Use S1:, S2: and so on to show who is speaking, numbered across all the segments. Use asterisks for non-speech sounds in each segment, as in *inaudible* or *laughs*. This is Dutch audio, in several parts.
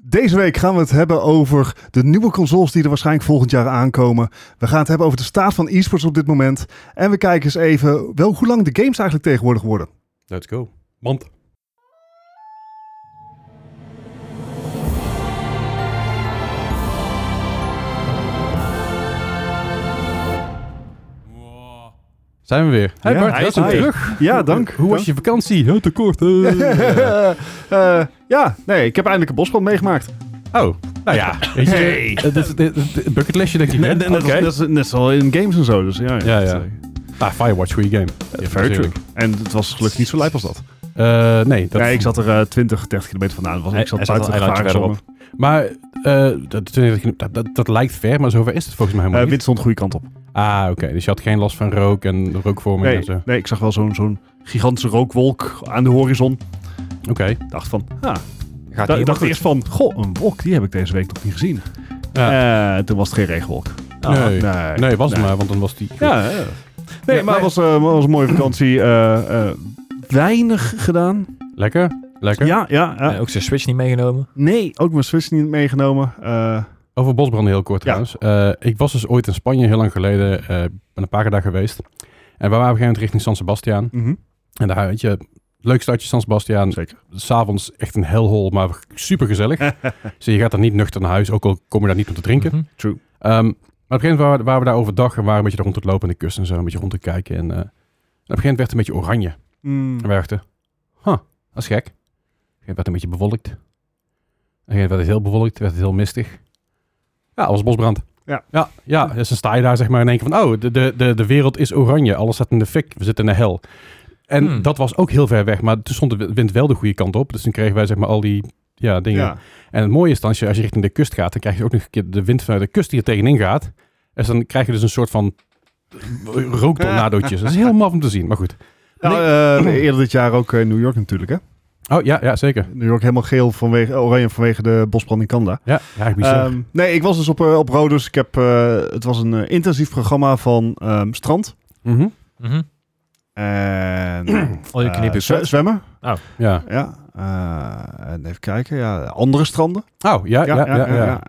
S1: Deze week gaan we het hebben over de nieuwe consoles die er waarschijnlijk volgend jaar aankomen. We gaan het hebben over de staat van e-sports op dit moment. En we kijken eens even wel hoe lang de games eigenlijk tegenwoordig worden.
S2: Let's go. Want.
S3: Zijn we weer.
S1: Ja,
S3: Bart,
S1: hij is
S3: welkom
S1: er weer.
S3: terug.
S1: Ja, dank.
S3: Hoe was je vakantie? Heel te *laughs* kort. eh.
S1: Eh, ja, nee, ik heb eindelijk een bosbrand meegemaakt.
S3: oh, nou ja. Weet je,
S1: Hey.
S3: eh, dit is- dit- dit- een bucketlistje denk ik. hè?
S1: Net, net,
S3: Oké.
S1: als- net, net al in games en zo. Dus ja,
S3: Ja, ja. Ah, Firewatch, goede game. Ja,
S1: Very true.
S3: natuurlijk.
S1: En het was gelukkig niet zo lijp als dat.
S3: Eh, nee, dat
S1: nee, ik zat er eh, 20, 30 kilometer vandaan. Was,
S3: Hij-
S1: ik zat
S3: hij zat
S1: buiten de
S3: een eilandje
S1: gevarenzone.
S3: Maar eh, dat, dat, dat, dat lijkt ver, maar zover is het volgens mij
S1: Eh
S3: helemaal niet.
S1: wit stond de goede kant op.
S3: Ah, oké. Dus je had geen last van rook en rookvorming
S1: Nee,
S3: en zo.
S1: nee, ik zag wel zo'n zo'n gigantische rookwolk aan de horizon.
S3: Oké.
S1: dacht van, ah,
S2: Gaat
S1: da
S2: niet
S1: dacht
S2: helemaal
S1: eerst van, goh, een wolk, die heb ik deze week nog niet gezien. Eh, toen was het geen regenwolk. Ah,
S2: goed.
S3: nee. nee. was het maar, want dan was die...
S1: Ja, ja. Nee,
S3: Ja,
S1: maar het
S3: nee.
S1: was, eh, was een mooie vakantie. eh, eh, weinig gedaan.
S3: Lekker? Lekker?
S1: Ja, ja. ja.
S2: Eh, ook zijn Switch niet meegenomen.
S1: Nee, ook mijn Switch niet meegenomen. Eh,
S3: Over bosbranden heel
S1: Ja.
S3: kort trouwens. Eh, ik was dus ooit in Spanje, heel lang geleden. eh, ben een paar keer daar geweest. En we waren op een gegeven moment richting San Sebastian.
S1: mhm,
S3: En daar, weet je, leuk stadje San Sebastian.
S1: Zeker.
S3: S'avonds echt een hellhol, maar super
S1: *laughs*
S3: gezellig. dus je gaat daar niet nuchter naar huis, ook al kom je daar niet om te drinken.
S2: Mhm.
S3: Ehm, maar op een gegeven moment waren, waren we daar overdag en waren we een beetje daar rond het lopen aan de kust en zo. Een beetje rond te kijken. En, eh, en op een gegeven moment werd het een beetje oranje.
S1: Mm.
S3: En wij dachten, huh, dat is gek. Op een gegeven moment werd het een beetje bewolkt. Op een gegeven moment werd het heel bewolkt, werd het heel mistig. Ja, alles bosbrand.
S1: Ja.
S3: Ja, ja, dus dan sta je daar zeg maar in één keer van, oh, de, de, de, de wereld is oranje. Alles staat in de fik. We zitten in de hel. En
S2: Hmm.
S3: dat was ook heel ver weg, maar toen stond de wind wel de goede kant op. Dus toen kregen wij zeg maar al die ja, dingen.
S1: Ja.
S3: En het mooie is dan, als je, als je richting de kust gaat, dan krijg je ook nog een keer de wind vanuit de kust die er tegenin gaat. Dus dan krijg je dus een soort van rooktornadootjes. Dat is heel maf om te zien, maar goed.
S1: Nou, eh, eerder dit jaar ook eh, New York natuurlijk, hè? eh,
S3: Oh ja, ja zeker.
S1: New York helemaal geel vanwege, oranje vanwege de bosbrand in Canada.
S3: Ja, ja bizar.
S1: Ehm, nee, ik was dus op, eh, op Rodus. Ik heb, eh, het was een eh, intensief programma van ehm, strand.
S3: Mhm.
S2: Mhm.
S1: *clears throat* En
S2: Al je knippen.
S1: eh, zwe- zwemmen.
S3: Ja.
S1: Ja. Eh, en even kijken. Ja, andere stranden.
S3: Oh, ja, ja, ja. ja,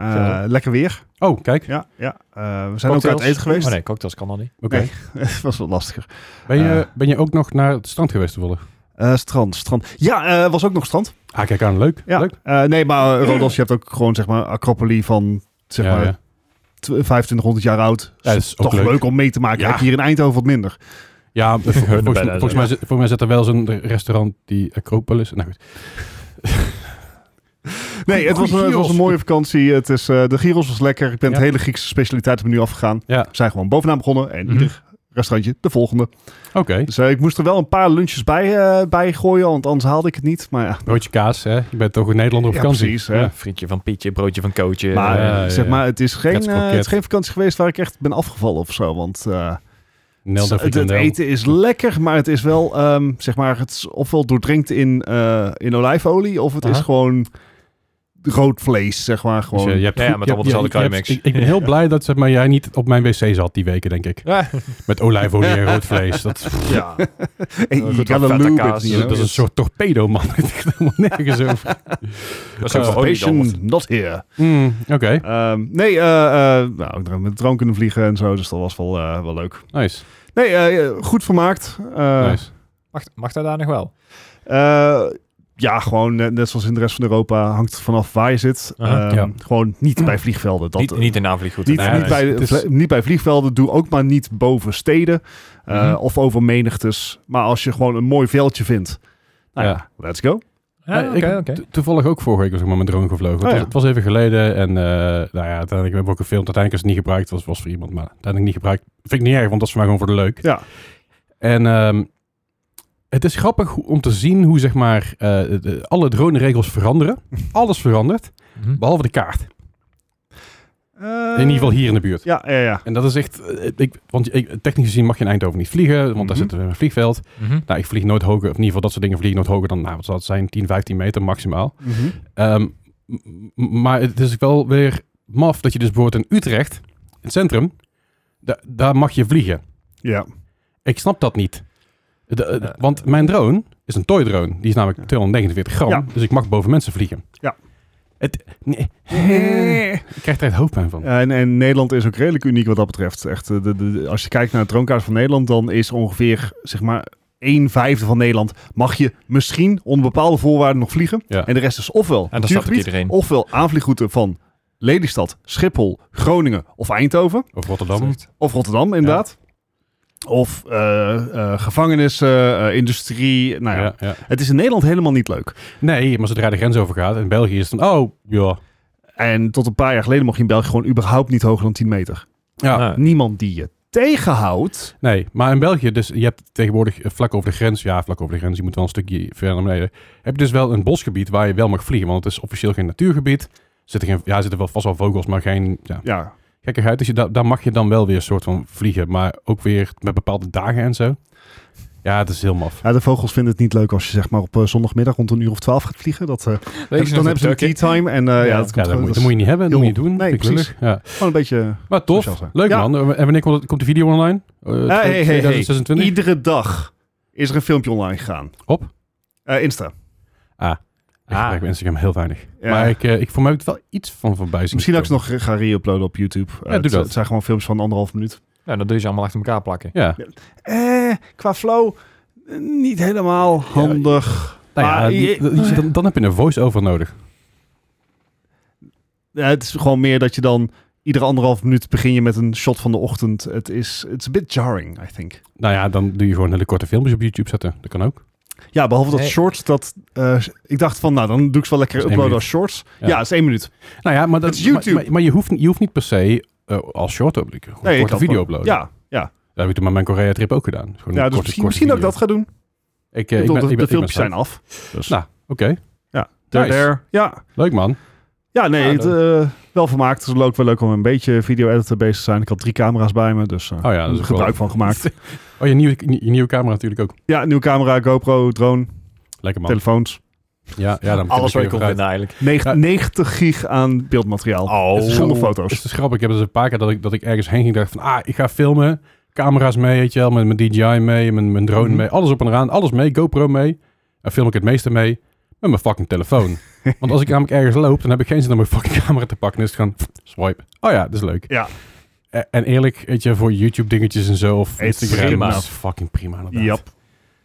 S1: Eh, lekker weer.
S3: Oh, kijk.
S1: Ja, ja. Eh, we zijn ook uit
S2: Cocktails?
S1: eten geweest.
S2: Oh nee, cocktails kan al niet.
S3: Oké.
S1: Nee. *laughs* Het was wat lastiger.
S3: Ben, je,
S1: Eh.
S3: ben je ook nog naar het strand geweest toevallig?
S1: Eh, strand, strand. Ja, eh, was ook nog strand.
S3: Ah, kijk aan. Leuk.
S1: Ja.
S3: Leuk.
S1: Eh, nee, maar eh, Rodos, je hebt ook gewoon zeg maar acropolie van zeg
S3: Ja,
S1: maar
S3: ja.
S1: tw- 2500 jaar oud.
S3: Ja, dat is ook
S1: toch leuk.
S3: leuk.
S1: om mee te maken.
S3: Ja.
S1: Heb je hier in Eindhoven wat minder.
S3: Ja, vol- vol-
S2: Hun
S3: volgens,
S2: bellen,
S3: volgens, mij, zit- volgens mij zit er wel zo'n restaurant die Acropolis. Nou goed.
S1: Nee, het was, een,
S3: Goeie
S1: het was
S3: gyros.
S1: een mooie vakantie. Het is, eh, de gyros was lekker. Ik ben
S3: Ja.
S1: het hele Griekse specialiteitsmenu afgegaan.
S3: Ja.
S1: We zijn gewoon bovenaan begonnen en
S2: Mhm.
S1: ieder restaurantje de volgende.
S3: Oké.
S1: Dus eh, ik moest er wel een paar lunches bij, eh, bij gooien, want anders haalde ik het niet. Maar ja,
S3: Broodje kaas, hè? Je bent toch een Nederlander op
S1: Ja,
S3: vakantie?
S1: precies, hè.
S3: Ja.
S2: Frietje van Pietje, broodje van Kootje.
S1: maar,
S3: ja,
S1: eh,
S3: ja,
S1: zeg
S3: ja.
S1: maar het, is geen, eh,
S3: Kretskroket.
S1: het is geen vakantie geweest waar ik echt ben afgevallen of zo. Want eh,
S3: Nel de
S1: het, het
S3: frikandel.
S1: eten is lekker, maar het is wel, ehm, zeg maar, het is ofwel doordrenkt in, eh, in olijfolie of het is
S3: Aha.
S1: gewoon rood vlees, zeg maar.
S3: Dus,
S1: Gewoon.
S3: eh, je hebt
S2: Ja,
S3: goed-
S2: ja, met
S3: je
S2: allemaal
S3: hebt-
S2: dezelfde
S3: je hebt-
S2: kruidenmix.
S3: Ik, ik ben heel blij dat zeg maar, jij niet op mijn wc zat die weken, denk ik.
S2: Ja.
S3: Met olijfolie
S2: *laughs*
S3: en rood vlees. Dat, dat
S2: ja.
S1: Hey, you
S2: Goed, wat
S1: gotta
S2: feta
S1: lube it,
S2: kaas.
S1: you
S3: is,
S1: know.
S3: dat is een soort torpedo, man. *laughs* Het gaat helemaal nergens over.
S2: Dat is ook
S3: Eh,
S2: voor olie dan, want-
S1: Station not here.
S3: Mm, Oké,
S1: Ehm, nee, eh, eh, nou, ook nog met de drone kunnen vliegen en zo, dus dat was wel, eh, wel leuk.
S3: nice.
S1: Nee, eh, goed vermaakt. Eh,
S3: nice.
S2: Mag, mag dat daar nog wel?
S1: eh, ja, gewoon net, net zoals in de rest van Europa hangt het vanaf waar je zit.
S2: Aha,
S1: Ehm,
S3: ja.
S1: Gewoon niet bij vliegvelden. Dat, eh,
S2: niet, niet in aanvliegroute.
S1: niet,
S3: nee,
S1: niet
S3: nee,
S1: bij,
S3: het is-
S1: vle- niet bij vliegvelden. Doe ook maar niet boven steden eh,
S2: Mhm.
S1: of over menigtes. Maar als je gewoon een mooi veldje vindt, nou ja,
S3: Ja.
S1: let's go.
S2: Ah,
S3: Ja,
S2: Oké,
S3: ik-
S2: oké.
S3: to- toevallig ook vorige week was ik maar met drone gevlogen.
S1: Oh,
S3: het, was,
S1: ja.
S3: het was even geleden en eh nou ja, uiteindelijk hebben we ook gefilmd. Uiteindelijk is het niet gebruikt, was, was voor iemand, maar uiteindelijk niet gebruikt. Vind ik niet erg, want dat is voor mij gewoon voor de leuk.
S1: Ja.
S3: En ehm, het is grappig hoe- om te zien hoe zeg maar eh, de- alle drone-regels veranderen. Alles verandert,
S2: Mhm.
S3: behalve de kaart. In ieder geval hier in de buurt.
S1: Ja, ja, ja.
S3: En dat is echt, eh, ik, want ik, technisch gezien mag je in Eindhoven niet vliegen, want daar
S1: Mhm.
S3: zitten we in een vliegveld.
S2: Mhm.
S3: Nou, ik vlieg nooit hoger, of in ieder geval dat soort dingen vlieg ik nooit hoger dan, nou, wat zal het zijn, 10, 15 meter maximaal.
S1: Mhm.
S3: Ehm, m- m- maar het is wel weer maf dat je dus bijvoorbeeld in Utrecht, in het centrum, da- daar mag je vliegen.
S1: Ja.
S3: Ik snap dat niet. De- eh,
S2: Eh,
S3: want mijn drone is een toy drone. Die is namelijk
S1: Ja.
S3: 249 gram.
S1: Ja.
S3: Dus ik mag boven mensen vliegen.
S1: Ja.
S3: Het, nee. Ik krijg daar echt hoofdpijn van.
S1: En, en Nederland is ook redelijk uniek wat dat betreft. Echt, eh, de, de, de- als je kijkt naar de troonkaart van Nederland, dan is ongeveer zeg maar 1 vijfde van Nederland mag je misschien onder bepaalde voorwaarden nog vliegen.
S3: Ja.
S1: En de rest is ofwel
S2: En dan staat ook
S1: natuurgebied,
S2: iedereen.
S1: ofwel aanvliegroute van Lelystad, Schiphol, Groningen of Eindhoven.
S3: Of Rotterdam.
S1: Of Rotterdam, inderdaad. Of eh, eh, gevangenissen, eh, industrie. Nou ja.
S3: Ja, ja.
S1: Het is in Nederland helemaal niet leuk.
S3: Nee, maar zodra de grens overgaat in België is het dan, oh, ja.
S1: En tot een paar jaar geleden mocht je in België gewoon überhaupt niet hoger dan 10 meter.
S3: ja.
S2: Nou,
S1: Niemand die je tegenhoudt.
S3: Nee, maar in België, dus je hebt tegenwoordig eh, vlak over de grens, ja, vlak over de grens, je moet wel een stukje verder naar beneden. Heb je dus wel een bosgebied waar je wel mag vliegen, want het is officieel geen natuurgebied. Zitten geen, ja, er zitten wel vast wel vogels, maar geen ja,
S1: Ja,
S3: gekkigheid. Dus je, da- daar mag je dan wel weer een soort van vliegen, maar ook weer met bepaalde dagen en zo. Ja, het is heel maf.
S1: Ja, de vogels vinden het niet leuk als je zeg maar op eh, zondagmiddag rond een uur of twaalf gaat vliegen. Dat, eh,
S3: nou
S2: weet je nog
S1: dan hebben ze een
S2: dat
S1: tea
S2: Turkey-
S1: time en eh, ja,
S2: Ja,
S1: dat
S3: Ja,
S1: komt
S3: dat
S1: gewoon,
S3: moet,
S1: dat
S3: dat moet je niet hebben, dat
S1: heel-
S3: moet je niet doen.
S1: nee,
S3: Vind ik lullig. Ja.
S1: is gewoon een beetje...
S3: Maar
S1: Sociaal zijn.
S3: tof, leuk
S1: Ja.
S3: man. En wanneer komt, komt de video online? Eh,
S1: hey, hey, hey.
S3: 2026?
S1: Iedere dag is er een filmpje online gegaan.
S3: Op?
S1: Eh, Insta.
S3: Ik
S2: Ah.
S3: gebruik Instagram heel weinig.
S1: Ja.
S3: Maar ik, eh, ik voor mij heb ik het wel iets van voorbij zien
S1: Misschien dat ik
S3: komen.
S1: ze nog ga re-uploaden op YouTube. Eh,
S3: Ja, doe
S1: het,
S3: dat.
S1: het zijn gewoon filmpjes van anderhalf minuut.
S2: Nou, dan doe je ze allemaal achter elkaar plakken.
S3: Ja.
S1: Eh, qua flow eh, niet helemaal handig.
S3: Nou ja,
S1: Maar
S3: die-
S1: je-
S3: die- die- dan, dan heb je een voice-over nodig.
S1: Ja, het is gewoon meer dat je dan iedere anderhalf minuut begin je met een shot van de ochtend. Het is it's a bit jarring, I think.
S3: Nou ja, dan doe je gewoon hele korte filmpjes op YouTube zetten. Dat kan ook.
S1: Ja, behalve dat
S2: Nee.
S1: shorts. Dat, eh, ik dacht van, nou, dan doe ik ze wel lekker
S3: Dat is één
S1: uploaden als
S3: minuut.
S1: shorts. Ja,
S3: Ja.
S1: het is één minuut.
S3: Nou ja, maar, dat,
S1: Het is YouTube.
S3: maar, maar- maar je, hoeft, niet- je hoeft niet per se eh, als short op een
S1: Nee, je
S3: korte
S1: kan
S3: video
S1: gewoon-
S3: uploaden.
S1: Ja, ja.
S3: Oh, Dat heb ik toen met mijn Korea-trip ook gedaan. Gewoon
S1: ja
S3: een
S1: dus
S3: korte-
S1: misschien,
S3: korte
S1: misschien dat ik
S3: video.
S1: dat ga doen.
S3: Ik, eh,
S1: Ik
S3: ik
S1: bedoel,
S3: ben,
S1: de,
S3: ik ben,
S1: de filmpjes zijn af.
S3: af. Nou, oké.
S1: Ja, daar,
S3: Nice.
S1: daar. Ja.
S3: Leuk man. Oh
S1: Ja, nee,
S2: Ja,
S1: het, eh, wel vermaakt. Het is ook wel leuk om een beetje video-editor bezig te zijn. Ik had drie camera's bij me, dus eh
S3: Oh ja, dat is ook
S1: gebruik van gemaakt.
S3: Oh, je nieuwe, je nieuwe camera natuurlijk ook.
S1: Ja, nieuwe camera, GoPro, drone,
S3: Lekker man.
S1: telefoons.
S3: Ja, ja, dan
S2: Alles wat je
S3: dan-
S2: kon vinden eigenlijk.
S1: Neg-
S3: Ja.
S1: 90 gig aan beeldmateriaal.
S2: Oh.
S1: Zonder
S3: Het
S1: foto's.
S3: is dus grappig. Ik heb dus een paar keer dat ik, dat ik ergens heen ging. dacht van, ah, ik ga filmen. Camera's mee, weet je wel. Met mijn DJI mee, mijn, mijn drone
S1: Mhm.
S3: mee. Alles op en eraan. Alles mee. GoPro mee. En film ik het meeste mee. Met mijn fucking
S1: *laughs*
S3: telefoon. Want als ik namelijk ergens loop, dan heb ik geen zin om mijn fucking camera te pakken. Dus gewoon swipe. Oh ja, dat is leuk.
S1: Ja.
S3: E- En eerlijk, weet je, voor YouTube dingetjes en zo of
S1: It's
S3: Instagram,
S1: prima.
S3: dat is fucking prima inderdaad.
S1: Yep.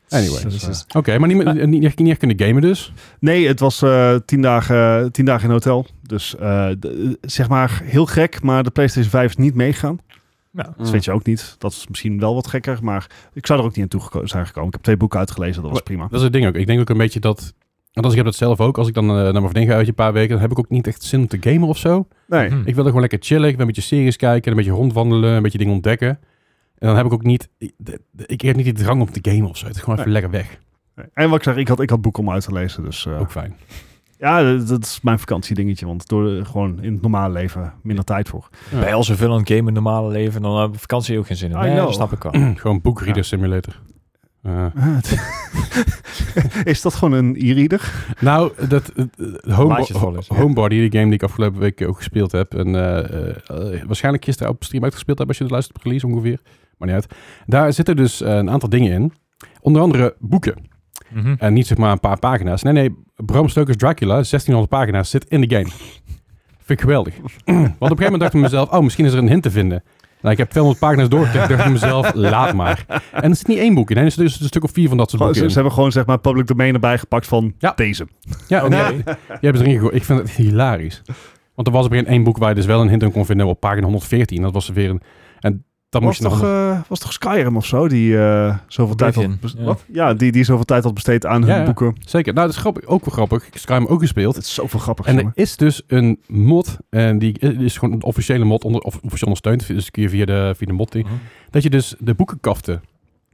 S3: Anyway.
S1: Dus, eh,
S3: Oké, maar niet, meer- niet, niet, niet echt kunnen gamen dus.
S1: Nee, het was eh, tien, dagen, tien dagen in een hotel. Dus eh, de- zeg maar heel gek, maar de PlayStation 5 is niet meegegaan.
S2: Nou,
S3: Mm.
S1: Dat weet je ook niet. Dat is misschien wel wat gekker, maar ik zou er ook niet aan toe geko- zijn gekomen. Ik heb twee boeken uitgelezen, dat was prima.
S3: Dat is het ding ook. Ik denk ook een beetje dat... Want als ik heb dat zelf ook. Als ik dan eh, naar mijn vriendin ga uit een paar weken... dan heb ik ook niet echt zin om te gamen of zo.
S1: Nee,
S2: hm.
S3: Ik wil er gewoon lekker chillen. Ik wil een beetje series kijken, een beetje rondwandelen, een beetje dingen ontdekken. En dan heb ik ook niet, ik, de- de- ik heb niet die drang om te gamen of zo. Het is gewoon even lekker weg.
S1: en wat ik zeg, ik had, ik had boeken om uit te lezen. Dus eh,
S3: Ook fijn. *clears throat*
S1: ja, dat, dat is mijn vakantiedingetje. Want door de- gewoon in het normale leven minder tijd
S3: *laughs*
S1: voor.
S2: Bij ons zoveel aan het gamen in het normale leven, dan hebben we op vakantie ook geen zin in.
S1: I
S2: Nee,
S1: know.
S2: dat snap ik wel.
S3: gewoon boekreader simulator. Eh,
S1: Eh, het- is dat gewoon een e-reader?
S3: nou, dat eh, eh, Home-
S2: Blaadjes vol is, ja.
S3: Homebody, die game die ik afgelopen week ook gespeeld heb. En eh, eh, eh, waarschijnlijk gisteren op stream uitgespeeld heb als je het luistert op release ongeveer. Maar niet uit. Daar zitten dus eh, een aantal dingen in. Onder andere boeken.
S2: Mhm.
S3: En niet zeg maar een paar pagina's. Nee, nee. Bram Stoker's Dracula, 1600 pagina's, zit in de game. Vind ik geweldig. *clears throat* Want op een gegeven moment dacht ik mezelf, oh, misschien is er een hint te vinden. Nou, ik heb 200 pagina's doorgetikt, dacht ik mezelf, laat maar. En er zit niet één boek in, hè. er zit dus een stuk of vier van dat soort
S1: Gewoon, ze, ze
S3: boeken in.
S1: hebben gewoon zeg maar public domain erbij gepakt van
S3: Ja.
S1: deze.
S3: Ja,
S2: Oké.
S1: Oh,
S3: nee, jij hebt het erin gegooid. Ik vind het hilarisch. Want er was op een gegeven moment één boek waar je dus wel een hint in kon vinden op pagina 114. Dat was weer een... En dan
S1: Was
S3: moest je nog...
S1: toch, eh, was toch Skyrim of zo die eh, zoveel tijd had
S2: Oblivion,
S1: bes-
S2: ja.
S1: wat? Ja, die, die zoveel tijd had besteed aan
S3: Ja,
S1: hun
S3: ja.
S1: boeken.
S3: Zeker. Nou, dat is grappig. Ook wel grappig. Ik heb hem ook gespeeld.
S1: Dat is zoveel grappig.
S3: En er
S1: jongen.
S3: is dus een mod, en die is gewoon een officiële mod, onder, of, officieel ondersteund, dus kun je via de, via de mod, die,
S2: Mhm.
S3: dat je dus de boekenkaften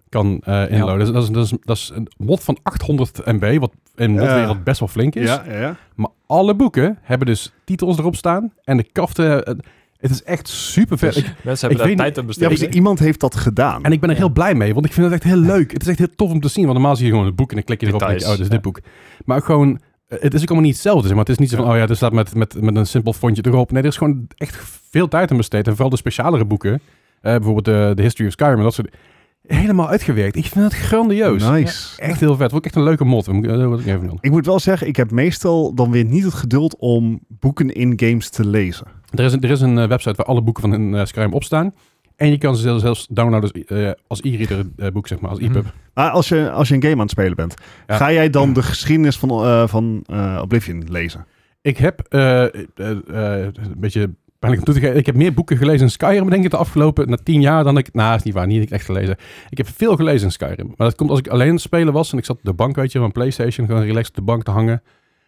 S3: kan eh inloaden. Dat, is- dat, is, dat, is, dat is een mod van 800 MB, wat in de
S1: Ja.
S3: modwereld best wel flink is.
S1: ja, ja, ja.
S3: Maar alle boeken hebben dus titels erop staan en de kaften, eh, het is echt super vet. Ik-
S2: Mensen hebben
S3: weet
S2: daar
S3: niet-
S2: tijd aan
S1: ja
S2: besteed.
S1: precies, *laughs* iemand heeft dat gedaan.
S3: en ik ben er
S2: Ja.
S3: heel blij mee, want ik vind het echt heel leuk. Het is echt heel tof om te zien, want normaal zie je gewoon het boek en dan klik je erop en denk je, oh, dit is dit boek. Maar ook gewoon, eh, het is ook allemaal niet hetzelfde, zeg maar. Het is niet zo van, oh ja, er staat met, met, met een simpel fontje erop. Nee, er is gewoon echt veel tijd aan besteed. En vooral de specialere boeken, eh, bijvoorbeeld de The History of Skyrim en dat soort... helemaal uitgewerkt. Ik vind het grandioos.
S1: Nice.
S3: Echt heel vet. Vond ik echt een leuke mod. Moet ik- eh, Wat ik even doen.
S1: Ik moet wel zeggen, ik heb meestal dan weer niet het geduld om boeken in games te lezen.
S3: Er is een, er is een eh, website waar alle boeken van een eh, Skyrim op staan. En je kan ze zelfs, zelfs downloaden als, eh, als e-reader eh, boek, zeg maar, als e-pub.
S1: Maar als je, als je een game aan het spelen bent,
S3: Ja.
S1: ga jij dan de geschiedenis van, eh, van eh, Oblivion lezen?
S3: Ik heb, eh, eh, eh, een beetje pijnlijk om toe te geven, ik heb meer boeken gelezen in Skyrim, denk ik, de afgelopen na tien jaar dan ik... Nou, is niet waar, niet echt gelezen. Ik heb veel gelezen in Skyrim. Maar dat komt als ik alleen aan het spelen was en ik zat op de bank, weet je, van PlayStation, gewoon relaxed op de bank te hangen.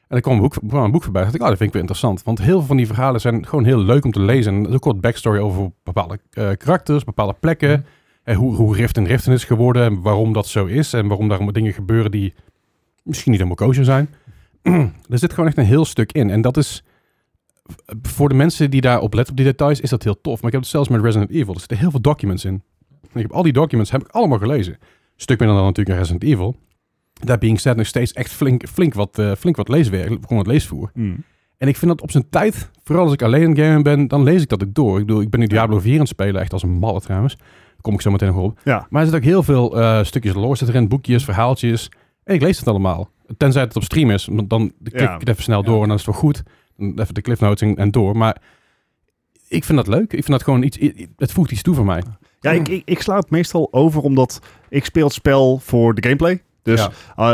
S3: En er kwam een boek, kwam een boek voorbij. dacht ik, oh, dat vind ik weer interessant. Want heel veel van die verhalen zijn gewoon heel leuk om te lezen. En er is ook wat backstory over bepaalde eh, karakters, bepaalde plekken.
S2: Mhm.
S3: En hoe, hoe Rift en Riften is geworden. En waarom dat zo is. En waarom daar dingen gebeuren die misschien niet helemaal kosher zijn. *clears throat* er zit gewoon echt een heel stuk in. En dat is... Voor de mensen die daar op letten op die details, is dat heel tof. Maar ik heb het zelfs met Resident Evil. Er zitten heel veel documents in. En ik heb al die documents heb ik allemaal gelezen. Een stuk minder dan natuurlijk in Resident Evil. That being said, nog steeds echt flink, flink wat, eh, flink wat leeswerk, gewoon wat leesvoer.
S1: Hmm.
S3: En ik vind dat op zijn tijd, vooral als ik alleen aan het gamen ben, dan lees ik dat ook door. Ik bedoel, ik ben nu Diablo 4 aan het spelen, echt als een malle trouwens. Daar kom ik zo meteen nog op.
S1: Ja.
S3: Maar er zit ook heel veel eh, stukjes lore zit erin, boekjes, verhaaltjes. En ik lees het allemaal. Tenzij het op stream is, want dan klik
S1: Ja.
S3: ik het even snel
S2: Ja.
S3: door en dan is het wel goed. Dan even de cliff notes en, en door. Maar ik vind dat leuk. Ik vind dat gewoon iets, i- i- het voegt iets toe voor mij.
S1: Ja, ik, ik, ik sla het meestal over omdat ik speel het spel voor de gameplay. Dus
S3: Ja.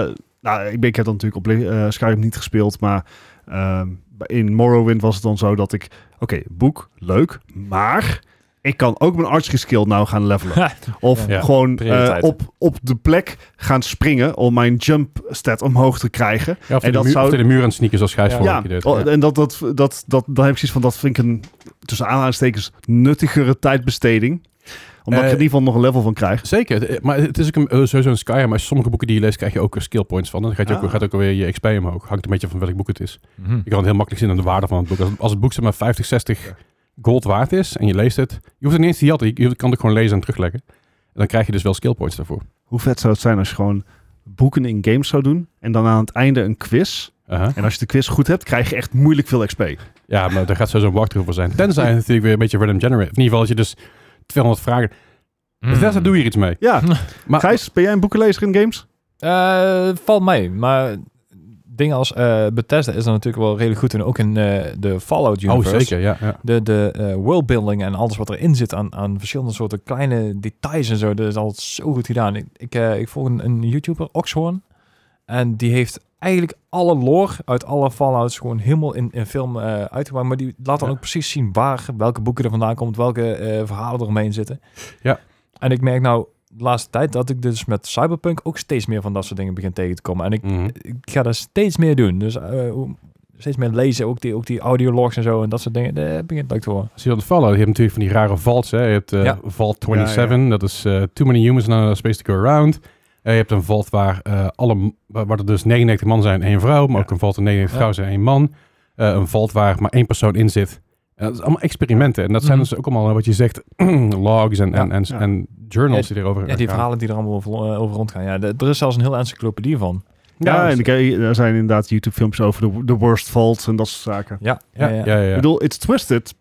S1: eh, nou, ik, ben, ik heb dan natuurlijk op eh, Skyrim niet gespeeld, maar ehm, in Morrowind was het dan zo dat ik... Oké, boek, leuk, maar ik kan ook mijn archery skill nou gaan levelen.
S2: *laughs*
S1: Of
S3: Ja,
S1: gewoon eh,
S2: prioriteiten.
S1: op, op de plek gaan springen om mijn jump stat omhoog te krijgen.
S3: Ja, of
S1: En
S3: en de
S1: dat
S3: muur,
S1: zou-
S3: of tegen de muur en sneakers als Gijs
S2: Ja.
S3: vorige
S1: Ja,
S3: keer deed.
S1: oh,
S3: Ja.
S1: en dat, dat, dat, dat, dan heb ik zoiets van, dat vind ik een, tussen aanhalingstekens, nuttigere tijdbesteding. Omdat
S3: Eh,
S1: ik er in ieder geval nog een level van krijg.
S3: Zeker, de- maar het is ook een, eh, sowieso een Skyrim. Maar sommige boeken die je leest, krijg je ook eh, skill points van. Dan gaat, je ook,
S1: Ah.
S3: gaat ook weer je XP omhoog. Hangt een beetje van welk boek het is. Je kan het heel makkelijk zien aan de waarde van het boek. Als, als het boek zeg maar 50, 60 gold waard is en je leest het. Je hoeft het niet eens te jatten. Je, je kan het gewoon lezen en terugleggen. En dan krijg je dus wel skill points daarvoor.
S1: Hoe vet zou het zijn als je gewoon boeken in games zou doen en dan aan het einde een quiz.
S3: Aha.
S1: En als je de quiz goed hebt, krijg je echt moeilijk veel XP.
S3: Ja, maar daar gaat sowieso een walkthrough voor zijn. Tenzij het natuurlijk weer een beetje random generate. In ieder geval dat je dus 200 vragen...
S2: Mhm. Hmm.
S3: Dus daar doe je er iets mee.
S1: Ja, *laughs*
S3: Maar,
S1: Gijs, ben jij een boekenlezer in games?
S2: Eh, valt mee, maar dingen als eh Bethesda is er natuurlijk wel redelijk goed in. Ook in eh, de Fallout
S3: oh,
S2: universe.
S3: zeker, ja. ja.
S2: De, de eh, worldbuilding en alles wat erin zit aan, aan verschillende soorten kleine details en zo. Dat is altijd zo goed gedaan. Ik, ik, eh, ik volg een, een YouTuber, Oxhorn. En die heeft eigenlijk alle lore uit alle Fallouts gewoon helemaal in, in film eh uitgebracht. Maar die laat dan
S3: Ja.
S2: ook precies zien waar, welke boeken er vandaan komt, welke eh, verhalen er omheen zitten.
S3: Ja.
S2: En ik merk nou de laatste tijd dat ik dus met Cyberpunk ook steeds meer van dat soort dingen begin tegen te komen. En ik
S3: Mhm.
S2: ik ga daar steeds meer doen. Dus eh, hoe- steeds meer lezen, ook die, ook die audiologs en zo en dat soort dingen. Dat begint leuk te horen.
S3: Als je dat Fallout, je hebt natuurlijk van die rare vaults. Hè. Je hebt eh
S2: Ja.
S3: Vault 27,
S1: Ja,
S3: dat is eh, Too Many Humans in a Space to Go Around. Eh, je hebt een vault waar, eh, alle, m- waar waar er dus 99 man zijn en één vrouw. Maar
S1: Ja.
S3: ook een vault waar 99
S2: Ja.
S3: vrouwen zijn en één man. Eh, een vault waar maar één persoon in zit. En dat is allemaal experimenten. En dat zijn
S2: Mhm.
S3: dus ook allemaal eh, wat je zegt, *clears throat* logs en, en, en,
S1: Ja.
S3: en journals die erover
S2: Ja, die
S3: gaan.
S2: verhalen die er allemaal over, eh, over rondgaan. Ja, de- er is zelfs een hele encyclopedie van.
S1: Ja,
S3: Ja,
S1: en ik, er zijn inderdaad YouTube-filmpjes over de, de worst faults en dat soort zaken.
S2: Ja,
S3: ja,
S2: ja, ja.
S3: ja, ja.
S1: Ik bedoel, it's twisted,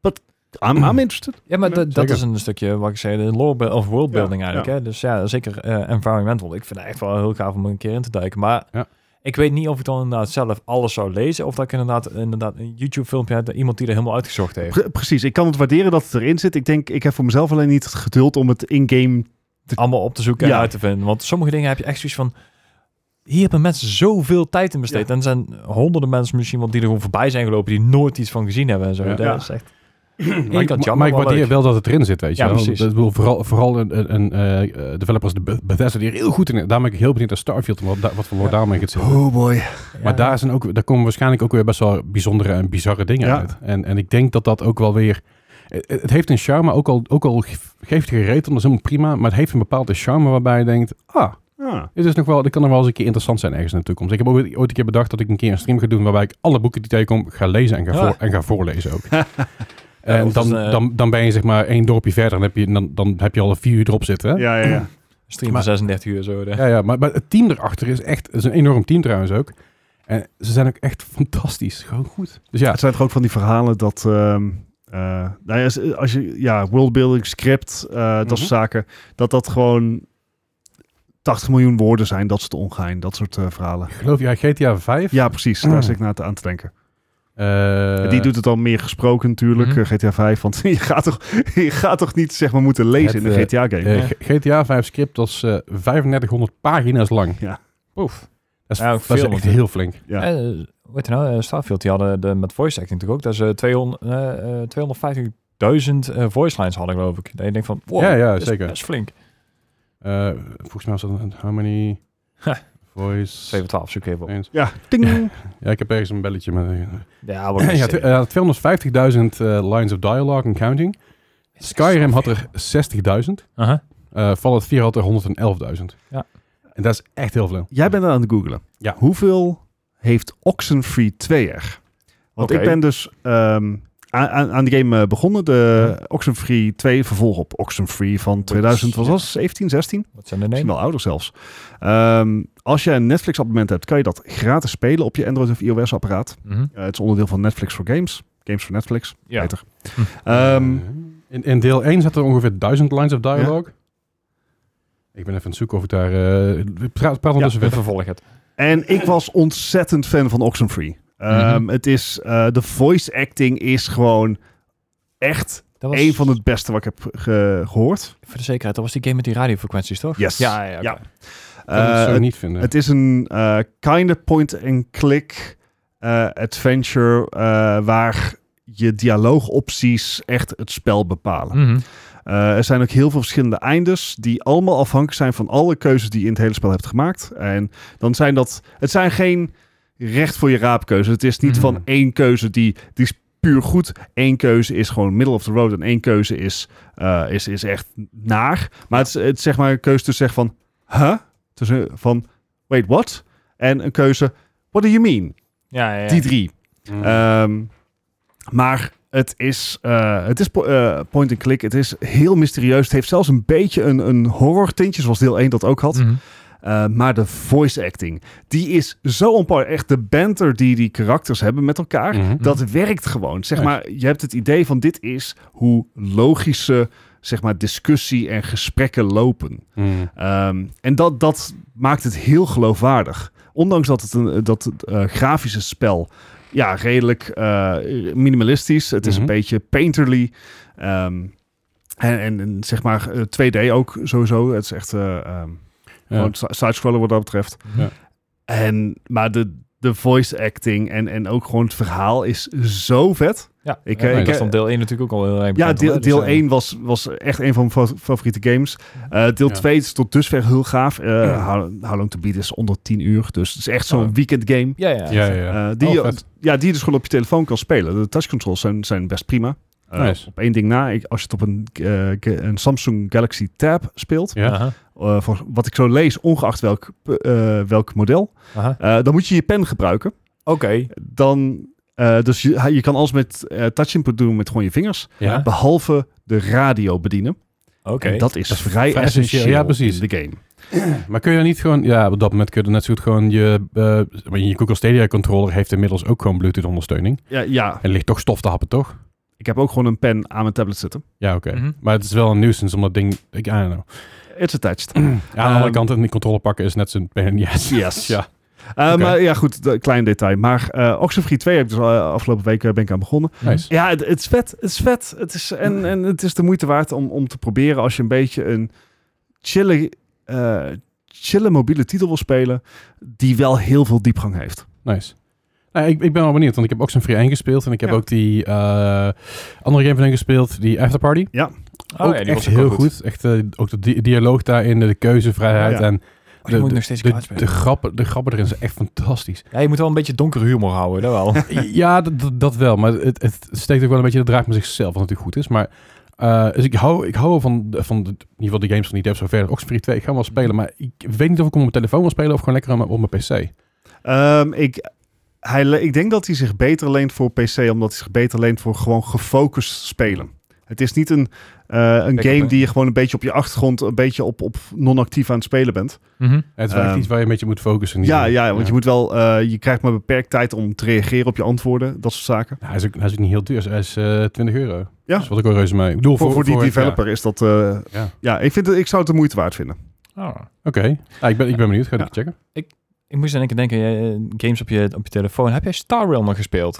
S1: but I'm, I'm interested.
S2: Ja, maar
S1: Ja,
S2: dat- dat
S3: zeker.
S2: is een stukje wat ik zei, de lore bu- of worldbuilding
S1: Ja,
S2: eigenlijk.
S1: ja.
S2: Hè? Dus ja, zeker eh, environmental. Ik vind het echt wel heel gaaf om er een keer in te duiken. Maar
S3: Ja.
S2: ik weet niet of ik dan inderdaad zelf alles zou lezen. Of dat ik inderdaad, inderdaad een YouTube-filmpje heb, iemand die er helemaal uitgezocht heeft.
S1: Pre- precies, ik kan het waarderen dat het erin zit. Ik denk, ik heb voor mezelf alleen niet het geduld om het in-game...
S2: allemaal op te zoeken en
S1: Ja.
S2: uit te vinden. Want sommige dingen heb je echt zoiets van... Hier hebben mensen zoveel tijd in besteed. En er zijn honderden mensen misschien wel die er gewoon voorbij zijn gelopen... die nooit iets van gezien hebben en zo.
S3: Ja.
S2: Dat
S1: Ja.
S2: is echt...
S3: Maar
S2: Ik
S3: ik,
S2: kan het
S3: maar-
S2: jammer,
S3: maar ik
S2: wel
S3: waardeer
S2: leuk.
S3: wel dat het erin zit, weet je
S2: Ja,
S3: wel.
S2: precies.
S3: Dat ik bedoel, vooral, vooral een, een, een eh, developer als de Beth- Bethesda die er heel goed in is. Daar ben ik heel benieuwd naar Starfield, wat, da- wat voor lore
S2: Ja.
S3: daarmee gaat zitten.
S1: Oh boy.
S3: Maar daar, zijn ook, daar komen waarschijnlijk ook weer best wel bijzondere en bizarre dingen
S1: Ja.
S3: uit. En, en ik denk dat dat ook wel weer... Het het heeft een charme, ook al, ook al ge- geeft het gereed om, dat is helemaal prima. Maar het heeft een bepaalde charme waarbij je denkt... Ah,
S1: Ah.
S3: dit, is nog wel, dit kan nog wel eens een keer interessant zijn ergens in de toekomst. Ik heb ooit, ooit een keer bedacht dat ik een keer een stream ga doen... waarbij ik alle boeken die tegenkom ga lezen en ga,
S2: Ja.
S3: voor, en ga voorlezen ook.
S2: *laughs*
S3: en
S2: of
S3: dan,
S2: Ah. dat is, eh,
S3: dan, dan ben je zeg maar één dorpje verder en heb je, dan, dan heb je al een vier uur erop zitten. hè?
S1: Ja, ja, ja.
S2: Stream
S3: maar-
S2: van 36 uur zo. de-
S3: Ja, ja maar, maar het team erachter is echt... Het is een enorm team trouwens ook. En ze zijn ook echt *laughs* fantastisch. Gewoon goed. Dus ja,
S1: Het zijn toch ook van die verhalen dat ehm, eh, nou ja, als- als je, ja, worldbuilding, script, eh,
S3: Mhm.
S1: dat soort zaken. Dat dat gewoon 80 miljoen woorden zijn, dat soort ongein, dat soort eh, verhalen.
S3: Ik geloof, ja, GTA 5.
S1: Ja, precies. Daar zit ik na te, aan te denken.
S3: Eh,
S1: Die doet het dan meer gesproken natuurlijk,
S2: Mhm.
S1: eh, GTA 5. Want *laughs* je gaat toch, je gaat toch niet zeg maar, moeten
S3: Het,
S1: lezen in
S3: eh,
S1: een GTA-game?
S3: eh, G- GTA 5 script was eh 3500 pagina's lang.
S2: Poef.
S3: Dat is,
S2: Ja, ook
S3: dat is
S2: veel
S3: echt
S2: natuurlijk.
S3: heel flink.
S1: Ja.
S2: Eh, weet je nou, eh, Starfield, die hadden de, met voice acting natuurlijk ook, dat ze 200, eh, eh, 250.000 eh, voice lines hadden, geloof ik. Dat je denkt van, wow,
S3: Ja, ja,
S2: dat is-
S3: zeker.
S2: dat is flink.
S3: Eh, volgens mij was dat een how many
S2: Ha.
S3: voice...
S2: 7 12, zoek even op.
S3: eens.
S1: Ja, ding.
S3: Ja, ik heb ergens een belletje eh, met...
S2: Oh, Ja, maar
S3: ja, tw- eh, 250.000 eh, lines of dialogue and counting. Skyrim had er 60.000.
S2: Aha.
S3: eh Fallout 4 had er 111.000.
S2: Ja.
S3: En dat is echt heel veel.
S1: Jij bent aan het googelen.
S3: Ja.
S1: Hoeveel heeft Oxenfree 2 er? Want
S2: Oké.
S1: ik ben dus ehm, aan, aan, aan de game eh, begonnen. De Oxenfree 2 vervolg op Oxenfree van 2000, wat was het? 17, 16?
S2: Wat zijn de
S1: Misschien wel
S2: namen?
S1: ouder zelfs. Ehm, als je een Netflix-abonnement hebt, kan je dat gratis spelen op je Android of iOS-apparaat.
S2: Mhm.
S1: het is onderdeel van Netflix for Games. Games voor Netflix,
S2: Ja. Hm.
S1: beter. Ehm,
S3: Eh, in, in deel 1 zaten er ongeveer 1000 lines of dialogue. Ik ben even aan het zoeken of ik daar... eh praat praat ondertussen
S2: We
S3: verder.
S2: vervolgen het.
S1: En ik was ontzettend fan van Oxenfree. Ehm,
S2: Mhm.
S1: Het is, eh, de voice acting is gewoon echt
S2: Dat was,
S1: een van het beste wat ik heb ge- gehoord.
S2: Voor de zekerheid, dat was die game met die radiofrequenties, toch?
S1: Yes.
S2: Ja, ja, ja.
S1: Ja.
S2: oké.
S3: Ik kan het
S1: Eh,
S3: zo
S1: het,
S3: niet vinden.
S1: het is een eh kind of point-and-click eh, adventure eh, waar je dialoogopties echt het spel bepalen.
S2: Mhm.
S1: Eh, er zijn ook heel veel verschillende eindes die allemaal afhankelijk zijn van alle keuzes die je in het hele spel hebt gemaakt. En dan zijn dat, het zijn geen recht voor je raap keuzes. Het is niet
S2: Mhm.
S1: van één keuze die, die is puur goed. Eén keuze is gewoon middle of the road en één keuze is, eh, is, is echt naar. Maar het is, het is zeg maar een keuze tussen zeg van, huh? Tussen van, wait, what? En een keuze, what do you mean?
S2: Ja, ja, ja.
S1: Die drie.
S3: Mm.
S1: Ehm, maar het is, eh, het is po- eh, point and click. Het is heel mysterieus. Het heeft zelfs een beetje een, een horror tintje, zoals deel 1 dat ook had.
S2: Mhm.
S1: Eh, maar de voice acting, die is zo onpaar. Echt de banter die die karakters hebben met elkaar,
S3: Mhm.
S1: dat werkt gewoon. Zeg
S3: Nice.
S1: maar, je hebt het idee van dit is hoe logische zeg maar, discussie en gesprekken lopen.
S3: Mm.
S1: Ehm, en dat, dat maakt het heel geloofwaardig. Ondanks dat het een dat het, eh, grafische spel ja, redelijk eh, minimalistisch. Het is
S3: Mhm.
S1: een beetje painterly. Ehm, en, en, en zeg maar eh, 2D ook sowieso. Het is echt eh ehm,
S3: Ja.
S1: gewoon si- sidescroller wat dat betreft.
S3: Ja.
S1: En, maar de, de voice acting en, en ook gewoon het verhaal is zo vet.
S2: Ja,
S1: Ik,
S2: Ja,
S1: eh,
S2: nee,
S1: ik,
S2: dat
S1: eh,
S2: stond deel 1 natuurlijk ook al heel erg
S1: Ja,
S2: bekend om, hè,
S1: deel,
S2: dus,
S1: deel
S2: eh,
S1: 1 was, was echt een van mijn fa- favoriete games. Eh, deel
S3: Ja.
S1: 2 is tot dusver heel gaaf. Eh how, How Long To Beat is onder 10 uur. Dus het is echt zo'n
S2: Oh.
S1: weekend game.
S2: Ja, ja.
S3: Ja, ja, ja.
S1: Eh, die,
S3: Oh,
S1: je-
S3: vet.
S1: ja, die je dus gewoon op je telefoon kan spelen. De touchcontrols zijn, zijn best prima. Eh,
S3: Nice.
S1: Op één ding na, ik, als je het op een, eh, ga- een Samsung Galaxy Tab speelt,
S3: Ja.
S2: Aha,
S1: eh, voor wat ik zo lees, ongeacht welk, eh, welk model,
S2: aha.
S1: eh, dan moet je je pen gebruiken.
S2: Oké.
S1: Dan, eh, dus je, je kan alles met eh, touch input doen met gewoon je vingers,
S3: Ja.
S1: behalve de radio bedienen.
S2: Oké.
S1: En dat is
S3: Dat is
S1: vrij
S3: vrij
S1: essentieel
S3: essentieel, ja, precies.
S1: in de game.
S3: Maar kun je dan niet gewoon... Ja, op dat moment kun je dan net zo goed gewoon je... eh, maar je Google Stadia controller heeft inmiddels ook gewoon Bluetooth ondersteuning.
S1: Ja, ja,
S3: En ligt toch stof te happen, toch?
S1: ik heb ook gewoon een pen aan mijn tablet zitten.
S3: Ja, oké.
S2: Mhm.
S3: Maar het is wel een nuisance om dat ding... Ik, I don't know.
S1: It's attached. *clears throat*
S3: Ja, aan de andere
S1: Ehm,
S3: kant, in die controle pakken is net zo'n *laughs* pain in the ass.
S1: Yes.
S3: Ja.
S1: Eh,
S3: Oké.
S1: Maar ja, goed, de, klein detail. Maar eh Oxenfree 2 heb ik dus al, eh, afgelopen week eh, ben ik aan begonnen. *laughs*
S3: Nice.
S1: Ja, het, het is vet. Het is vet. Het is, en, en het is de moeite waard om, om te proberen als je een beetje een chille, eh, chille mobiele titel wil spelen, die wel heel veel diepgang heeft.
S3: Nice. Nou, ik, ik ben wel benieuwd, want ik heb ook zo'n Free 1 gespeeld. En ik heb
S1: Ja.
S3: ook die eh, andere game van hen gespeeld, die After Party.
S2: Oh,
S3: ook
S2: ja, die
S3: echt
S2: was ook wel
S3: heel goed. Echt, eh, ook de di- dialoog daarin, de keuzevrijheid
S1: Ja.
S3: en
S2: Oh, die
S3: de,
S2: moet ik
S3: de,
S2: nog steeds
S3: de-
S2: klaar
S3: de
S2: spelen.
S3: grappen, de grappen erin zijn echt
S2: *laughs*
S3: fantastisch.
S2: Ja, je moet wel een beetje donkere humor houden, dat wel.
S3: ja, dat, dat, dat wel. Maar het, het steekt ook wel een beetje de draag met zichzelf, wat natuurlijk goed is. Maar eh, dus ik hou, ik hou van, de- van de, in ieder geval de games van die devs zover. Oxfree 2, ik ga hem wel spelen. Maar ik weet niet of ik hem op mijn telefoon wil spelen of gewoon lekker op mijn- op mijn PC.
S1: Ehm, ik, hij, le- ik denk dat hij zich beter leent voor PC, omdat hij zich beter leent voor gewoon gefocust spelen. Het is niet een, eh, een
S2: up,
S1: game
S2: hè?
S1: die je gewoon een beetje op je achtergrond, een beetje op, op non-actief aan het spelen bent.
S2: *laughs* Mhm.
S3: Het is wel echt
S1: Ehm,
S3: iets waar je een beetje moet focussen.
S1: Ja, ja, want je moet wel, eh, je krijgt maar beperkt tijd om te reageren op je antwoorden, dat soort zaken.
S3: Nou, hij, is ook, hij is ook niet heel duur. Hij is eh 20 euro.
S1: Ja.
S3: Dat is wat ik wel reuze mee. Ik bedoel,
S1: Voor,
S3: voor,
S1: voor die
S3: ja.
S1: developer is dat, eh,
S3: Ja.
S1: ja, ik, vind het, ik zou het de moeite waard vinden.
S2: Oh.
S3: Oké. Ah, ik, ben, ik ben benieuwd. Ga ik
S1: Ja.
S3: even checken.
S2: Ik moest in één keer denken, eh, games op je, op je telefoon. Heb jij Star Realm nog gespeeld?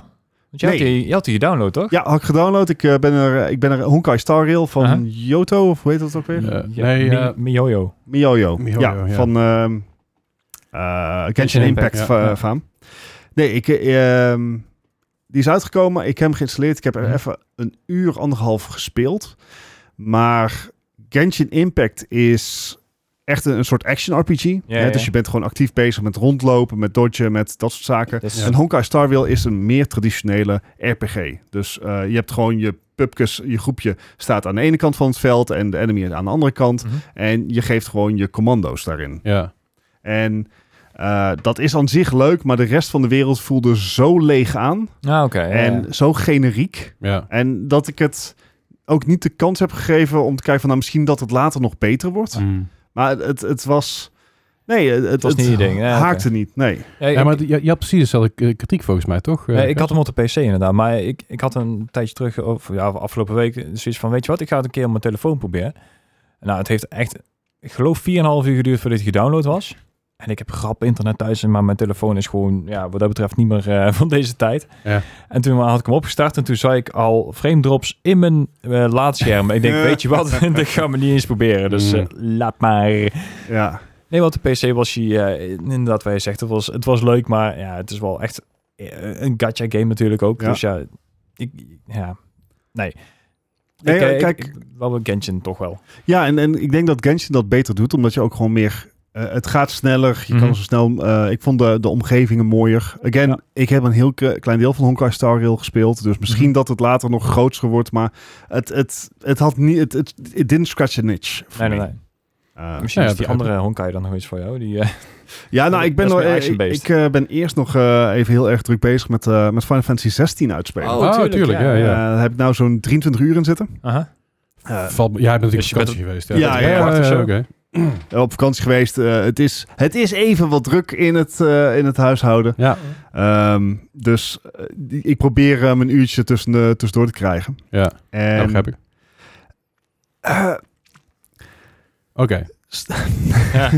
S2: Want je, had,
S1: Nee.
S2: die, je had die gedownload, toch?
S1: Ja, had ik gedownload. Ik, eh, ben, er, ik ben er Honkai Star Rail van
S2: Aha.
S1: Yoto, of hoe heet dat ook weer?
S3: Eh, nee,
S2: Mi-
S3: eh,
S2: Miyoyo.
S1: Miyoyo.
S3: Miyoyo,
S1: ja,
S3: ja.
S1: van ehm eh, Genshin Impact
S3: Impact,
S1: fa-
S3: ja.
S1: faam. Nee, ik, eh, ehm, die is uitgekomen. Ik heb hem geïnstalleerd. Ik heb er
S2: Mhm.
S1: even een uur, anderhalf gespeeld. Maar Genshin Impact is echt een, een soort action RPG. hè?
S2: ja.
S1: Dus je bent gewoon actief bezig met rondlopen, met dodgen, met dat soort zaken.
S2: Dat is-
S1: En Honkai Star Rail is een meer traditionele RPG. Dus eh, je hebt gewoon je pupkes, je groepje staat aan de ene kant van het veld en de enemy aan de andere kant.
S2: Mhm.
S1: En je geeft gewoon je commando's daarin.
S3: Ja.
S1: En eh, dat is aan zich leuk, maar de rest van de wereld voelde zo leeg aan
S2: Ah, oké. ja, ja.
S1: en zo generiek.
S3: Ja.
S1: En dat ik het ook niet de kans heb gegeven om te kijken van nou misschien dat het later nog beter wordt.
S3: Mm.
S1: Maar het, het was... Nee, het,
S2: was niet je ding. Ja, oké.
S1: haakte niet, nee.
S2: Ja,
S3: Ja,
S2: ik-
S3: maar je, je had precies dezelfde k- kritiek volgens mij, toch? Eh,
S2: Ja, ik had hem op de PC inderdaad, maar ik, ik had een tijdje terug, of ja, afgelopen week, zoiets van, weet je wat, ik ga het een keer op mijn telefoon proberen. Nou, het heeft echt, ik geloof 4,5 uur geduurd voordat hij gedownload was. En ik heb grap internet thuis, maar mijn telefoon is gewoon, ja, wat dat betreft niet meer eh, *laughs* van deze tijd.
S3: Ja.
S2: En toen had ik hem opgestart en toen zag ik al frame drops in mijn eh, laadscherm. ik denk, weet je wat, *laughs* dat gaan we niet eens proberen, dus eh, laat maar.
S1: Ja,
S2: Nee, want de PC was hij, eh, inderdaad, wat je zegt, het was, het was leuk, maar ja, het is wel echt eh, een gacha game natuurlijk ook.
S1: Ja.
S2: Dus ja, ik, ja, nee.
S1: Nee,
S2: ik, eh, ik-
S1: kijk-
S2: ik- wel een Genshin toch wel.
S1: ja en, en ik denk dat Genshin dat beter doet, omdat je ook gewoon meer... eh, het gaat sneller, je
S2: Mhm.
S1: kan zo snel... eh, ik vond de, de omgevingen mooier. Again,
S2: Ja.
S1: ik heb een heel k- klein deel van Honkai Star Rail gespeeld, dus misschien
S2: Mhm.
S1: dat het later nog groter wordt, maar het, het, het had niet... Het, het, it didn't scratch an itch voor
S2: Nee, nee,
S1: me.
S2: nee.
S1: Eh,
S2: Misschien
S3: ja,
S2: is die
S3: begrijp
S2: andere Honkai dan nog iets voor jou. Die, eh,
S1: ja, nou,
S2: Dat
S1: ik ben,
S2: is
S1: nog,
S2: meer
S1: eh, ik,
S2: action-based.
S1: ik, eh, ben eerst nog eh, even heel erg druk bezig met, eh, met Final Fantasy 16 uitspelen.
S3: Oh, tuurlijk, ja,
S1: Eh,
S3: ja.
S1: daar heb ik nou zo'n 23 uur in zitten.
S2: *laughs* Aha.
S1: Eh,
S3: Valt, ja, ik ben natuurlijk
S2: Dus je
S3: op vakantie geweest.
S1: Ja, ja, ja,
S2: ja, ja.
S3: oké.
S1: op vakantie geweest. Eh, het, is, het is even wat druk in het, eh, in het huishouden.
S3: Ja.
S1: Ehm, dus eh, die- ik probeer hem een uurtje tussen de, tussendoor te krijgen.
S3: Ja,
S1: En,
S3: dat Nou, begrijp ik.
S1: eh,
S3: Oké.
S2: Ja.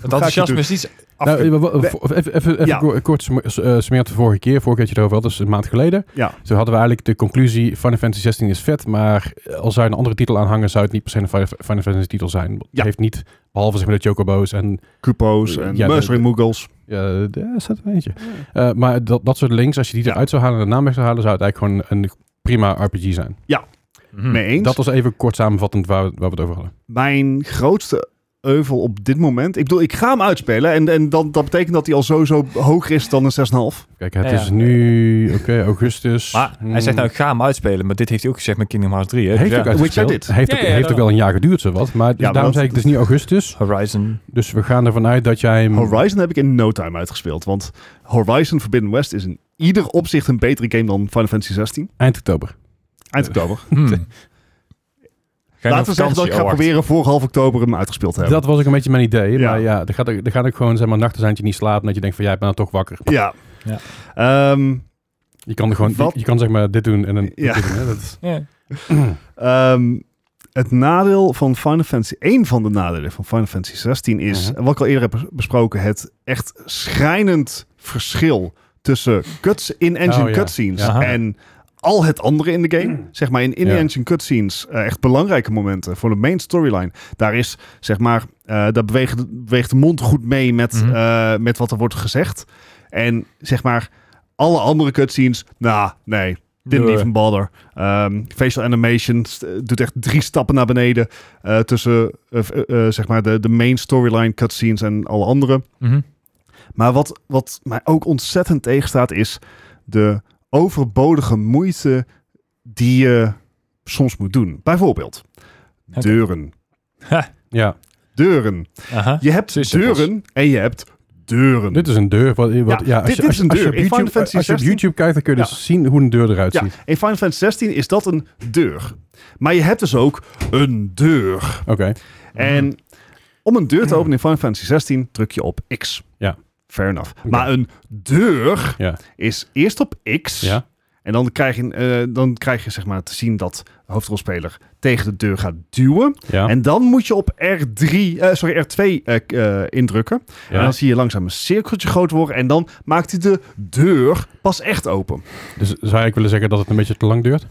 S2: Het enthousiasme
S1: doen?
S2: is iets
S3: Nou,
S2: afge-
S3: eh, wa- wa- voor- even even, even
S1: Ja.
S3: ko- kort sum- s- eh, summeert de vorige keer. Vorige keer dat je het over had, dus een maand geleden.
S1: Ja.
S3: Zo hadden we eigenlijk de conclusie, Final Fantasy 16 is vet, maar eh, als zou je een andere titel aan hangen, zou het niet per se een Final Final Fantasy titel zijn. Het
S1: Ja.
S3: heeft niet, behalve zeg maar de Chocobo's en...
S1: Cupo's en
S3: eh, Ja,
S1: Mercenary Moogles.
S3: eh daar staat er eentje. Eh, maar dat, dat soort links, als je die eruit zou halen en de naam weg zou halen, zou het eigenlijk gewoon een prima RPG zijn.
S2: Mhm.
S1: Mee eens.
S3: Hm, Dat was even kort samenvattend waar, we- waar we het over hadden.
S1: Mijn grootste euvel op dit moment. Ik bedoel, ik ga hem uitspelen. En, en dan, dat betekent dat hij al sowieso hoger is dan een 6,5.
S3: Kijk, het
S2: Ja, ja.
S3: is nu, oké, augustus.
S2: Maar hij
S3: Hmm.
S2: zegt nou, ik ga hem uitspelen. Maar dit heeft hij ook gezegd met Kingdom Hearts 3. Hè?
S3: heeft
S2: Dus
S3: ook
S2: ja,
S3: uitgesteld.
S1: Which I did.
S3: Heeft,
S2: Ja,
S3: ook,
S2: ja,
S3: heeft ook
S2: daarom.
S3: wel een jaar geduurd, zowat. Maar dus
S1: maar
S3: daarom
S1: dat-
S3: zei ik, het is nu augustus.
S2: Horizon.
S3: Dus we gaan ervan uit dat jij hem...
S1: Horizon heb ik in no time uitgespeeld. Want Horizon Forbidden West is in ieder opzicht een betere game dan Final Fantasy 16.
S3: Eind oktober. Eh.
S1: Eind oktober.
S2: Hmm. Ga je nog
S1: Laten we zeggen dat
S2: vakantie?
S1: ik ga
S2: Oh, wacht.
S1: proberen voor half oktober hem uitgespeeld te hebben.
S3: Dat was ook een beetje mijn idee.
S1: Ja.
S3: Maar ja, er gaat, ook- er gaan ook gewoon zeg maar, nachten zijn dat je niet slaapt. En dat je denkt van, ja, ik ben dan toch wakker.
S1: Ja.
S2: Ja.
S1: Ehm,
S3: Je kan, er gewoon, je,
S1: Wat?
S3: je kan zeg maar dit doen en dan
S1: Ja.
S3: dit doen, hè. Dat
S1: *laughs*
S3: is-
S2: Ja.
S1: ehm, het nadeel van Final Fantasy... één van de nadelen van Final Fantasy 16 is...
S3: Mhm.
S1: wat ik al eerder heb bes- besproken... het echt schrijnend verschil... tussen cuts in-engine
S3: Oh, ja.
S1: cutscenes...
S2: Ja.
S1: en al het andere in de game. Zeg maar in in-engine cutscenes... eh, echt belangrijke momenten voor de main storyline. Daar is, zeg maar... eh, daar beweegt, beweegt de mond goed mee... Met,
S2: Mhm.
S1: eh, met wat er wordt gezegd. En zeg maar... alle andere cutscenes... nou, nee... Didn't
S2: Doei.
S1: even bother. Ehm, facial animation st- doet echt drie stappen naar beneden. eh, tussen eh, v- eh, eh, zeg maar de, de main storyline cutscenes en alle andere.
S2: Mhm.
S1: Maar wat, wat mij ook ontzettend tegenstaat is de overbodige moeite die je soms moet doen. Bijvoorbeeld
S2: Oké.
S1: deuren.
S3: ja.
S1: Deuren.
S2: Aha.
S1: Je hebt
S2: Zo is het
S1: deuren en je hebt deuren.
S3: Dit is een deur. Wat, wat,
S1: Ja,
S3: ja, als
S1: dit
S3: je-
S1: is
S3: als je-
S1: een
S3: als je
S1: deur.
S3: op
S1: In Final
S3: YouTube-
S1: Fantasy
S3: Als je op
S1: 16
S3: YouTube kijkt, dan kun je dus zien hoe een deur eruit
S1: ja,
S3: ziet.
S1: in Final Fantasy 16 is dat een deur. Maar je hebt dus ook een deur.
S3: Oké.
S1: En om een deur te openen in Final Fantasy 16 druk je op X.
S3: Ja.
S1: Fair enough. Maar een deur
S3: Ja.
S1: is eerst op X.
S3: Ja.
S1: En dan krijg, je, eh, dan krijg je zeg maar te zien dat de hoofdrolspeler tegen de deur gaat duwen.
S3: Ja.
S1: En dan moet je op R3, eh, sorry, R2 eh, k- eh, indrukken. En
S3: ja.
S1: dan zie je langzaam een cirkeltje groot worden. En dan maakt hij de deur pas echt open.
S3: Dus zou ik willen zeggen dat het een beetje te lang duurt?
S1: Ik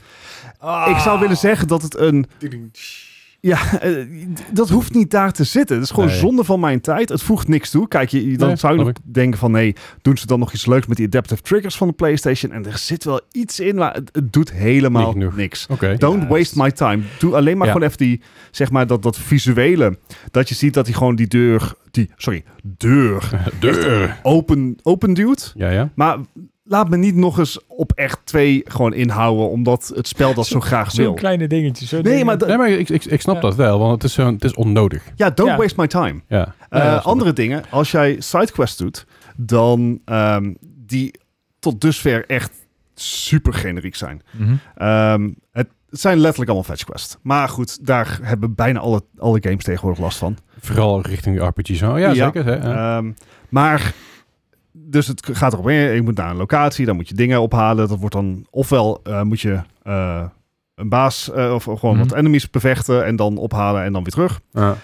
S3: Ah.
S1: zou willen zeggen dat het een...
S2: Ah.
S1: Ja, eh, d- dat hoeft niet daar te zitten. Het is gewoon
S3: Nee.
S1: zonde van mijn tijd. Het voegt niks toe. Kijk, je, je- dan
S3: Nee,
S1: zou je nog
S3: snap
S1: denken van... nee, doen ze dan nog iets leuks met die adaptive triggers van de PlayStation? En er zit wel iets in, maar het, het doet helemaal
S3: Niet genoeg.
S1: niks.
S3: Oké.
S1: Don't
S2: Juist.
S1: waste my time. Doe alleen maar
S2: Ja.
S1: gewoon even die, zeg maar, dat, dat visuele. Dat je ziet dat hij gewoon die deur, die, sorry, deur
S3: *laughs* Deur.
S1: open, open duwt.
S3: Ja, ja.
S1: Maar laat me niet nog eens op echt twee gewoon inhouden, omdat het spel dat zo graag
S2: Zo'n
S1: wil.
S2: kleine dingetje. Zo
S1: Nee, maar,
S3: Nee,
S1: d-
S3: maar ik, ik, ik snap
S2: Ja.
S3: dat wel, want het is, zo'n- het is onnodig.
S1: ja, don't
S2: Ja.
S1: waste my time. Eh,
S3: Ja. Ja, dat snap
S1: andere dingen, als jij sidequests doet, dan ehm, die tot dusver echt super generiek zijn. Ehm, het zijn letterlijk allemaal fetchquests. Maar goed, daar hebben bijna alle, alle games tegenwoordig last van.
S3: ik. Vooral richting de RPG's. Oh, ja,
S1: Ja.
S3: zeker. Hè? Ja.
S1: Ehm, maar, dus het gaat erop in. Je moet naar een locatie, dan moet je dingen ophalen. Dat wordt dan, ofwel eh, moet je eh, een baas eh, of gewoon
S2: Mhm.
S1: wat enemies bevechten en dan ophalen en dan weer terug.
S3: Ja.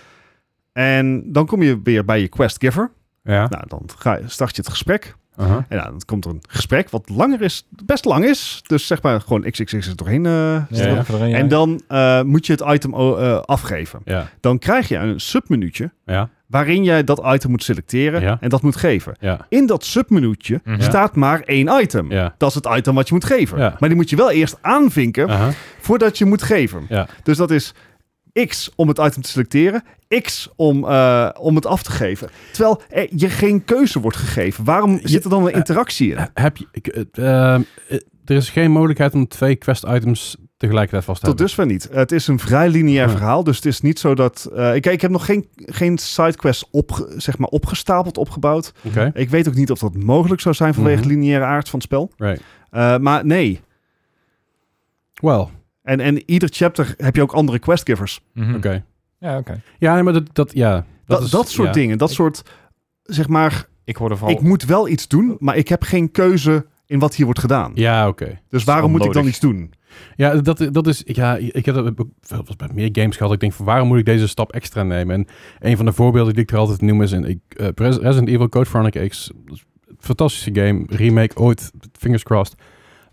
S1: En dan kom je weer bij je quest giver.
S3: Ja.
S1: Nou, dan ga, je- start je het gesprek.
S3: Aha.
S1: En nou, dan komt er een gesprek wat langer is, best lang is. Dus zeg maar gewoon xxx er doorheen. eh,
S3: Ja,
S1: stippen.
S3: ja.
S1: En dan eh, moet je het item o- eh, afgeven.
S3: Ja.
S1: Dan krijg je een submenuutje
S3: Ja.
S1: waarin jij dat item moet selecteren
S3: Ja.
S1: en dat moet geven.
S3: Ja.
S1: In dat submenuutje
S2: Mhm.
S1: staat maar één item.
S3: Ja.
S1: Dat is het item wat je moet geven.
S3: Ja.
S1: Maar die moet je wel eerst aanvinken
S3: Aha.
S1: voordat je moet geven.
S3: Ja.
S1: Dus dat is X om het item te selecteren, X om, eh, om het af te geven. Terwijl er je geen keuze wordt gegeven. Waarom zit er dan een interactie in?
S3: Heb je, ik, eh, ehm, eh, er is geen mogelijkheid om twee quest items tegelijkertijd vast te
S1: Tot
S3: houden.
S1: dusver niet. Het is een vrij lineair
S3: Ja.
S1: verhaal, dus het is niet zo dat... eh, ik, ik heb nog geen, geen sidequest op, zeg maar, opgestapeld, opgebouwd.
S3: Oké.
S1: Ik weet ook niet of dat mogelijk zou zijn vanwege
S3: Mhm.
S1: de lineaire aard van het spel.
S3: Right.
S1: Eh, maar nee.
S3: Well,
S1: En, en ieder chapter heb je ook andere questgivers.
S2: Hm.
S3: oké.
S2: Ja, oké.
S3: Ja, nee, maar dat, dat ja. Dat,
S1: Dat,
S3: is-
S1: dat soort
S3: ja.
S1: dingen. Dat soort, zeg maar,
S2: Ik word er vooral...
S1: ik moet wel iets doen, maar ik heb geen keuze in wat hier wordt gedaan.
S3: Ja, oké.
S1: Dus waarom moet ik dan
S2: onnodig.
S1: iets doen?
S3: Ja, dat, dat is. Ja, ik heb dat ook wel eens bij meer games gehad. Ik denk van waarom moet ik deze stap extra nemen? En een van de voorbeelden die ik er altijd noem is in ik, eh, Pres- Resident Evil Code Veronica X. Dat is een Fantastische game, remake ooit, fingers crossed.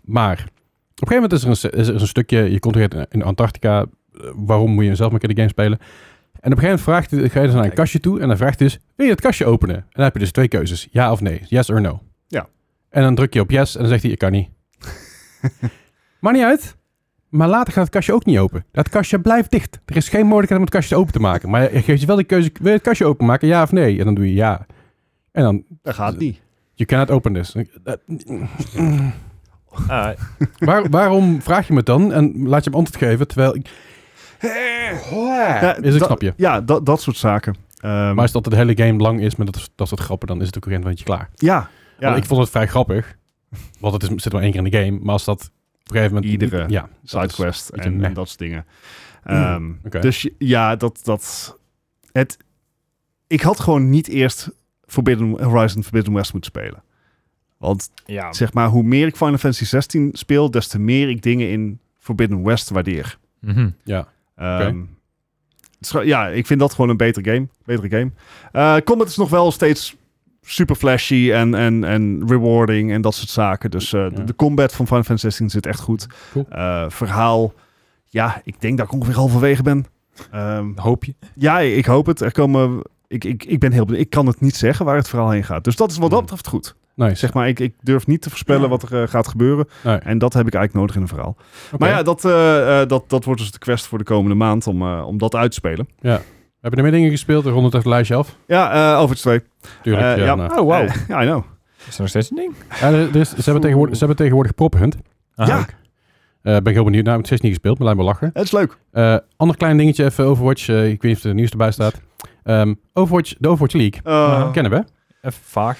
S3: Maar op een gegeven moment is er een, se- is er een stukje. Je komt in, in Antarctica. eh, Waarom moet je zelf maar een keer de game spelen? En op een gegeven moment vraagt, hij- ga je dus naar een
S2: Kijk.
S3: kastje toe en dan vraagt hij dus, wil je het kastje openen? En dan heb je dus twee keuzes, ja of nee, yes or no.
S1: Ja.
S3: En dan druk je op yes en dan zegt hij, ik kan niet. maar niet uit. Maar later gaat het kastje ook niet open. Dat kastje blijft dicht. Er is geen mogelijkheid om het kastje open te maken. Maar je geeft je wel de keuze, wil je het kastje openmaken, ja of nee? En dan doe je ja. En dan,
S1: Dat gaat niet.
S3: you cannot open this.
S2: Ah,
S3: Waar- waarom vraag je me het dan en laat je hem antwoord geven, terwijl ik... Is, ik
S1: dat-
S3: snap je.
S1: Ja, dat, dat soort zaken. Ehm,
S3: Maar als dat de hele game lang is met dat, dat soort grappen, dan is het ook een gegeven moment klaar.
S1: ja, ja.
S3: Want ik vond het vrij grappig. Want het is, zit maar één keer in de game. Maar als dat op een gegeven moment...
S1: Iedere
S3: ja, dat is-
S1: sidequest
S3: beetje
S1: en,
S3: meh.
S1: en dat soort dingen. Ehm,
S3: oké.
S1: Dus je- ja, dat, dat het, ik had gewoon niet eerst Forbidden, Horizon Forbidden West moeten spelen. Want
S2: ja.
S1: zeg maar, hoe meer ik Final Fantasy 16 speel, des te meer ik dingen in Forbidden West waardeer.
S2: Mhm.
S3: ja.
S1: Ehm, het is gewoon- ja, ik vind dat gewoon een betere game. Betere game. Eh, combat is nog wel steeds super flashy en, en, en rewarding en dat soort zaken. Dus eh,
S3: Ja.
S1: de, de combat van Final Fantasy 16 zit echt goed.
S3: Cool.
S1: Eh, verhaal, ja, ik denk dat ik ongeveer halverwege ben. Ehm,
S2: Hoop je.
S1: ja, ik hoop het. Er komen... Ik, ik, ik ben heel benieuwd. Ik kan het niet zeggen waar het verhaal heen gaat. Dus dat is wat dat
S3: Hmm.
S1: betreft goed.
S3: Nice.
S1: Zeg maar, ik, ik durf niet te voorspellen wat er eh, gaat gebeuren.
S3: Nee.
S1: En dat heb ik eigenlijk nodig in een verhaal.
S3: Oké.
S1: Maar ja, dat, eh, eh, dat, dat wordt dus de quest voor de komende maand om, eh, om dat uit te spelen.
S3: Heb je er meer dingen gespeeld? Rond het even lijstje af?
S1: Ja, eh Overwatch 2.
S3: Tuurlijk.
S1: Eh,
S3: ja,
S1: ja.
S3: nou.
S2: Oh, wauw.
S1: Eh, ja, I know.
S2: Is er nog steeds een ding?
S3: Ja, er- er is- ze, hebben tegenwoordig, ze hebben tegenwoordig Prophunt.
S2: Ah,
S1: ja,
S2: oké.
S3: Eh ben ik heel benieuwd naar. Ik heb het steeds niet gespeeld, maar lijkt me lachen.
S1: het is leuk.
S3: Eh, ander klein dingetje even Overwatch. eh, ik weet niet of er nieuws erbij staat. Ehm, Overwatch, de Overwatch League.
S1: Eh,
S2: Nou,
S3: Kennen we.
S2: Even vaag.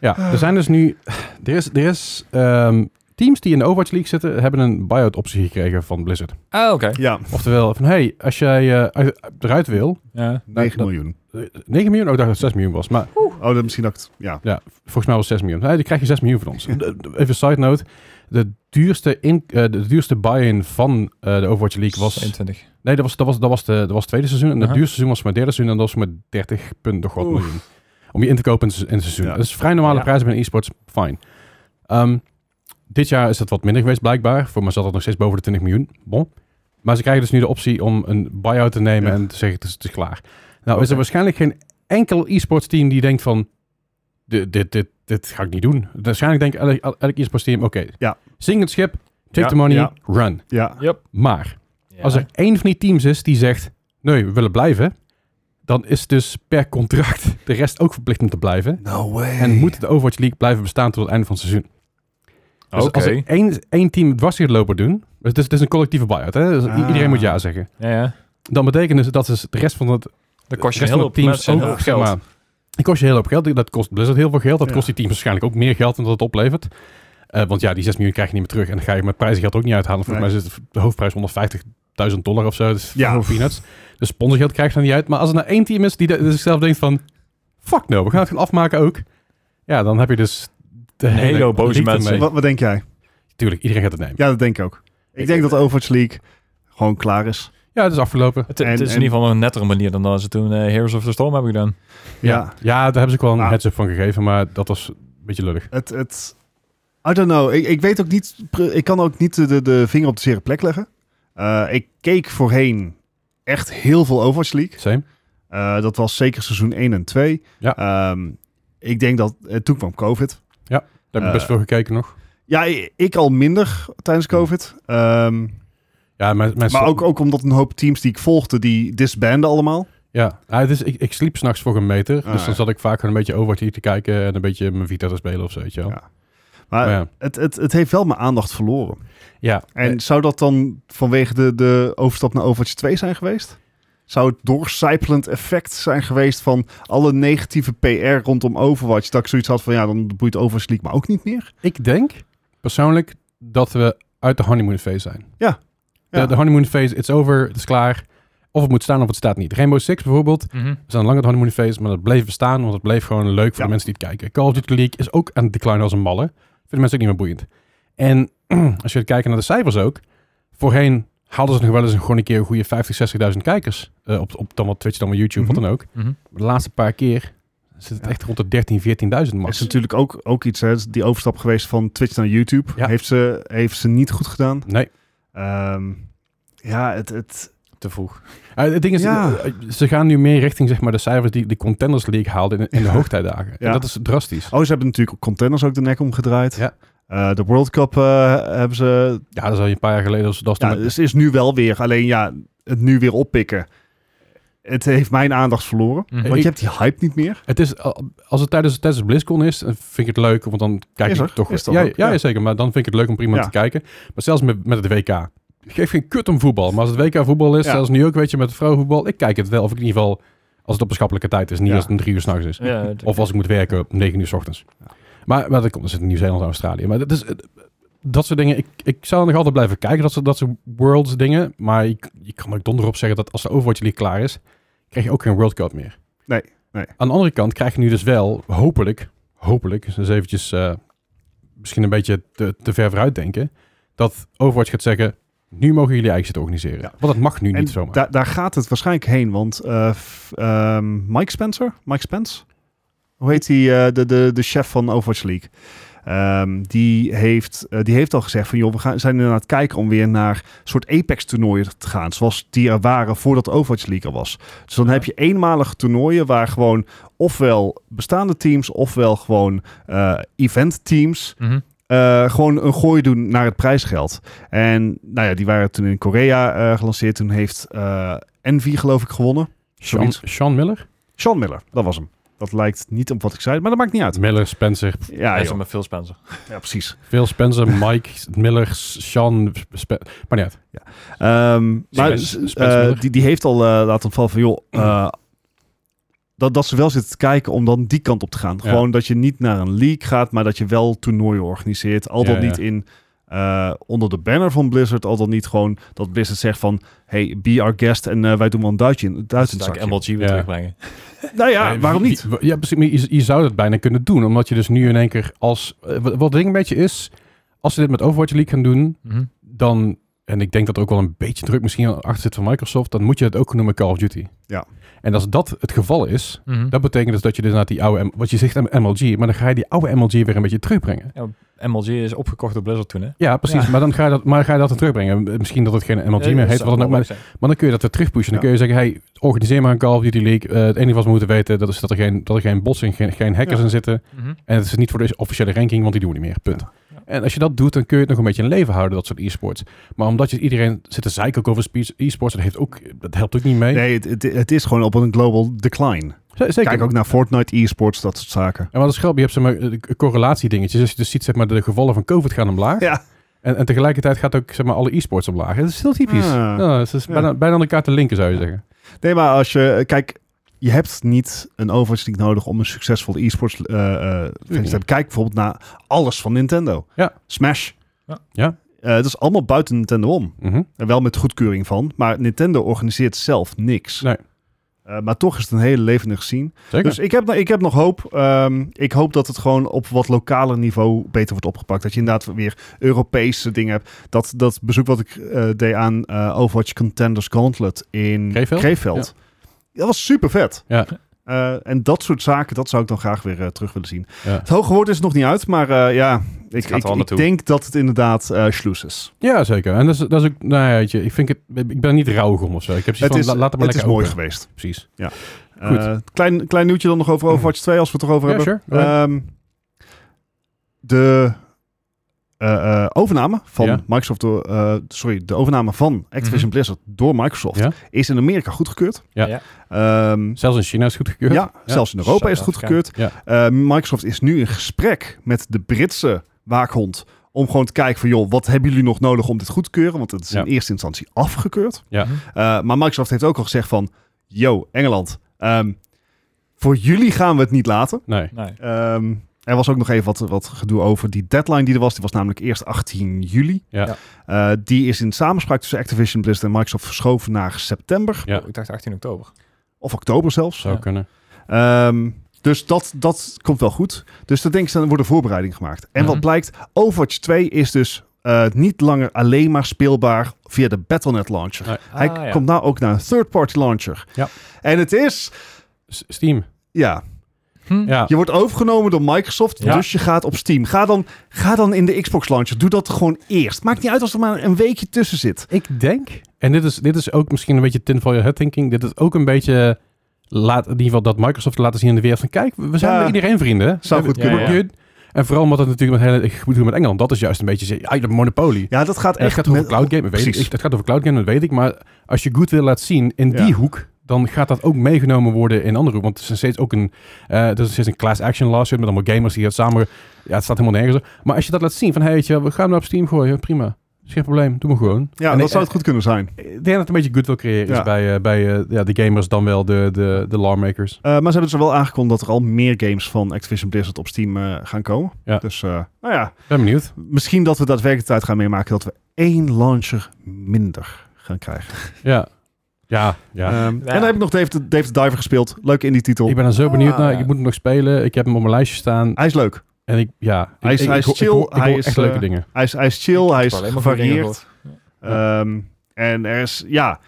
S3: Ja, er zijn dus nu... Er is, er is ehm, teams die in de Overwatch League zitten, hebben een buyout optie gekregen van Blizzard.
S2: Ah, oké.
S1: Ja,
S3: Oftewel, van hey, als jij eh, uit- eruit wil,
S2: Ja.
S1: 9
S3: dat-
S1: miljoen.
S3: eh, 9 miljoen, oh, ik dacht dat het 6 miljoen was, maar
S1: Oh, dat misschien dat ik het- Ja.
S3: volgens mij was het 6 miljoen. Hey, dan krijg je 6 miljoen van ons. De- de- Even side note, de duurste, in, eh, de duurste buy-in van eh, de Overwatch League was...
S2: 21.
S3: Nee, dat was, dat was, dat was, de, dat was het tweede seizoen. En het
S2: Aha.
S3: duurste seizoen was mijn derde seizoen. En dat was mijn 30 punt nog wat
S1: Oeh.
S3: miljoen. Om je in te kopen in het se- in het seizoen.
S1: Ja.
S3: Dat is vrij normale
S2: Ja.
S3: prijzen binnen e-sports. Fine. Ehm, dit jaar is dat wat minder geweest blijkbaar. Voor mij zat dat nog steeds boven de 20 miljoen. Bon. Maar ze krijgen dus nu de optie om een buy-out te nemen
S1: Ja.
S3: en te zeggen het is, het is klaar. Nou is er
S1: Oké.
S3: waarschijnlijk geen enkel e-sports team die denkt van dit, dit, dit, dit ga ik niet doen. Waarschijnlijk denkt elk, elk e-sports team oké.
S1: Ja.
S3: Zing het schip, take
S1: Ja,
S3: the money,
S1: ja.
S3: run.
S1: Ja.
S2: Yep.
S3: Maar als er één van die teams is die zegt, nee, we willen blijven, dan is dus per contract *laughs* de rest ook verplicht om te blijven.
S1: No way.
S3: En moet de Overwatch League blijven bestaan tot het einde van het seizoen. Dus
S2: Oké.
S3: als er één, één team het lopen doen, dus het is, het is een collectieve buyout, hè? dus i-
S1: Ah.
S3: iedereen moet ja zeggen.
S2: Ja, ja.
S3: Dan betekent dus dat dus de rest van het
S2: Dan kost je
S3: de rest
S2: een heel
S3: van
S2: hoop
S3: de teams
S2: mensen
S3: ook
S2: heel veel
S3: zeg
S2: geld.
S3: maar, die kost je heel hoop geld. Dat kost Blizzard heel veel geld. Dat
S1: Ja.
S3: kost die teams waarschijnlijk ook meer geld dan dat het oplevert. Eh, want ja, die 6 miljoen krijg je niet meer terug. En dan ga je met prijzengeld ook niet uithalen. Volgens
S1: Nee.
S3: mij is het de hoofdprijs 150.000 dollar of zo. Dus
S1: Ja.
S3: ja. peanuts. Dus sponsorgeld krijg je dan niet uit. Maar als er nou één team is die de- zichzelf denkt van... Fuck no, we gaan het gewoon afmaken ook. Ja, dan heb je dus... De
S2: hele hoop boze
S3: league
S2: mensen.
S3: ermee.
S1: Wat, wat denk jij?
S3: Tuurlijk, iedereen gaat het nemen. Ja,
S1: Ja, dat denk ik ook. Ik,
S3: Ik-
S1: denk dat de Overwatch League gewoon klaar is.
S3: het is afgelopen.
S2: Het, het
S1: En-
S2: is
S1: en-
S2: in ieder geval een nettere manier dan dat ze toen eh, Heroes of the Storm hebben gedaan.
S1: Ja.
S3: Ja, ja daar hebben ze ook wel een
S1: Nou.
S3: heads-up van gegeven. Maar dat was een beetje lullig.
S1: Het, het, I don't know. Ik, ik weet ook niet. pre- Ik kan ook niet de- de, de vinger op de zere plek leggen. Eh, ik keek voorheen echt heel veel Overwatch League.
S3: Same.
S1: Eh, dat was zeker seizoen 1 en 2.
S3: Ja.
S1: Ehm, ik denk dat eh, toen kwam COVID.
S3: Daar heb ik best
S1: Eh.
S3: veel gekeken nog.
S1: Ja, i- ik al minder tijdens COVID. Ehm,
S3: Ja, mijn, mijn
S1: maar ook, ook omdat een hoop teams die ik volgde, die disbanden allemaal.
S3: Ja, ah, het is, ik, ik sliep s'nachts voor een meter.
S1: Ah,
S3: dus dan
S1: ja.
S3: zat ik vaak gewoon een beetje Overwatch hier te kijken en een beetje mijn Vita te spelen of zo, weet je wel.
S1: Ja.
S3: Ja.
S1: Maar
S3: Maar Oh ja,
S1: het, het, het heeft wel mijn aandacht verloren.
S3: ja.
S1: En
S3: Eh,
S1: zou dat dan vanwege de, de overstap naar Overwatch 2 zijn geweest? Zou het doorcijpelend effect zijn geweest van alle negatieve PR rondom Overwatch? Dat ik zoiets had van, ja, dan boeit Overwatch League maar ook niet meer.
S3: ik denk persoonlijk dat we uit de honeymoon phase zijn.
S1: Ja,
S3: De, de honeymoon phase, it's over, het is klaar. Of het moet staan of het staat niet. Rainbow Six bijvoorbeeld, we zijn lang in de honeymoon phase, maar dat bleef bestaan, want het bleef gewoon leuk voor
S1: Ja.
S3: de mensen die het kijken. Call of Duty League is ook aan het decline als een malle. Vinden mensen ook niet meer boeiend. En *clears throat* als je kijkt naar de cijfers ook, voorheen haalden ze nog wel eens een, gewoon een keer een goede 50, 60.000 kijkers. eh, op, op dan wat Twitch, dan wel YouTube,
S1: Mhm.
S3: wat dan ook. Maar de laatste paar keer zit het
S1: Ja.
S3: echt rond de 13.000, 14.000
S1: is
S3: max.
S1: natuurlijk ook, ook iets, hè, die overstap geweest van Twitch naar YouTube.
S3: Ja.
S1: Heeft, ze, heeft ze niet goed gedaan.
S3: Nee.
S1: Ehm, ja, het, het,
S2: Te vroeg.
S3: Eh, het ding is,
S1: Ja.
S3: eh, ze gaan nu meer richting zeg maar, de cijfers die de Contenders League haalde in,
S1: *laughs*
S3: in de hoogtijdagen.
S1: Ja.
S3: En dat is drastisch.
S1: oh, ze hebben natuurlijk contenders ook de nek omgedraaid.
S3: Ja.
S1: Eh, de World Cup eh, hebben ze
S3: Ja, dat is al een paar jaar geleden. Dus dat is
S1: Ja,
S3: toen-
S1: dus is nu wel weer. Alleen ja, het nu weer oppikken. Het heeft mijn aandacht verloren. eh, Want
S3: Eh, Ik-
S1: je hebt die hype niet meer.
S3: Het is, al- als het tijdens, tijdens BlizzCon is, dan vind ik het leuk, want dan kijk
S1: Is
S3: ik
S1: er,
S3: toch
S1: is dat
S3: ja,
S1: ook,
S3: ja,
S1: ja.
S3: zeker. Maar dan vind ik het leuk om prima
S1: Ja.
S3: te kijken. Maar zelfs met, met het WK. Ik geef geen kut om voetbal. Maar als het WK voetbal is,
S1: Ja.
S3: zelfs nu ook, weet je, met vrouwenvoetbal. Ik kijk het wel, of ik in ieder geval, als het op maatschappelijke tijd is. Niet
S1: Ja.
S3: als het om drie uur s'nachts is.
S2: Ja, het-
S3: Of als ik moet werken om 9 uur s ochtends. Maar, maar dat komt dus in Nieuw-Zeeland en Australië. Maar dat, is, eh, dat soort dingen. Ik, ik zou nog altijd blijven kijken. Dat soort, dat soort worlds dingen. Maar je, je kan ook donderop zeggen dat als de Overwatch League klaar is, krijg je ook geen World Cup meer.
S1: Nee, nee.
S3: Aan de andere kant krijg je nu dus wel, hopelijk, hopelijk, dus eens eventjes eh, misschien een beetje te, te ver vooruit denken, dat Overwatch gaat zeggen, nu mogen jullie eigen zitten organiseren.
S1: Ja.
S3: Want dat mag nu
S1: En
S3: niet zomaar.
S1: da- daar gaat het waarschijnlijk heen. Want eh, f- ehm, Mike Spencer, Mike Spence, hoe heet die, eh, de, de, de chef van Overwatch League? Ehm, die, heeft, eh, die heeft al gezegd van joh, we gaan, zijn er aan het kijken om weer naar soort Apex toernooien te gaan. Zoals die er waren voordat de Overwatch League er was. Dus dan
S2: Ja.
S1: heb je eenmalige toernooien waar gewoon ofwel bestaande teams, ofwel gewoon eh event teams.
S2: Mhm.
S1: eh, gewoon een gooi doen naar het prijsgeld. En nou ja, die waren toen in Korea eh, gelanceerd. Toen heeft eh Envy geloof ik gewonnen.
S3: Sean,
S1: zoiets.
S3: Sean Miller?
S1: Sean Miller, dat was hem. Dat lijkt niet op wat ik zei, maar dat maakt niet uit.
S3: Miller, Spencer,
S1: Ja,
S2: Hij is
S1: joh.
S2: met Phil Spencer.
S1: ja precies.
S3: Phil Spencer, *laughs* Mike, Miller, Sean, Spe- maar niet uit.
S1: Ehm, maar
S3: Spence- Spence
S1: eh,
S3: Miller.
S1: die, die heeft al eh, laten vallen van, joh, eh, dat, dat ze wel zitten te kijken om dan die kant op te gaan.
S3: Ja.
S1: Gewoon dat je niet naar een league gaat, maar dat je wel toernooien organiseert. Al
S3: Ja,
S1: dan
S3: ja.
S1: niet in, eh, onder de banner van Blizzard. Al dan niet gewoon dat Blizzard zegt van... Hey, be our guest en eh, wij doen wel een duitje in het
S2: Dus dat ik
S1: Duitsland.
S2: MLG weer
S3: Ja.
S2: terugbrengen.
S1: Nou ja,
S3: Eh,
S1: waarom
S3: wie-
S1: niet?
S3: wie- Ja, precies. Maar Je, je zou dat bijna kunnen doen, omdat je dus nu in één keer als... eh, Wat wat het ding een beetje is, als ze dit met Overwatch League gaan doen,
S2: Mhm.
S3: dan, en ik denk dat er ook wel een beetje druk misschien achter zit van Microsoft, dan moet je het ook noemen Call of Duty.
S1: Ja.
S3: En als dat het geval is,
S2: Mhm.
S3: dat betekent dus dat je dus naar die oude, M- wat je zegt M- MLG, maar dan ga je die oude MLG weer een beetje terugbrengen.
S2: MLG is opgekocht door Blizzard toen, hè?
S3: Ja, precies.
S2: Ja.
S3: Maar dan ga je dat, maar ga je dat dan terugbrengen. Misschien dat het geen MLG meer heet, wat dan ook, maar, maar dan kun je dat weer terugpushen. Dan
S1: Ja.
S3: kun je zeggen, hey, organiseer maar een Call of Duty League. Eh, het enige wat we moeten weten, dat is dat er geen, dat er geen bots en geen, geen hackers
S1: Ja.
S3: in zitten.
S2: Mhm.
S3: En het is niet voor de officiële ranking, want die doen we niet meer. Punt.
S2: Ja.
S3: En als je dat doet, dan kun je het nog een beetje in leven houden, dat soort e-sports. Maar omdat je iedereen zit te zeiken ook over spe- e-sports, dat, heeft ook, dat helpt ook niet mee.
S1: Nee, het, het, het is gewoon op een global decline.
S3: Z- Zeker.
S1: Kijk ook naar Fortnite, e-sports, dat soort zaken.
S3: En wat is grappig, je hebt zeg maar, eh, correlatiedingetjes. Als je dus ziet, zeg maar, de gevallen van COVID gaan omlaag.
S1: Ja.
S3: En, en tegelijkertijd gaat ook zeg maar, alle e-sports omlaag. Het is heel typisch.
S1: Ah. Ja.
S3: Ja, het is bijna, bijna aan elkaar te linken, zou je zeggen.
S1: Nee, maar als je... eh, Kijk, je hebt niet een Overwatch League nodig om een succesvolle e-sports eh, eh, fans te hebben. Kijk bijvoorbeeld naar alles van Nintendo.
S3: Ja.
S1: Smash.
S2: Ja.
S3: Ja.
S1: Eh, dat is allemaal buiten Nintendo om.
S3: Mhm.
S1: En wel met goedkeuring van. Maar Nintendo organiseert zelf niks.
S3: Nee.
S1: Eh, maar toch is het een hele levendig zien.
S3: Zeker.
S1: Dus ik heb, ik heb nog hoop. Ehm, ik hoop dat het gewoon op wat lokaler niveau beter wordt opgepakt. Dat je inderdaad weer Europese dingen hebt. Dat, dat bezoek wat ik eh, deed aan eh, Overwatch Contenders Gauntlet in
S3: Krefeld?
S1: Krefeld. Dat was super vet. Eh,
S3: Ja.
S1: en dat soort zaken, dat zou ik dan graag weer eh, terug willen zien.
S3: Ja.
S1: Het hoge woord is nog niet uit, maar eh, ja, ik,
S2: gaat er
S1: ik,
S2: wel
S1: ik
S2: naartoe.
S1: denk dat het inderdaad eh sluis is.
S3: ja, zeker. En dat is, dat is ook, nou ja, weet je, ik, vind het, ik ben niet rauwig om of zo. Ik heb
S1: Het
S3: zoiets
S1: is,
S3: van, la- laat het maar
S1: het is
S3: lekker
S1: mooi
S3: open.
S1: geweest.
S3: Precies.
S1: Goed. klein, klein nieuwtje dan nog
S3: *clears throat*
S1: over Overwatch 2, als we het erover
S3: Ja,
S1: hebben.
S3: sure. Go ahead.
S1: Ehm, de eh, eh, overname van
S3: Ja.
S1: Microsoft door, eh, sorry, de overname van Activision
S2: Mhm.
S1: Blizzard door Microsoft
S3: Ja.
S1: is in Amerika goedgekeurd.
S3: Ja.
S2: Ja.
S1: Ehm,
S3: Zelfs in China is het goedgekeurd.
S1: ja, zelfs in Europa is het
S2: Zuid-Afrika.
S1: goedgekeurd. Eh, Microsoft is nu in gesprek met de Britse waakhond om gewoon te kijken van joh, wat hebben jullie nog nodig om dit goed te keuren? Want het is
S3: Ja.
S1: in eerste instantie afgekeurd.
S3: Ja.
S2: Mhm.
S1: Uh, maar Microsoft heeft ook al gezegd van... Yo, Engeland. ehm, voor jullie gaan we het niet laten.
S3: Nee.
S2: Nee.
S1: Ehm, er was ook nog even wat, wat gedoe over die deadline die er was. Die was namelijk eerst 18 juli.
S3: Ja.
S2: Ja.
S1: Eh, die is in samenspraak tussen Activision Blizzard en Microsoft verschoven naar september.
S3: Ja.
S2: Oh, ik dacht 18 oktober.
S1: Of oktober zelfs.
S3: Zou
S2: Ja.
S3: kunnen.
S1: Ehm, dus dat, dat komt wel goed. Dus dat denk ik, dan wordt een voorbereiding gemaakt. En wat
S2: Mhm.
S1: blijkt, Overwatch 2 is dus eh, niet langer alleen maar speelbaar via de Battle.net launcher. Hij
S2: Ah, ja.
S1: komt nou ook naar een third-party launcher.
S3: Ja.
S1: En het is,
S3: S- Steam.
S1: ja,
S2: Hm?
S3: Ja.
S1: je wordt overgenomen door Microsoft,
S2: Ja.
S1: dus je gaat op Steam. Ga dan, ga dan in de Xbox launcher. Doe dat gewoon eerst. Maakt niet uit als er maar een weekje tussen zit.
S3: Ik denk, en dit is, dit is ook misschien een beetje tinfoil your hat thinking. Dit is ook een beetje, laat, in ieder geval dat Microsoft laten zien in de wereld. Van kijk, we zijn
S1: Ja.
S3: met iedereen vrienden. hè.
S1: Zou
S3: We-
S1: goed
S3: we-
S2: kunnen,
S3: we-
S2: ja.
S3: we- En vooral omdat het natuurlijk met hele goed doen met Engeland. Dat is juist een beetje ze- ja, de monopolie.
S1: Ja, dat gaat
S3: En het
S1: echt
S3: gaat over
S1: met-
S3: cloud game, weet ik.
S1: Precies.
S3: ik. Het gaat over cloud game, dat weet ik. Maar als je goed wil laten zien in
S1: Ja.
S3: die hoek, dan gaat dat ook meegenomen worden in andere hoek. Want het is steeds ook een, eh het is steeds een class action lawsuit met allemaal gamers die het samen. Ja, het staat helemaal nergens. op. Maar als je dat laat zien van, hey, weet je, wel, we gaan hem op Steam gooien, prima. Is geen probleem, doe maar gewoon.
S1: Ja,
S3: En eh,
S1: dat
S3: ik-
S1: zou het goed kunnen zijn. Eh,
S3: ik denk dat het een beetje goed wil creëren
S1: Ja.
S3: is bij, eh, bij eh, ja, de gamers dan wel de, de, de lawmakers.
S1: Eh, maar ze hebben dus wel aangekondigd dat er al meer games van Activision Blizzard op Steam eh, gaan komen.
S3: Ja.
S1: Dus, eh, nou ja,
S3: Ben benieuwd.
S1: misschien dat we daadwerkelijk tijd gaan meemaken dat we één launcher minder gaan krijgen.
S3: Ja. Ja, ja.
S1: Ehm, En dan heb ik nog Dave de, Dave the Diver gespeeld. Leuk in die titel.
S3: ik ben er zo benieuwd naar.
S2: Ah.
S3: Ik moet hem nog spelen. Ik heb hem op mijn lijstje staan.
S1: Hij is leuk.
S3: En ik, ja.
S1: Hij is-
S3: ik, ik-
S1: hij is
S3: ik hoor- ik
S1: chill,
S3: hoor- ik
S1: hij
S3: hoor
S1: is,
S3: echt leuke
S1: eh,
S3: dingen.
S1: Hij is, hij is chill, hij is
S2: Alleen maar goede dingen
S1: gevarieerd.
S2: gehoord.
S1: Ehm, en er is, ja,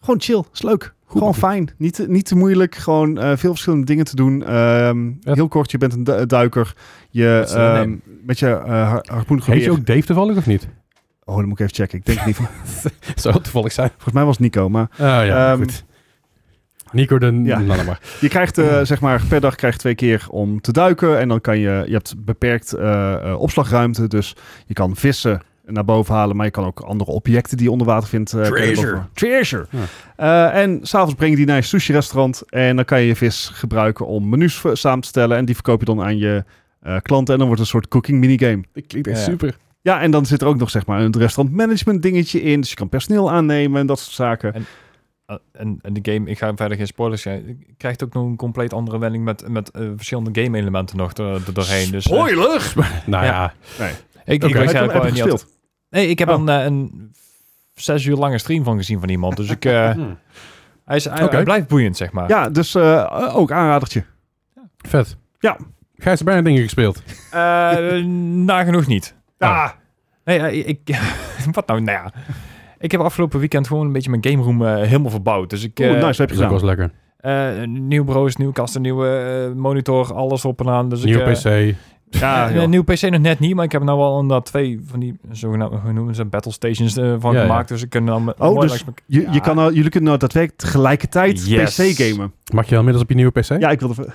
S1: gewoon chill. Is leuk. gewoon fijn. Niet, te- niet te moeilijk. Gewoon eh, veel verschillende dingen te doen. Ehm,
S3: Ja.
S1: Heel kort, je bent een du- duiker. Je,
S2: Met z'n allen.
S1: ehm, met je eh, har-
S3: Heet
S1: harpoengeweer.
S3: je ook Dave toevallig of niet?
S1: Oh, dan moet ik even checken. Ik denk het niet. *laughs* Vol-
S3: Zou het toevallig zijn?
S1: Volgens mij was het Nico. Maar
S3: Ah ja,
S1: Ehm,
S3: goed. Nico de...
S1: Ja.
S3: Nou, dan maar.
S1: je krijgt, eh, zeg maar, per dag krijg je twee keer om te duiken. En dan kan je, je hebt beperkt eh, eh, opslagruimte. Dus je kan vissen naar boven halen. Maar je kan ook andere objecten die je onder water vindt. eh, kan je
S2: Treasure.
S1: boven- Treasure. Eh, en s'avonds breng je die naar je sushi restaurant. En dan kan je je vis gebruiken om menus voor- samen te stellen. En die verkoop je dan aan je eh, klanten. En dan wordt het een soort cooking minigame.
S3: Dat klinkt
S2: echt
S3: super.
S1: Ja, en dan zit er ook nog zeg maar een restaurantmanagement dingetje in. Dus je kan personeel aannemen en dat soort zaken.
S2: En- eh, en, en de game, ik ga verder geen spoilers zeggen, krijgt ook nog een compleet andere wending met, met eh, verschillende game-elementen nog er, er doorheen. Dus, eh,
S1: Spoiler!
S3: nou
S2: Ja.
S3: ja,
S2: ik,
S1: Oké. Heb
S2: ik weet
S1: je hem-
S2: eigenlijk
S1: heb je
S2: wel niet
S1: gespeeld?
S2: altijd- Nee, ik heb
S1: Oh.
S2: een, eh, een zes uur lange stream van gezien van iemand. Dus
S1: *laughs*
S2: ik, eh,
S3: Hmm.
S2: hij, is, hij,
S3: Oké.
S2: hij blijft boeiend, zeg maar.
S1: Ja, dus eh, ook aanradertje.
S3: vet.
S1: Ja.
S3: Gijs, er bijna dingen gespeeld.
S2: Eh, nagenoeg niet.
S1: Ja,
S2: Nee, ja, ik... *laughs* wat nou? Nou ja. Ik heb afgelopen weekend gewoon een beetje mijn game room eh, helemaal verbouwd. Dus ik...
S1: Oeh,
S2: eh,
S1: nice, wat heb je
S3: Dat was
S1: gedaan.
S3: lekker.
S2: eh, nieuw bureaus, nieuwe kasten, nieuwe eh, monitor, alles op en aan. Dus ik,
S3: Nieuwe
S2: eh,
S3: PC. Oké.
S1: Ja,
S2: eh,
S1: joh.
S2: nieuwe PC nog net niet, maar ik heb nou al inderdaad twee van die zogenaamde hoe noemen ze, dat, battle stations eh, van
S3: Ja, ja.
S2: gemaakt. Dus ik kan dan... met-
S1: Oh,
S2: mooi
S1: dus
S2: langs elkaar-
S1: Je,
S2: Ja.
S1: je kan, nou- jullie kunnen nou daadwerkelijk tegelijkertijd
S2: Yes.
S1: PC gamen.
S3: Mag je al middels op je nieuwe PC?
S1: Ja, ik wilde... even-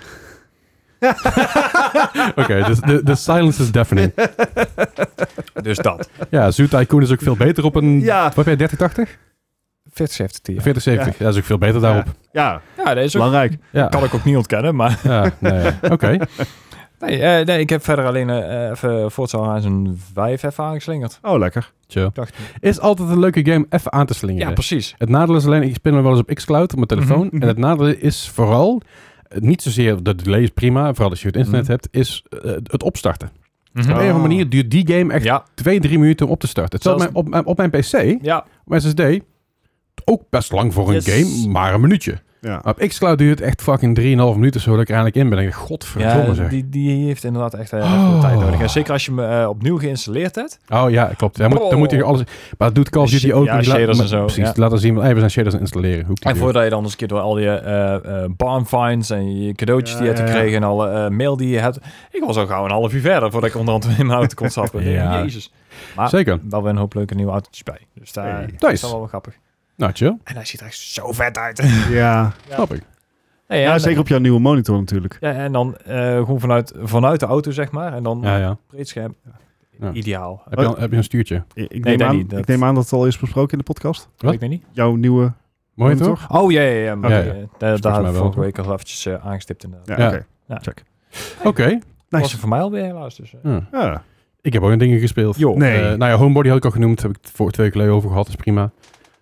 S3: Oké, dus de, de silence is deafening.
S2: Dus *laughs* dat.
S3: ja, Zoo Tycoon is ook veel beter op
S1: *laughs*
S3: een...
S1: Ja. *laughs*
S3: Wat heb jij, 3080?
S2: 40 heeft het hier.
S3: 4070. Ja. dat is ook veel beter daarop.
S1: Ja,
S2: Ja, dat is ook...
S1: belangrijk.
S3: Ja,
S2: Kan ik ook niet ontkennen, maar...
S3: ja nee. oké.
S2: *laughs* Nee, eh, nee ik heb verder alleen eh even Forza Horizon 5 even aangeslingerd.
S1: Oh, lekker.
S3: Chill.
S2: Ik dacht,
S3: Is altijd een leuke game even aan te slingeren.
S2: ja, precies.
S3: Het nadeel is alleen, ik spin hem wel eens op xCloud op mijn telefoon.
S2: Mhm, mhm.
S3: En het nadeel is vooral, eh, niet zozeer, de delay is prima, vooral als je het internet
S2: Mhm.
S3: hebt, is eh, het opstarten.
S2: Mhm.
S3: Op een of andere manier duurt die game echt
S2: Ja,
S3: twee, drie minuten om op te starten. Hetzelfde
S2: Zelfs-
S3: op, mijn- op mijn PC,
S2: ja.
S3: op mijn SSD, ook best lang voor een
S2: Yes.
S3: game, maar een minuutje.
S1: Ja.
S3: Maar op xCloud duurt het echt fucking 3,5 minuten zodat ik er eindelijk in ben. En ik, denk, godverdomme
S2: Ja,
S3: zeg.
S2: die, die heeft inderdaad echt eh,
S3: Oh.
S2: veel tijd nodig. En zeker als je hem eh, opnieuw geïnstalleerd hebt.
S3: Oh ja, klopt. Hij moet, dan moet hij alles... Maar dat doet Call of Duty
S2: Oh. Ja,
S3: ook. niet. Laat-
S2: shaders en zo,
S3: Precies,
S2: ja.
S3: laten zien. Hey, we zijn shaders aan het installeren. Hoe
S2: En voordat je dan eens een keer door al je eh eh barnfinds en je cadeautjes
S1: Ja,
S2: die je hebt
S1: ja, ja.
S2: gekregen en alle eh, mail die je hebt. Ik was al gauw een half uur verder voordat ik onderhand in mijn auto
S3: *laughs*
S2: kon stappen.
S3: Ja.
S2: Jezus. Maar
S3: Zeker.
S2: wel weer een hoop leuke nieuwe autootjes bij. Dus daar
S1: Hey.
S2: dat is
S3: Nice.
S2: dan wel wel grappig.
S3: Nou, chill.
S2: En hij ziet er echt zo
S3: *laughs*
S2: vet uit.
S1: *laughs* Ja.
S3: Snap ik.
S2: *laughs* Nee,
S1: ja,
S2: en-
S1: zeker op jouw nieuwe monitor natuurlijk.
S2: Ja, en dan eh, gewoon vanuit, vanuit de auto, zeg maar. En dan
S3: Ja, ja.
S2: breedscherm.
S3: Ja.
S2: Ideaal.
S3: Heb je, al- heb je een stuurtje?
S1: Ik, ik
S2: Nee,
S1: neem
S2: dat
S1: aan,
S2: niet, dat-
S1: ik neem aan dat het al is besproken in de podcast.
S3: Wat?
S2: Ik weet niet.
S1: Jouw nieuwe
S3: Mooi
S1: monitor?
S3: toch?
S2: Oh, ja, ja, ja. Maar,
S3: Ja,
S2: eh,
S3: ja.
S2: Daar, daar
S3: mij
S2: hadden we
S3: wel,
S2: vorige
S3: toch?
S2: week al eventjes eh, aangestipt inderdaad.
S1: Ja,
S3: Ja.
S1: oké.
S2: Ja.
S1: Check.
S3: Oké.
S2: Dat was
S1: Nice.
S2: er voor mij alweer helaas. Dus, eh.
S3: Ja.
S1: Ja.
S3: Ik heb ook een dingen gespeeld.
S2: Joh.
S1: Nee.
S3: Eh, nou ja, Homebody had ik al genoemd. Heb ik het voor twee weken geleden over gehad. is prima.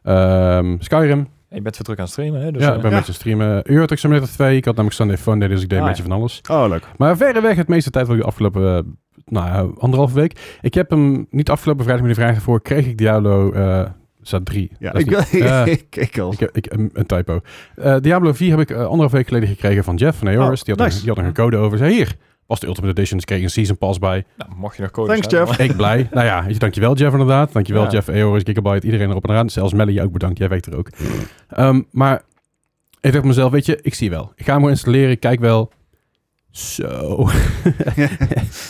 S3: Ehm, Skyrim.
S2: Je bent weer druk aan het streamen, hè? Dus,
S3: ja,
S2: eh,
S3: ik ben
S1: ja.
S3: een beetje streamen. Eurotrack Simulator 2. Ik had namelijk Sunday Fun Day, dus ik deed
S2: Ah,
S3: een beetje van alles.
S1: Oh, leuk.
S3: Maar verreweg het meeste tijd van de afgelopen eh, nou, ja, anderhalve week. Ik heb hem niet afgelopen vrijdag, maar de vrijdag voor kreeg ik Diablo eh zat 3.
S1: Ja,
S3: Dat is
S1: ik,
S3: niet-
S2: *laughs*
S3: Eh,
S1: *laughs* ik, ik al.
S3: Ik heb ik, een, een typo. Eh, Diablo 4 heb ik eh, anderhalve week geleden gekregen van Jeff van Aorus.
S1: Oh,
S3: die, had er-
S1: nice.
S3: die had er een code over. Zei hier, was de Ultimate Edition, dus kreeg ik een Season Pass bij.
S2: nou, mocht je nog codes
S1: Thanks,
S2: hebben,
S1: Jeff.
S3: Ik
S1: *laughs*
S3: blij. nou ja, weet je, dankjewel Jeff inderdaad. Dankjewel
S2: Ja.
S3: Jeff, Eoris, Gigabyte, iedereen erop en eraan. Zelfs Melly, jou ook bedankt. Jij weet er ook. Ehm, maar ik dacht mezelf, weet je, ik zie wel. Ik ga hem gewoon installeren, ik kijk wel. Zo. *laughs*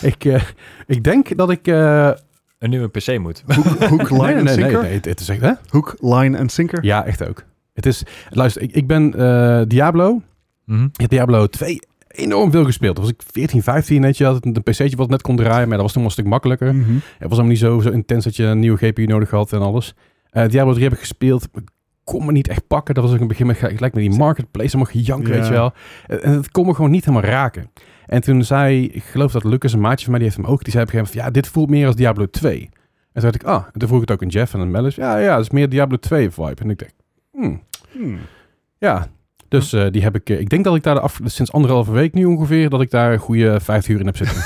S3: ik, eh, ik denk dat ik... eh
S2: maar Een nieuwe PC moet.
S1: Hoek, *laughs* hoek, line
S3: nee,
S1: en
S3: nee, nee, nee,
S1: sinker?
S3: nee, het- het is echt... Hè?
S1: Hoek, line en sinker?
S3: Ja, echt ook. Het is... Luister, ik, ik ben eh, Diablo.
S2: Mhm.
S3: Ik heb Diablo 2 enorm veel gespeeld. Toen was ik 14, 15, weet je. Had een pc'tje wat net kon draaien, maar dat was toen wel een stuk makkelijker.
S1: Mhm.
S3: Het was helemaal niet zo, zo intens dat je een nieuwe GPU nodig had en alles. Eh Diablo 3 heb ik gespeeld. Ik kon me niet echt pakken. Dat was ook in het begin met gelijk met die marketplace. Helemaal gejank,
S1: Ja.
S3: weet je wel. En en het kon me gewoon niet helemaal raken. En toen zei, ik geloof dat Lucas, een maatje van mij, die heeft hem ook. Die zei op een gegeven moment, van, ja, dit voelt meer als Diablo 2. En toen dacht ik, ah. En toen vroeg ik het ook aan Jeff en aan Melis. Ja, ja, het is meer Diablo 2 vibe. En ik dacht, hmm,
S1: Hmm. *laughs*
S3: ja. Dus eh, die heb ik, eh, ik denk dat ik daar de af, sinds anderhalve week nu ongeveer, dat ik daar een goede 50 uur in heb zitten.
S2: *laughs*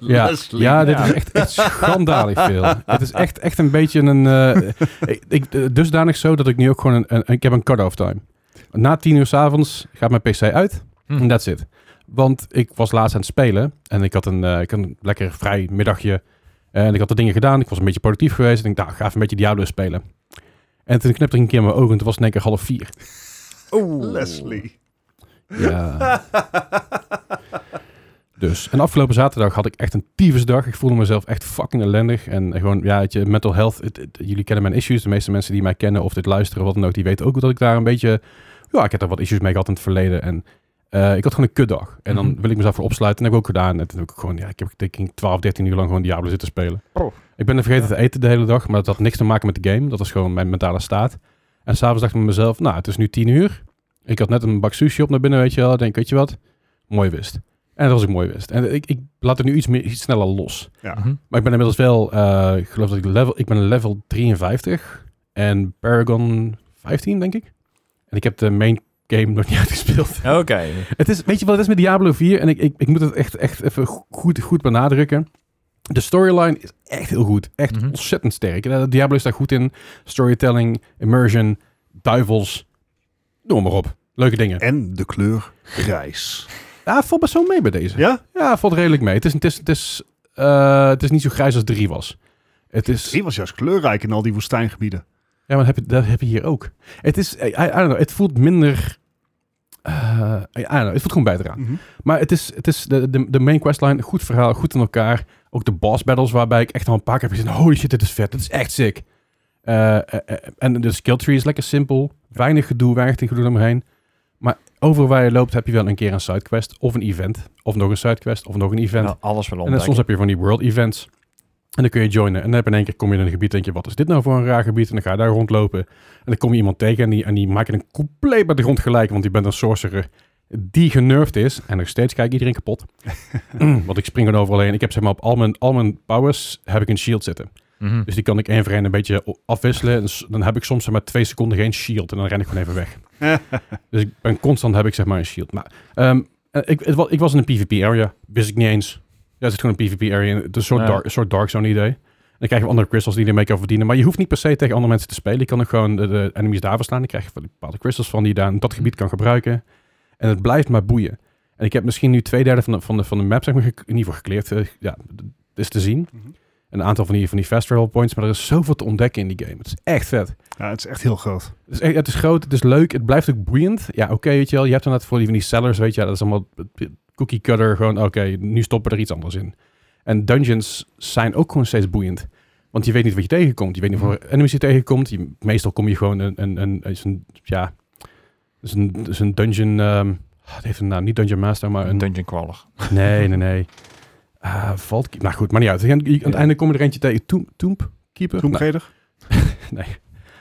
S3: Ja,
S1: Leslie.
S3: ja dit
S2: Ja.
S3: is echt, echt schandalig veel. Het is echt, echt een beetje een... eh, *laughs* ik, ik, eh, dusdanig zo dat ik nu ook gewoon... Een, een- ik heb een cut-off time. Na tien uur s'avonds gaat mijn pc uit.
S2: Hm.
S3: En that's it. Want ik was laatst aan het spelen. En ik had een, eh, ik had een lekker vrij middagje. En ik had de dingen gedaan. Ik was een beetje productief geweest. En ik dacht, nou, ga even een beetje Diablo spelen. En toen knipte ik een keer mijn ogen. En toen was het in één keer half
S2: *laughs*
S3: vier.
S1: Leslie.
S3: Ja. dus, en afgelopen zaterdag had ik echt een tyfusdag. Ik voelde mezelf echt fucking ellendig. En gewoon, ja, weet je, mental health. het- het- jullie kennen mijn issues. De meeste mensen die mij kennen of dit luisteren, wat dan ook, die weten ook dat ik daar een beetje... Ja, ik heb daar wat issues mee gehad in het verleden. En eh, ik had gewoon een kutdag. En dan
S2: Mhm.
S3: wil ik mezelf voor opsluiten. En dat heb ik ook gedaan. En toen heb ik gewoon, ja, ik heb denk ik 12, 13 uur lang gewoon Diablo zitten spelen.
S2: Oh.
S3: Ik ben er vergeten te eten de hele dag. Maar dat had niks te maken met de game. Dat was gewoon mijn mentale staat. En s'avonds dacht ik bij mezelf, nou, het is nu 10 uur. Ik had net een bak sushi op naar binnen, weet je wel. Ik denk, weet je wat? Mooi wist. En dat was ik mooi wist. En ik, ik laat het nu iets, meer, iets sneller los.
S1: Ja.
S2: Mhm.
S3: Maar ik ben inmiddels wel, eh, ik geloof dat ik level, ik ben level 53. En Paragon 15, denk ik. En ik heb de main game nog niet *laughs* uitgespeeld.
S2: Oké.
S3: Het is, weet je wat het is met Diablo 4? En ik, ik, ik moet het echt, echt even go- goed, goed benadrukken. De storyline is echt heel goed. Echt
S2: Mhm.
S3: ontzettend sterk. Eh, Diablo is daar goed in. Storytelling, immersion, duivels. Noem maar op. Leuke dingen.
S1: En de kleur grijs.
S3: Ja, het valt best wel mee bij deze.
S1: Ja?
S3: Ja, het valt redelijk mee. Het is, het is, het is, eh, het is niet zo grijs als 3 was. Het is...
S1: Die was juist kleurrijk in al die woestijngebieden.
S3: Ja, maar dat heb je, dat heb je hier ook. Het is... I, I don't know. Het voelt minder... eh, I don't know. Het voelt gewoon beter aan.
S1: Mhm.
S3: Maar het is, het is de, de, de main questline, goed verhaal, goed in elkaar. Ook de boss battles waarbij ik echt al een paar keer heb gezien, holy shit, dit is vet, dit is echt sick. Eh, eh, eh, En de skill tree is lekker simpel, weinig gedoe, weinig gedoe omheen. Maar overal waar je loopt heb je wel een keer een sidequest of een event. Of nog een sidequest of nog een event.
S2: Nou, alles wel
S3: en dan
S2: ontdekken.
S3: soms heb je van die world events. En dan kun je joinen. En dan heb je in één keer kom je in een gebied en denk je, wat is dit nou voor een raar gebied? En dan ga je daar rondlopen. En dan kom je iemand tegen en die, en die maak je dan compleet bij de grond gelijk. Want je bent een sorcerer die genurfd is. En nog steeds kijk iedereen kapot. want ik spring gewoon overal heen. Ik heb zeg maar op al mijn, al mijn powers heb ik een shield zitten.
S2: Mhm.
S3: Dus die kan ik één voor één een beetje o- afwisselen. En s- dan heb ik soms zeg maar twee seconden geen shield. En dan ren ik gewoon even weg. dus ik ben constant heb ik zeg maar een shield. Maar ehm, eh, ik, het wa- ik was in een PvP area. Wist ik niet eens. Ja, het is gewoon een PvP area. Het is een soort,
S2: Ja.
S3: dark, een soort dark zone idee. En dan krijg je andere crystals die je ermee kan verdienen. Maar je hoeft niet per se tegen andere mensen te spelen. Je kan ook gewoon de, de enemies daar verslaan. Dan krijg je van die bepaalde crystals van die je daar in dat gebied kan gebruiken. En het blijft maar boeien. En ik heb misschien nu twee derde van de, van de, van de map zeg maar, gek- in ieder geval gekleerd. eh, ja, d- is te zien
S1: Mhm.
S3: een aantal van die, van die fast travel points. Maar er is zoveel te ontdekken in die game. Het is echt vet.
S1: Ja, het is echt heel groot.
S3: Het is, echt- Dus, eh, het is groot, het is leuk, het blijft ook boeiend. Ja, oké, weet je wel. Je hebt inderdaad voor die van die sellers, weet je wel, Dat is allemaal eh, cookie cutter. Gewoon, oké, nu stoppen we er iets anders in. En dungeons zijn ook gewoon steeds boeiend. Want je weet niet wat je tegenkomt. Je weet niet
S2: Mhm.
S3: wat voor enemies je tegenkomt. Je, meestal kom je gewoon een... een, een, is een ja, is een, is een dungeon... ehm het heeft een naam, niet Dungeon Master, maar een,
S2: Dungeon crawler.
S3: Nee, nee, nee. Ah, valt... Nou goed, maar niet uit. Je- je- Aan het
S2: Ja.
S3: einde kom je er eentje tegen. Toem- Toemp? Keeper? Nou,
S1: Toemgeder?
S3: *laughs*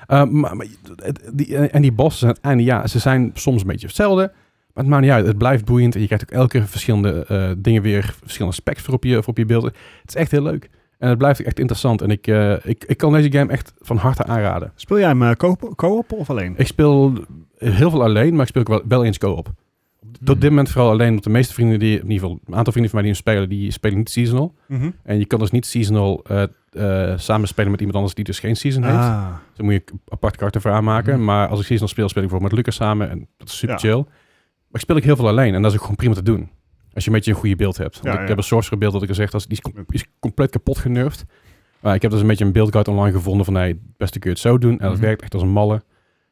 S3: eh, maar, maar het- die, eh, en die bossen zijn aan het einde, ja, ze zijn soms een beetje hetzelfde. Maar het maakt niet uit. Het blijft boeiend. En je krijgt ook elke keer verschillende eh, dingen weer, verschillende specs voor op, je, voor op je beelden. Het is echt heel leuk. En het blijft echt interessant. En ik, eh, ik, ik kan deze game echt van harte aanraden.
S1: Speel jij hem eh, co- co-op of alleen?
S3: Ik speel heel veel alleen, maar ik speel ook wel, wel eens co-op. Tot dit moment vooral alleen, want de meeste vrienden die, in ieder geval een aantal vrienden van mij die hem spelen, die spelen niet seasonal.
S1: Mhm.
S3: En je kan dus niet seasonal eh eh, samen spelen met iemand anders die dus geen season heeft.
S1: Ah.
S3: Dus dan moet je een apart kaarten voor aanmaken.
S2: Mhm.
S3: Maar als ik seasonal speel, speel ik bijvoorbeeld met Lucas samen. En dat is super
S1: Ja.
S3: chill. Maar ik speel ik heel veel alleen. En dat is ook gewoon prima te doen. Als je een beetje een goede beeld hebt. Want
S1: Ja,
S3: ik
S1: ja.
S3: heb een sorcerer beeld dat ik al zeg, dat is, die is, com- die is compleet kapot genurfd. Maar ik heb dus een beetje een beeldguide online gevonden van, hey, het beste kun je het zo doen. En dat
S2: Mhm.
S3: werkt echt als een malle.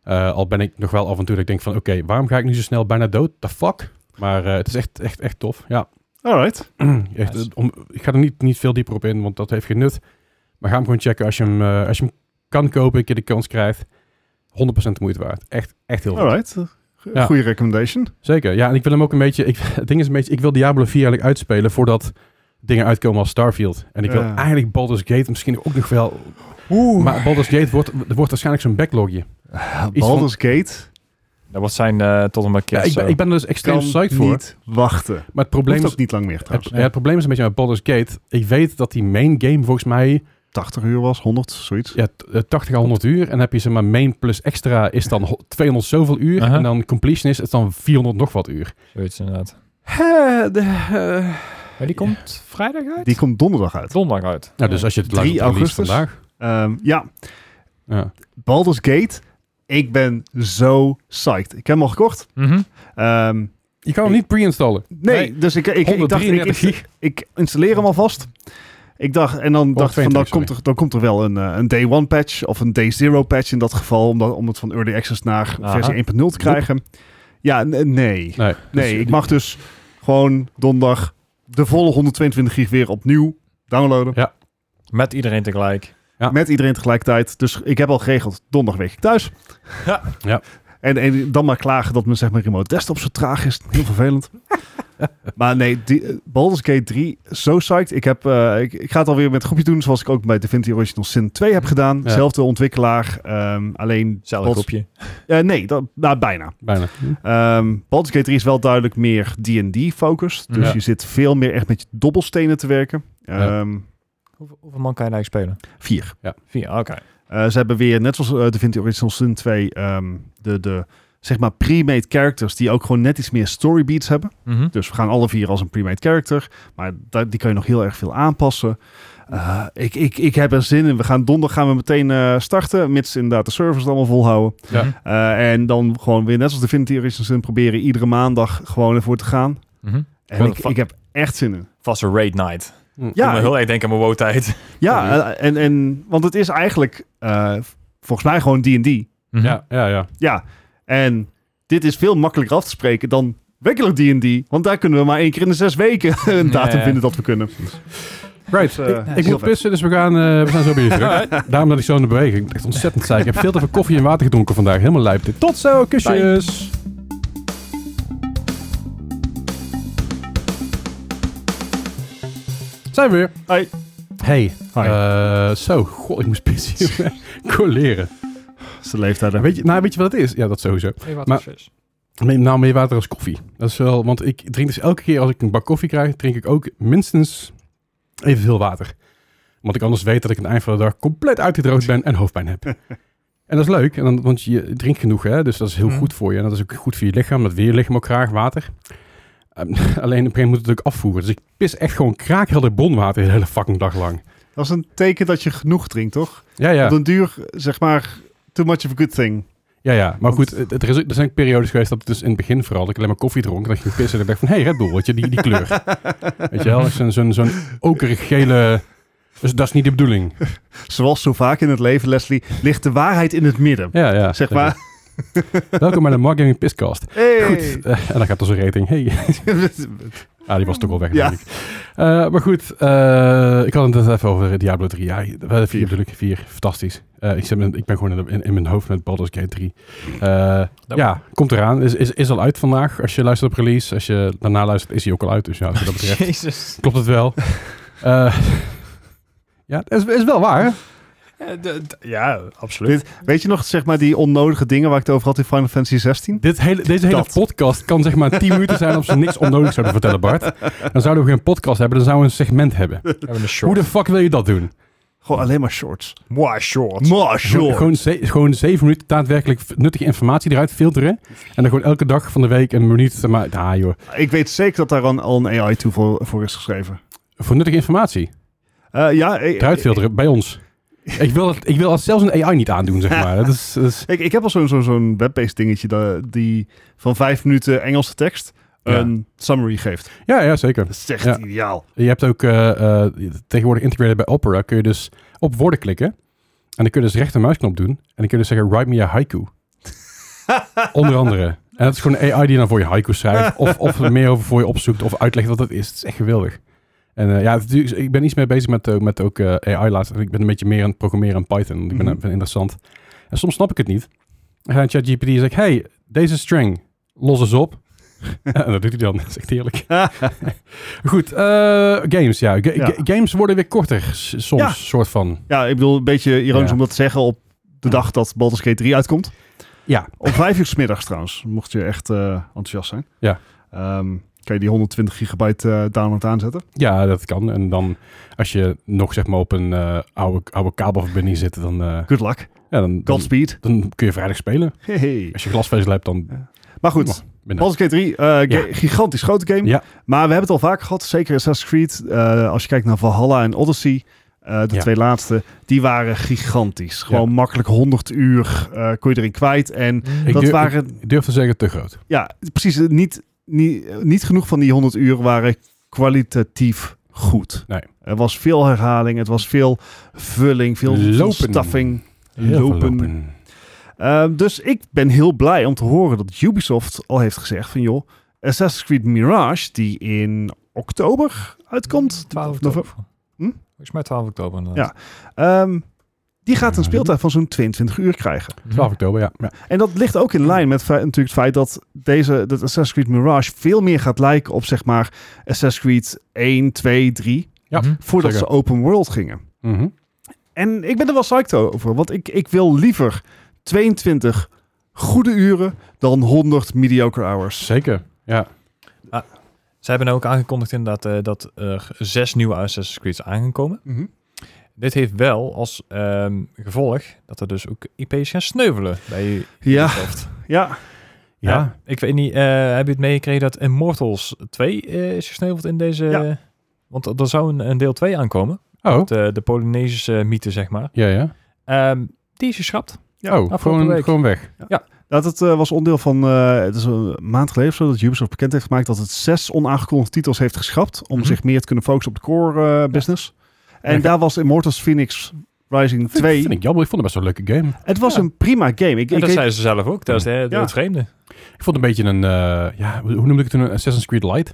S3: Eh, al ben ik nog wel af en toe dat ik denk van, oké, waarom ga ik nu zo snel bijna dood? The fuck? Maar eh, het is echt, echt, echt tof. Ja.
S1: Alright.
S3: *clears throat* Echt,
S2: Nice.
S3: eh, om, ik ga er niet, niet veel dieper op in, want dat heeft geen nut. Maar ga hem gewoon checken als je hem, eh, als je hem kan kopen, een keer de kans krijgt. 100% de moeite waard. Echt, echt heel goed.
S1: Alright. Eh, go-
S3: Ja.
S1: Goede recommendation.
S3: Zeker. Ja, en ik wil hem ook een beetje. Ik, het ding is een beetje. Ik wil Diablo 4 eigenlijk uitspelen voordat dingen uitkomen als Starfield. En ik wil
S1: Ja.
S3: eigenlijk Baldur's Gate misschien ook nog wel.
S2: Oeh.
S3: Maar Baldur's Gate wordt, wordt waarschijnlijk zo'n backlogje. van-
S1: eh, Baldur's Gate
S2: Dat was zijn eh, tot en met
S3: Ja,
S2: kids.
S3: ik, ben, ik ben er dus extreem
S1: kan
S3: psyched voor. dus-
S1: niet wachten.
S3: Maar het probleem
S1: Probleem
S3: is.
S1: ook niet lang meer
S3: Het,
S1: trouwens.
S3: ja, het probleem is een beetje met Baldur's Gate. Ik weet dat die main game volgens mij
S1: 80 uur was, 100, zoiets.
S3: eh. ja, t- eh, 80 à 100 uur. En dan heb je zeg maar main plus extra is dan ho- 200 zoveel uur.
S2: Aha.
S3: En dan completion is het dan 400 nog wat uur.
S2: Zoiets inderdaad. Maar die
S3: Ja.
S2: komt vrijdag uit?
S1: Die komt donderdag uit.
S2: eh, donderdag uit.
S3: nou, dus als je het luistert
S1: 3
S3: op de release
S1: augustus.
S3: vandaag.
S1: Ehm, ja,
S3: Ja.
S1: Baldur's Gate. Ik ben zo psyched. Ik heb hem al gekocht.
S2: Mhm.
S1: Ehm,
S3: Je kan hem niet pre-installen.
S1: nee,
S3: Nee,
S1: dus ik, ik, ik dacht, ik,
S3: 133
S1: ik, ik installeer hem alvast. Ik dacht, en dan dacht ik van, dan
S3: 122,
S1: komt, er, dan komt er wel een, eh, een day one patch of een day zero patch in dat geval, om, dat, om het van early access naar
S2: Aha.
S1: versie 1.0 te krijgen. Ja, n- eh, nee.
S3: Nee,
S1: Nee, ik mag dus gewoon donderdag de volle 122 gig weer opnieuw downloaden.
S2: Met iedereen tegelijk.
S3: Ja.
S1: Met iedereen tegelijkertijd. Dus ik heb al geregeld, donderdag week ik thuis.
S2: Ja.
S3: Ja.
S1: En, en dan maar klagen dat mijn zeg maar, remote desktop zo traag is. Heel vervelend. maar nee, die, eh, Baldur's Gate 3, zo psyched. Ik, heb, eh, ik, ik ga het alweer met een groepje doen, zoals ik ook bij Divinity Original Sin 2 heb gedaan.
S3: Ja.
S1: Zelfde ontwikkelaar, ehm, alleen...
S2: Zelfde
S1: Baldur's-
S2: groepje.
S1: eh, nee, dat, nou, bijna.
S3: Bijna. Hm,
S1: Ehm Baldur's Gate 3 is wel duidelijk meer D&D-focused. Dus
S3: Ja.
S1: je zit veel meer echt met je dobbelstenen te werken.
S3: Ja.
S1: Ehm,
S2: Hoeveel, hoeveel man kan je eigenlijk spelen?
S1: Vier.
S2: Vier, oké.
S1: Eh, ze hebben weer, net zoals eh, Divinity Original Sin 2, ehm, de, de zeg maar pre-made characters die ook gewoon net iets meer story beats hebben.
S2: Mhm.
S1: Dus we gaan alle vier als een pre-made character. Maar daar, die kan je nog heel erg veel aanpassen. Eh, ik, ik, ik heb er zin in. We gaan donderdag gaan we meteen eh, starten. Mits inderdaad de servers het allemaal volhouden.
S3: Ja.
S2: Mhm.
S1: Eh, en dan gewoon weer net zoals Divinity Original Sin proberen iedere maandag gewoon ervoor te gaan.
S2: Mhm.
S1: En
S2: Gewoon
S1: ik,
S2: va-
S1: ik heb echt zin in.
S2: Vast een raid night.
S3: hm.
S2: Ja, me
S1: Ja,
S2: heel erg denken aan mijn woontijd.
S1: ja eh, en, en, want het is eigenlijk eh, volgens mij gewoon D&D.
S2: Mhm.
S3: Ja, ja, ja.
S1: Ja, en dit is veel makkelijker af te spreken dan regular D&D. Want daar kunnen we maar één keer in de zes weken *laughs* een datum
S2: Ja.
S1: vinden dat we kunnen.
S3: Right.
S1: Dus, eh,
S3: ik
S1: heel
S3: ik moet
S1: vet.
S3: pissen, dus we gaan, eh, we gaan zo bij jullie
S1: *laughs*
S3: terug. Daarom dat ik zo in de beweging. Ik dacht ontzettend saai. Ik heb veel te veel koffie en water gedronken vandaag. Helemaal lijp dit. Tot zo, kusjes. Zijn we weer.
S1: Hoi.
S3: Hey.
S1: Hoi.
S3: Eh, zo, god, ik moest pissen. *laughs* jongen. Colleren.
S1: Dat is de leeftijd. hè.
S3: Weet je, nou, weet je wat het is? Ja, dat sowieso. Maar- Neem nou meer water als koffie. Dat is wel, want ik drink dus elke keer als ik een bak koffie krijg, drink ik ook minstens evenveel water. Want ik anders weet dat ik aan het eind van de dag compleet uitgedroogd ben en hoofdpijn heb. en dat is leuk, en dan, want je drinkt genoeg, hè? dus dat is heel
S2: Mhm.
S3: goed voor je. En dat is ook goed voor je lichaam, dat wil je lichaam ook graag, water. Ehm, *laughs* alleen op een gegeven moment moet het natuurlijk afvoeren. Dus ik pis echt gewoon kraakhelder bronwater de hele fucking dag lang.
S1: Dat is een teken dat je genoeg drinkt, toch?
S3: Ja, ja.
S1: Op een duur, zeg maar, too much of a good thing.
S3: Ja, ja. Maar goed, het, het- er, is, ook- er zijn ook periodes geweest dat het dus in het begin vooral, dat ik alleen maar koffie dronk, en dat je ging pissen en ik dacht van, hé, hey, Red Bull, weet je, die, die
S1: *laughs*
S3: kleur. weet je wel, zo'n zo'n zo'n okerig gele... Dus dat is niet de bedoeling.
S1: Zoals zo vaak in het leven, Leslie, ligt de waarheid in het midden.
S3: Ja, ja.
S1: Zeg maar,
S3: Welkom bij de Mark Gaming Piscast.
S1: hey.
S3: Goed, eh, en dan gaat onze rating. Hey. Ah, die was toch al
S1: *laughs*
S3: weg,
S1: Ja.
S3: denk ik. Eh, maar goed, eh, ik had het net even over Diablo 3. Ja, eh, 4
S1: Vier.
S3: natuurlijk, 4. Fantastisch. Eh, ik, zit met- ik ben gewoon in, de- in, in mijn hoofd met Baldur's Gate 3. Eh,
S2: Dat-
S3: ja, komt eraan. Is, is, is al uit vandaag. Als je luistert op release. Als je daarna luistert, is hij ook al uit. Dus ja, wat dat
S2: *laughs*
S3: betreft
S2: *laughs* Jezus.
S3: klopt het wel. Eh, ja, het is, is wel waar. hè?
S2: Ja, d- d- Ja, absoluut.
S1: Dit, weet je nog, zeg maar, die onnodige dingen waar ik het over had in Final Fantasy 16?
S3: Dit hele, deze hele
S1: Dat.
S3: podcast kan zeg maar 10 minuten zijn als ze niks onnodigs zouden vertellen, Bart. Dan zouden we geen podcast hebben, dan zouden we een segment hebben.
S2: We hebben een
S3: Hoe
S2: short.
S3: de fuck wil je dat doen?
S1: Gewoon alleen maar shorts.
S2: Moi short.
S1: Maar
S3: Gewoon, gewoon, ze- gewoon zeven minuten daadwerkelijk v- nuttige informatie eruit filteren. En dan gewoon elke dag van de week een minuut. Maar, ah, joh.
S1: Ik weet zeker dat daar al al een AI toe voor, voor is geschreven.
S3: Voor nuttige informatie.
S1: Eh, ja, ik,
S3: Eruit
S1: ik,
S3: filteren bij ons. Ik wil, dat, ik wil dat zelfs een AI niet aandoen, zeg maar. Dat is, dat is-
S1: ik, ik heb al zo'n zo'n zo'n web-based dingetje dat, die van vijf minuten Engelse tekst
S3: Ja.
S1: een summary geeft.
S3: ja, ja, zeker.
S1: Dat is echt
S3: Ja.
S1: ideaal.
S3: Je hebt ook eh, eh, tegenwoordig integrated bij Opera. Kun je dus op woorden klikken. En dan kun je dus rechter muisknop doen. En dan kun je dus zeggen, write me
S1: *laughs*
S3: a haiku. Onder andere. En dat is gewoon een AI die dan voor je haiku schrijft. Of, of er meer over voor je opzoekt. Of uitlegt wat het is. Het is echt geweldig. En eh, ja, het is natuurlijk- ik ben iets meer bezig met, eh, met ook eh, AI laatst. Ik ben een beetje meer aan het programmeren in Python. want Ik ben,
S1: Mhm.
S3: ben interessant. En soms snap ik het niet. Dan gaat ChatGPT en zeg ik, hey, deze string, los eens op. *laughs* en dat doet hij dan. *laughs* Dat is echt
S1: *laughs*
S3: heerlijk. Goed, eh, games, ja. Ga-
S1: Ja.
S3: ga- Games worden weer korter, s- soms,
S1: Ja.
S3: soort van.
S1: Ja, ik bedoel, een beetje ironisch
S3: Ja.
S1: om dat te zeggen op de dag dat Baldur's Gate 3 uitkomt.
S3: Ja.
S1: Om vijf uur 's middags trouwens, mocht je echt eh, enthousiast zijn.
S3: Ja.
S1: Ehm, kan je die 120 gigabyte eh, download aanzetten.
S3: Ja, dat kan. En dan, als je nog zeg maar op een eh, oude, oude kabelverbinding zit, dan, eh,
S1: Good luck.
S3: ja, dan, dan,
S1: Godspeed.
S3: dan kun je vrijdag spelen.
S1: Hey.
S3: Als je glasvezel hebt, dan...
S1: Maar goed,
S3: Oh, ben
S1: Baldur's Gate 3, eh, ga-
S3: Ja.
S1: gigantisch grote game.
S3: Ja.
S1: Maar we hebben het al vaak gehad, zeker in Assassin's Creed. eh, als je kijkt naar Valhalla en Odyssey, eh, de
S3: Ja.
S1: twee laatste, die waren gigantisch. Gewoon makkelijk 100 uur eh, kon je erin kwijt. En
S3: Ik
S1: dat
S3: durf-
S1: waren,
S3: Ik durf te zeggen, te groot.
S1: ja, precies, eh, niet, niet, niet genoeg van die 100 uur waren kwalitatief goed.
S3: Nee.
S1: Er was veel herhaling, het was veel vulling, veel
S3: Lopen.
S1: staffing.
S3: Heel veel
S1: Lopen. Mhm. Eh, dus ik ben heel blij om te horen dat Ubisoft al heeft gezegd van joh, Assassin's Creed Mirage, die in oktober uitkomt,
S2: 12
S1: of november,
S2: oktober.
S1: Hm?
S2: Volgens mij 12 oktober.
S1: Ja. ehm, die gaat een speeltijd van zo'n 22 uur krijgen.
S3: 12 oktober, ja. ja.
S1: En dat ligt ook in lijn met fe- natuurlijk het feit dat deze, dat Assassin's Creed Mirage veel meer gaat lijken op zeg maar Assassin's Creed 1, 2, 3,
S3: Ja.
S1: voordat
S3: Zeker.
S1: ze open world gingen.
S3: Mhm.
S1: En ik ben er wel psyched over, want ik, ik wil liever 22 goede uren dan 100 mediocre hours.
S3: Zeker, ja. Mhm.
S2: Ze hebben ook aangekondigd inderdaad eh, dat er zes nieuwe Assassin's Creed's aangekomen. Dit heeft wel als ehm, gevolg dat er dus ook IP's gaan sneuvelen bij
S1: Ja.
S2: Ubisoft.
S1: Ja,
S3: Ja.
S2: Ja, ik weet niet, eh, heb je het meegekregen dat Immortals 2 eh, is gesneuveld in deze...
S1: Ja.
S2: Want er- er zou een, een deel 2 aankomen, eh,
S3: Oh,
S2: de, de Polynesische mythe, zeg maar.
S3: ja, ja.
S2: Ehm, die is geschrapt.
S1: Ja,
S3: oh,
S2: afgelopen
S3: gewoon,
S2: week.
S3: gewoon weg.
S1: dat het eh, was onderdeel van, eh, het is een maand geleden of zo, dat Ubisoft bekend heeft gemaakt dat het zes onaangekondigde titels heeft geschrapt om
S2: Mhm.
S1: zich meer te kunnen focussen op de core eh, business. En
S3: Ja.
S1: daar was Immortals Phoenix Rising
S3: Vind,
S1: 2.
S3: vind ik jammer. Ik vond het best wel een leuke game.
S1: Het was
S2: Ja.
S1: een prima game. Ik,
S2: En
S1: ik
S2: dat
S1: weet-
S2: zeiden ze zelf ook, dat is eh,
S1: Ja.
S2: het vreemde.
S3: Ik vond het een beetje een, eh, ja, hoe hoe noemde ik het toen? Een Assassin's Creed Lite?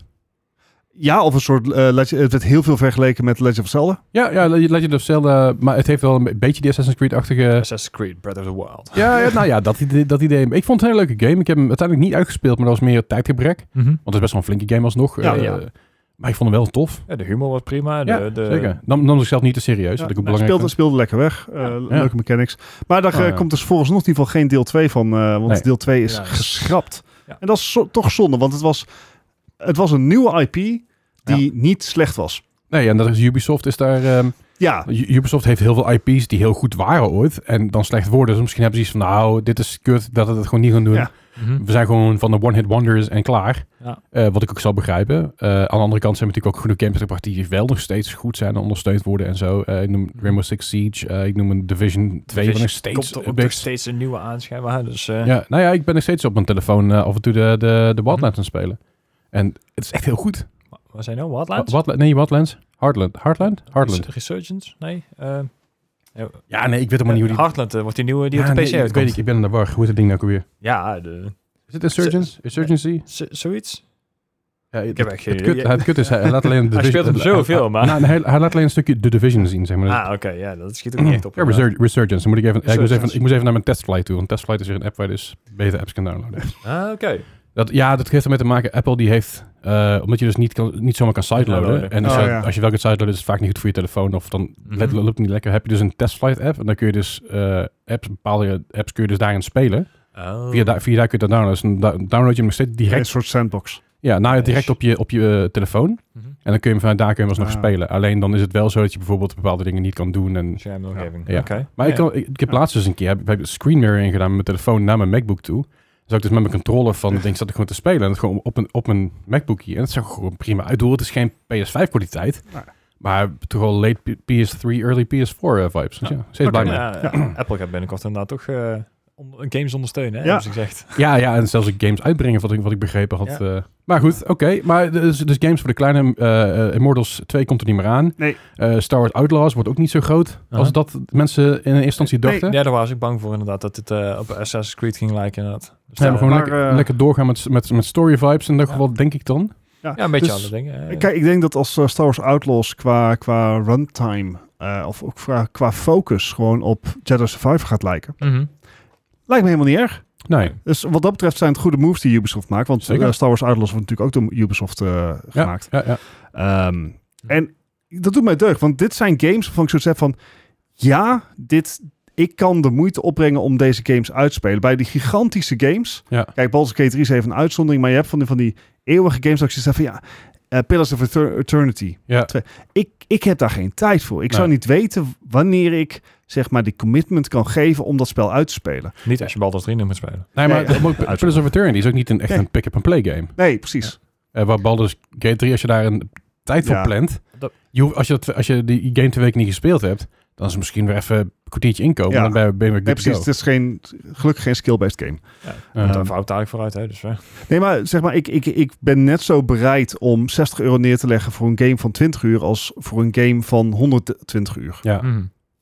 S1: Ja, of een soort, eh, Legend- het werd heel veel vergeleken met Legend of Zelda.
S3: Ja, ja, Le- Legend of Zelda, maar het heeft wel een beetje die Assassin's Creed-achtige...
S2: Assassin's Creed, Breath of the Wild.
S3: Ja, ja, nou ja, dat idee, dat idee. Ik vond het een hele leuke game. Ik heb hem uiteindelijk niet uitgespeeld, maar dat was meer tijdgebrek. Want
S2: Mhm.
S3: het is best wel een flinke game alsnog.
S1: Ja, Eh,
S3: eh,
S2: ja.
S3: Maar ik vond hem wel tof.
S2: Ja, de humor was prima. De,
S3: Ja,
S2: de,
S3: Zeker. Nam, nam zichzelf niet te serieus,
S1: Ja,
S3: wat ik
S1: nou,
S3: ook belangrijk
S1: speelde, speelde lekker weg. Eh, Leuke mechanics. Maar daar
S3: Oh,
S1: eh,
S3: ja.
S1: komt dus volgens nog in ieder geval geen deel 2 van. eh, want
S3: Nee.
S1: deel 2 is
S2: Helaas.
S1: geschrapt.
S2: Ja.
S1: En dat is zo- toch zonde, want het was, het was een nieuwe IP die niet slecht was.
S3: Nee, en dat is Ubisoft is daar... ehm,
S1: Ja,
S3: U- Ubisoft heeft heel veel IP's die heel goed waren ooit en dan slecht worden. Dus misschien hebben ze iets van, nou, dit is kut dat we het gewoon niet gaan doen.
S1: Ja.
S2: Mhm.
S3: We zijn gewoon van de one-hit wonders en klaar.
S2: Ja.
S3: Eh, wat ik ook zal begrijpen. Eh, aan de andere kant zijn er natuurlijk ook genoeg games ter partij die wel nog steeds goed zijn en ondersteund worden en zo. Eh, ik noem Rainbow Six Siege, eh, ik noem een Division 2
S2: Division
S3: waar nog steeds...
S2: Komt er
S3: een
S2: ook
S3: big-
S2: nog steeds een nieuwe aanschijn. Dus, eh,
S3: ja, nou ja, ik ben nog steeds op mijn telefoon eh, af en toe de, de, de Wildlands aan het spelen. En het is echt heel goed.
S2: Wat zijn nou? Wildlands?
S3: Wat, nee, Wildlands. Hardland. Hardland? Hardland.
S2: Res- Resurgence? Nee. eh, ja,
S3: Ja, Ah, nee, ik weet helemaal niet hoe die...
S2: Heartland eh, wordt die nieuwe
S3: Ja,
S2: die op de
S3: nee,
S2: PC
S3: ik, weet
S2: uitkomt.
S3: ik, ik ben in de war. Hoe is het ding nou ook weer?
S2: Ja, de,
S3: Is het Insurgents? Insurgency?
S2: z- zoiets.
S3: Ja, ik
S2: heb echt geen
S3: het,
S2: idee.
S3: kut, het kut is, hij laat alleen... de
S2: Hij speelt hem
S3: Division-
S2: zoveel, maar-
S3: Nou, hij, hij laat alleen een stukje The Division zien, zeg maar.
S2: Ah, oké. ja, dat
S3: *clears throat*
S2: schiet ook niet echt op.
S3: ja, Resurg- Resurgence. Dan moet ik, even, ja, ik, moest even,
S2: Resurgence.
S3: ik moest even naar mijn testflight toe. Want testflight is weer een app waar je dus beter apps kan downloaden.
S2: Ah, oké.
S3: Dat, ja, dat heeft ermee te maken. Apple die heeft... eh, omdat je dus niet, kan, niet zomaar kan sideloaden.
S2: Downloaden.
S3: En dus als,
S1: Oh,
S3: je,
S1: ja.
S3: als je wel kan sideloaden, is het vaak niet goed voor je telefoon. Of dan
S2: Mhm.
S3: let- loopt het niet lekker. Heb je dus een testflight app. En dan kun je dus eh, apps, bepaalde apps kun je dus daarin spelen.
S2: Oh.
S3: Via, da- via daar kun je dat downloaden. Dus dan da- download je hem nog steeds direct
S1: een soort sandbox.
S3: Ja, nou ja,
S2: Nice.
S3: direct op je, op je eh, telefoon.
S2: Mhm.
S3: En dan kun je hem vanuit daar kun je hem alsnog
S1: Ah.
S3: spelen. Alleen dan is het wel zo dat je bijvoorbeeld bepaalde dingen niet kan doen. En,
S2: Schermomgeving.
S3: Ja.
S2: Oké.
S3: maar ik, kan, ik, ik heb laatst dus een keer heb, heb ik screen mirroring gedaan met mijn telefoon naar mijn MacBook toe. Dus ik dus met mijn controller van het ding zat ik gewoon te spelen. En het gewoon op, een, op mijn MacBook hier. En het zag gewoon prima uit. Ik bedoel, Het is geen PS5 kwaliteit.
S1: Nou.
S3: Maar toch wel late P- PS3, early PS4 eh, vibes. Dus ja, steeds blij mee.
S2: Ja, *clears throat* Apple gaat binnenkort inderdaad toch eh, on- games ondersteunen,
S1: Ja.
S2: hè, hebben ze gezegd.
S3: Ja, ja, en zelfs ook games uitbrengen, wat ik, wat ik begrepen had. eh. maar goed, oké. Maar dus, dus games voor de kleine eh, eh, Immortals 2 komt er niet meer aan.
S1: Nee.
S3: Eh, Star Wars Outlaws wordt ook niet zo groot als
S2: Uh-huh.
S3: dat mensen in eerste instantie
S1: Nee,
S3: dachten.
S2: Ja, daar was ik bang voor inderdaad, dat het eh, op Assassin's Creed ging lijken inderdaad. Dus
S3: Ze
S2: daar-
S3: hebben gewoon
S1: Maar,
S3: lekker,
S1: eh,
S3: lekker doorgaan met, met, met story vibes in dat
S2: Ja.
S3: geval, denk ik dan.
S2: ja, een beetje
S1: Dus-
S2: andere dingen. hè.
S1: Kijk, ik denk dat als eh, Star Wars Outlaws qua, qua runtime eh, of ook qua, qua focus gewoon op Jedi Survivor gaat lijken,
S2: Mhm.
S1: lijkt me helemaal niet erg.
S3: Nee.
S1: Dus wat dat betreft zijn het goede moves die Ubisoft maakt. Want
S3: Zeker.
S1: eh, Star Wars Outlaws wordt natuurlijk ook door Ubisoft eh,
S3: Ja,
S1: gemaakt.
S3: ja, ja.
S1: Ehm, en dat doet mij deugd, want dit zijn games waarvan ik zoiets heb van... Ja, dit, ik kan de moeite opbrengen om deze games uit te spelen. Bij die gigantische games...
S3: Ja.
S1: Kijk, Baldur's Gate 3 is even een uitzondering, maar je hebt van die, van die eeuwige games... dat ik zoiets heb van, ja, eh, Pillars of Eter- Eternity.
S3: Ja.
S1: Twee- Ik, ik heb daar geen tijd voor. Ik zou
S3: Nee.
S1: niet weten wanneer ik, zeg maar, die commitment kan geven om dat spel uit te spelen.
S2: Niet als je Baldur's 3 nog moet spelen.
S3: Nee,
S1: Ja,
S3: maar
S1: ja.
S3: maar ook Pillars of Eternity is ook niet een, echt
S1: Nee.
S3: een pick-up-and-play game.
S1: Nee, precies.
S3: Eh, waar Baldur's Gate 3, als je daar een tijd voor
S1: Ja.
S3: plant,
S2: Dat-
S3: je hoeft- als, je dat, als je die game twee weken niet gespeeld hebt, dan is het misschien weer even een kwartiertje inkomen
S1: Ja.
S3: en dan ben je- ben je weer
S1: Nee,
S3: good to
S1: precies. Het is geen, gelukkig geen skill-based game.
S3: go.
S1: Ja.
S3: Eh,
S2: Daar fout daar vooruit, hè, dus... eh.
S1: Nee, maar zeg maar, ik, ik, ik ben net zo bereid om 60 euro neer te leggen voor een game van 20 uur als voor een game van 120 uur.
S3: ja.
S2: Mhm.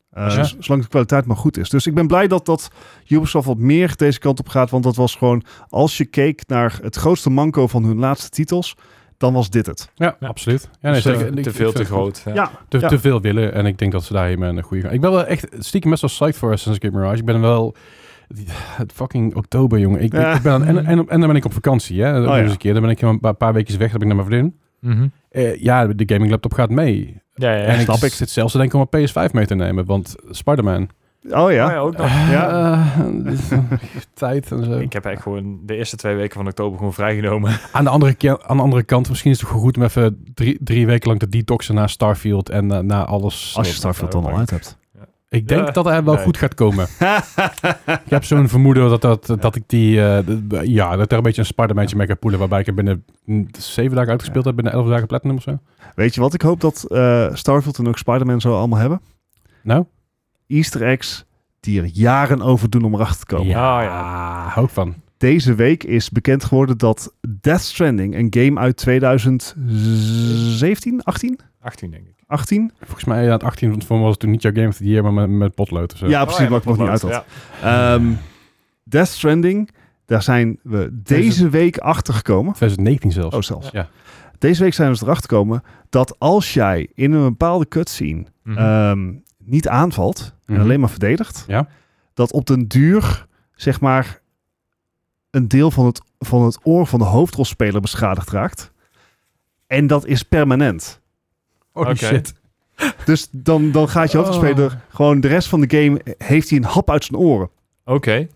S1: Eh,
S3: Ja.
S1: z- Zolang de kwaliteit maar goed is. Dus ik ben blij dat, dat Ubisoft wat meer deze kant op gaat. Want dat was gewoon, als je keek naar het grootste manco van hun laatste titels, dan was dit het.
S3: Ja,
S2: Ja.
S3: absoluut. Ja,
S2: Dus, eh,
S3: zeker. Ik-
S2: te
S3: ik vind
S2: veel, te
S3: het goed.
S2: groot. ja.
S3: Te,
S1: Ja.
S3: te veel willen en ik denk dat ze daar helemaal een goede gaan. Ik ben wel echt stiekem best wel psyched voor Assassin's Creed Mirage. Ik ben wel... *sighs* Het fucking oktober, jongen. Ik,
S1: Ja.
S3: ik ben aan- en, en, en dan ben ik op vakantie, hè. Dat
S1: Oh,
S3: is
S1: ja.
S3: een keer. Dan ben ik een paar, paar weekjes weg, dan ben ik naar mijn vriendin.
S2: Mhm.
S3: Eh, ja, de gaming laptop gaat mee.
S2: Ja, ja, ja.
S3: en ik
S1: snap ik.
S3: zit zelfs te denken om een PS5 mee te nemen, want Spider-Man.
S1: Oh ja.
S2: Oh ja, ook nog.
S1: Ja.
S3: Eh, *laughs* dus, eh, tijd en zo.
S2: Ik heb echt gewoon de eerste twee weken van oktober gewoon vrijgenomen. *laughs*
S3: Aan de, andere ke- aan de andere kant, misschien is het gewoon goed om even drie, drie weken lang te detoxen na Starfield en eh, na alles.
S1: Als Eh, je Starfield dan al uit hebt.
S3: Ik denk
S2: Ja.
S3: dat hij wel
S2: Nee.
S3: goed gaat komen. Ik heb zo'n vermoeden dat, dat, dat ik die, eh, d- ja, dat er een beetje een Spider-Mantje mee ga poelen, waarbij ik hem binnen mm, zeven dagen uitgespeeld heb, binnen elf dagen platinum of zo.
S1: *laughs* Weet je wat ik hoop dat eh, Starfield en ook Spider-Man zo allemaal hebben?
S3: Nou?
S1: Easter eggs die er jaren over doen om erachter te komen.
S2: Ah, Ja,
S3: ja. Hou ik van.
S1: Deze week is bekend geworden dat Death Stranding, een game uit 2017, 18?
S2: 18 denk ik.
S1: 18?
S3: Volgens mij ja, het 18 van voor was het toen niet jouw Game of the Year, maar met, met potlood of zo.
S1: Ja, precies,
S2: Oh
S1: wat ik nog niet uit had.
S2: Ja.
S1: Ehm, Death Stranding, daar zijn we deze week achter gekomen.
S3: 2019 zelfs.
S1: Oh, zelfs.
S3: Ja.
S1: Deze week zijn we dus erachter gekomen dat als jij in een bepaalde cutscene
S2: Mhm.
S1: ehm, niet aanvalt
S3: Mhm.
S1: en alleen maar verdedigt,
S3: Ja.
S1: dat op den duur, zeg maar, een deel van het, van het oor van de hoofdrolspeler beschadigd raakt. En dat is permanent.
S3: Holy
S2: Oké.
S3: shit.
S1: Dus dan, dan gaat je
S3: Oh.
S1: hoofdrolspeler gewoon de rest van de game, eh, heeft hij een hap uit zijn oren.
S2: Oké.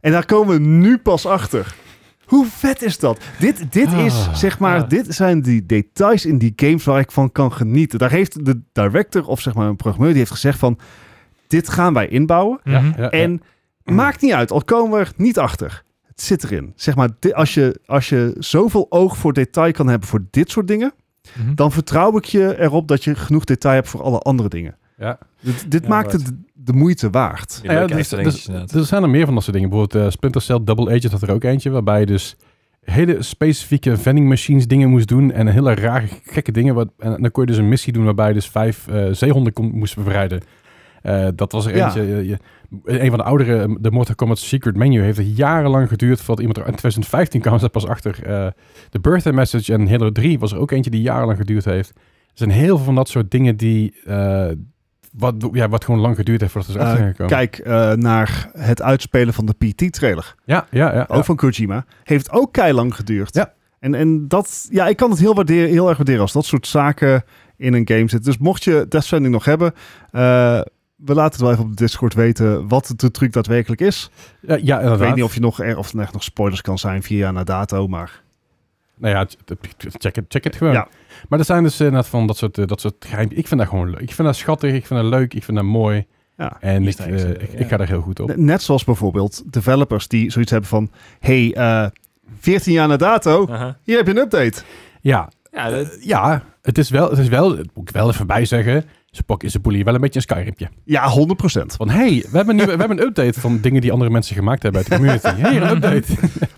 S1: En daar komen we nu pas achter. Hoe vet is dat? Dit, dit
S3: Ah,
S1: is, zeg maar,
S2: ja.
S1: dit zijn die details in die games waar ik van kan genieten. Daar heeft de director of zeg maar een programmeur, die heeft gezegd van, dit gaan wij inbouwen.
S3: Ja,
S2: Mhm.
S3: ja,
S1: En maakt niet uit, al komen we er niet achter. Het zit erin. Zeg maar, di- als je, als je zoveel oog voor detail kan hebben voor dit soort dingen,
S2: Mhm.
S1: dan vertrouw ik je erop dat je genoeg detail hebt voor alle andere dingen.
S3: Ja.
S1: Dit, dit
S2: Ja,
S1: maakt het de moeitte waard.
S2: Die
S3: Nou ja,
S2: leuke
S3: dus-
S2: extra
S3: dus-
S2: dingetjes inderdaad.
S3: Er zijn er meer van dat soort dingen. Bijvoorbeeld eh, Splinter Cell Double Agent had er ook eentje, waarbij je dus hele specifieke vending machines dingen moest doen en hele rare gekke dingen. Wat, en dan kon je dus een missie doen waarbij je dus vijf eh, zeehonden kon, moest bevrijden. Eh, dat was er
S1: Ja.
S3: eentje. Je, je- een van de oudere, eh, de Mortal Kombat Secret Menu, heeft het jarenlang geduurd voordat iemand er... In 2015 kwam ze pas achter. eh, de Birthday Message en Halo 3 was er ook eentje die jarenlang geduurd heeft. Er zijn heel veel van dat soort dingen die... eh, wat, ja, wat gewoon lang geduurd heeft voordat ze
S1: Eh,
S3: erachter zijn gekomen.
S1: Kijk eh, naar het uitspelen van de PT-trailer.
S3: Ja, ja, ja.
S1: Ook van Kojima. Heeft ook keilang geduurd.
S3: Ja.
S1: En, en dat, ja, ik kan het heel, waarderen, heel erg waarderen als dat soort zaken in een game zitten. Dus mocht je Death Stranding nog hebben, eh, we laten het wel even op de Discord weten wat de truc daadwerkelijk is.
S3: Ja, Eh, ja inderdaad.
S1: Ik weet niet of je nog er of er echt nog spoilers kan zijn vier jaar na dato, maar
S3: Nou ja, ch- check het, check het gewoon.
S1: Ja.
S3: Maar er zijn dus inderdaad van dat soort, eh, dat soort geheimpjes. Ik vind dat gewoon leuk. Ik vind dat schattig, ik vind dat leuk, ik vind dat mooi.
S1: Ja.
S3: En ik,
S2: Easter eggs,
S3: eh,
S2: eh,
S3: ik,
S2: ja.
S3: ik ga daar heel goed op.
S1: ne- net zoals bijvoorbeeld developers die zoiets hebben van, hey, eh 14 jaar na dato,
S2: Aha.
S1: hier heb je een update.
S3: Ja,
S2: Ja, dat-
S3: eh, ja het, is wel, het is wel, dat moet ik wel even bij zeggen, ze pakken ze boelie wel een beetje een skyrimpje.
S1: Ja, 100%.
S3: Van, hey, we hebben, nu, we hebben een update van dingen die andere mensen gemaakt hebben uit de community. hey, een update.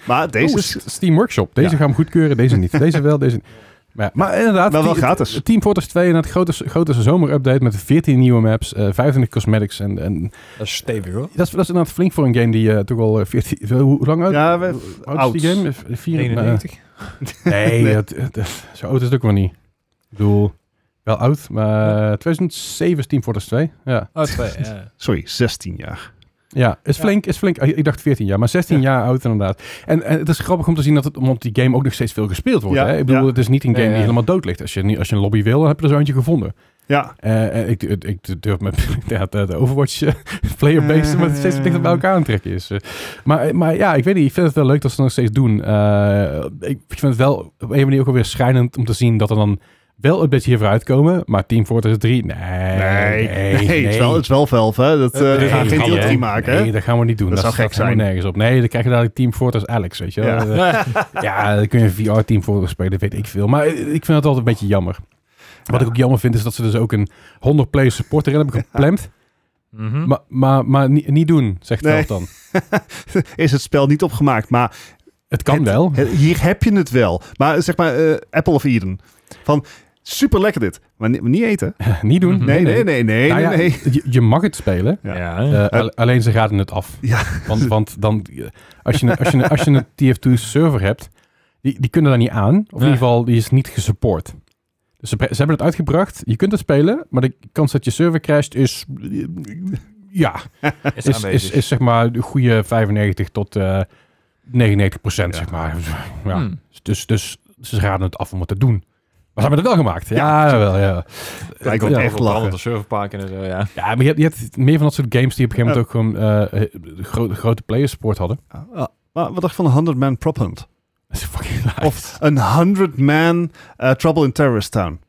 S1: Maar deze
S3: Oh,
S1: is
S3: S- Steam Workshop. Deze
S1: Ja.
S3: gaan we goedkeuren, deze niet. Deze wel, deze niet. Maar, ja, maar inderdaad,
S1: Maar wel
S3: Team-
S1: gratis.
S3: Team Fortress 2 en het grote, grote zomerupdate met 14 nieuwe maps, eh 25 cosmetics en, en
S2: dat is stevig hoor.
S3: Dat is, dat is inderdaad flink voor een game die eh, toch al eh, 14... Hoe, hoe lang oud,
S1: Ja, we-
S3: oud
S1: oud.
S3: is die game? Eh, vier-
S2: 91.
S3: eh,
S1: *laughs*
S3: nee,
S1: Nee.
S3: dat- dat- zo oud is het ook wel niet. Ik bedoel, wel oud, maar 2007 is Team Fortress 2. Ja,
S2: Oh, twee. ja.
S1: sorry, 16 jaar.
S3: ja is,
S2: Ja.
S3: Flink, is flink. Eh, Ik dacht 14 jaar, maar 16 jaar oud inderdaad. En, en het is grappig om te zien dat het, omdat die game ook nog steeds veel gespeeld wordt.
S1: Ja,
S3: Hè? Ik bedoel,
S1: ja.
S3: het is niet een game
S2: Ja, ja.
S3: die helemaal dood ligt. Als je, niet- als je een lobby wil, dan heb je er zo eentje gevonden.
S1: Ja,
S3: Eh, eh, ik, ik, *laughs* ik durf met ja, de, de Overwatch eh, *laughs* playerbase, maar het steeds dichter bij elkaar aantrekken is. Eh, Maar, maar ja, ik weet niet. Ik vind het wel leuk dat ze dat nog steeds doen. Eh, ik vind het wel op een manier ook alweer schrijnend om te zien dat er dan wel een beetje hiervoor uitkomen. Maar Team Fortress 3, nee.
S1: nee, nee, Het, is wel,
S3: nee.
S1: het is wel velf, hè? Dat, eh
S2: Nee,
S1: we gaan
S2: dat
S1: geen
S2: kan
S1: deel
S2: niet,
S1: 3
S2: hè?
S1: maken,
S3: Nee,
S1: hè?
S3: dat gaan we niet doen.
S1: Dat zou
S3: staat
S1: gek
S3: helemaal
S1: zijn.
S3: nergens op. Nee, dan krijg je dadelijk Team Fortress Alex, weet je wel.
S1: Ja.
S3: Eh,
S1: *laughs*
S3: ja, dan kun je VR Team Fortress spelen, weet ik veel. Maar eh, ik vind het altijd een beetje jammer. Wat ik ook jammer vind, is dat ze dus ook een 100-player support erin hebben gepland.
S2: Mhm.
S3: Maar, maar, maar niet, niet doen, zegt
S1: Hm. Nee.
S3: Valve dan.
S1: Is het spel niet opgemaakt, maar
S3: Het kan
S1: Het-
S3: wel.
S1: he- hier heb je het wel. Maar zeg maar, eh, Apple of Eden. Van, super lekker dit, maar, ni- maar niet
S3: *laughs*
S1: eten.
S3: *laughs* niet doen.
S1: Mhm. Nee, nee, nee, nee,
S3: Nou ja,
S1: nee, nee.
S3: Je, je mag het spelen.
S1: Ja.
S2: Ja.
S3: eh, al- alleen ze raden het af.
S1: Ja.
S3: Want, want dan, eh, als, je, een- als, je, een- als je een TF2-server hebt, die, die kunnen daar niet aan. Of in
S2: Nee.
S3: ieder geval, die is niet gesupport. Dus ze, bre- ze hebben het uitgebracht. Je kunt het spelen, maar de kans dat je server crasht is... Ja,
S2: Is
S3: is, is,
S2: aanwezig.
S3: is zeg maar de goede 95 tot eh 99 procent,
S1: Ja.
S3: zeg maar. Ja.
S2: Hmm.
S3: Dus, dus ze raden het af om het te doen. Maar ze hebben het wel gemaakt. Ja,
S1: Ja.
S3: wel, ja.
S1: Lijkt wel
S3: Ja.
S1: echt lachen.
S2: De serverparken en zo, ja.
S3: Ja, maar je hebt, je hebt meer van dat soort games die op een gegeven moment ook gewoon eh, de gro- de grote playersport hadden.
S1: Ah, maar wat dacht je van een 100-man prop hunt?
S3: Dat is fucking laag.
S1: Of een 100-man eh, Trouble in Terrorist Town.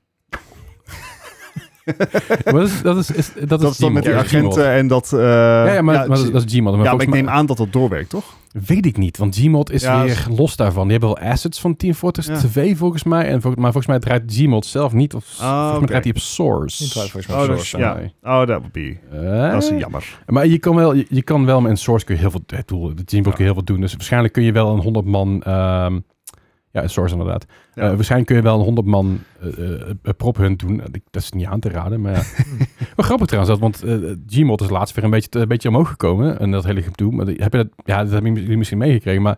S3: Maar dat is, dat is, is- dat is,
S1: Dat is dan
S3: Gmod.
S1: met die
S3: Ja, Gmod.
S1: agenten en dat... eh,
S3: Ja, ja, maar, maar dat,
S1: ja,
S3: is- dat is Gmod. Maar
S1: ja, maar
S3: volgens
S1: ik neem aan dat dat doorwerkt, toch?
S3: Weet ik niet, want Gmod is
S1: Ja,
S3: weer los daarvan. Die hebben wel assets van Team Fortress
S1: Ja.
S3: 2 volgens mij. En vol- maar volgens mij draait Gmod zelf niet. Of, volgens mij
S1: Ah, oké.
S3: draait hij op Source.
S2: Die draait volgens mij
S1: Oh,
S2: op
S1: dat is,
S2: Source,
S1: ja. Oh, dat would be...
S3: Eh,
S1: Dat is jammer.
S3: maar je kan wel, je, je kan wel met een Source kun je heel veel, het doel, de Gmod
S1: Ja.
S3: kun je heel veel doen. Dus waarschijnlijk kun je wel een 100 man, ehm, ja, een Source inderdaad.
S1: Ja.
S3: Eh, waarschijnlijk kun je wel een 100 man eh, eh, eh, prop hunt doen. Eh, ik- Dat is niet aan te
S1: *laughs*
S3: raden, maar ja. maar grappig trouwens, dat, want eh, Gmod is laatst weer een beetje, een beetje omhoog gekomen. En dat hele gedoe. Maar die- heb je dat, ja, dat hebben jullie misschien meegekregen. Maar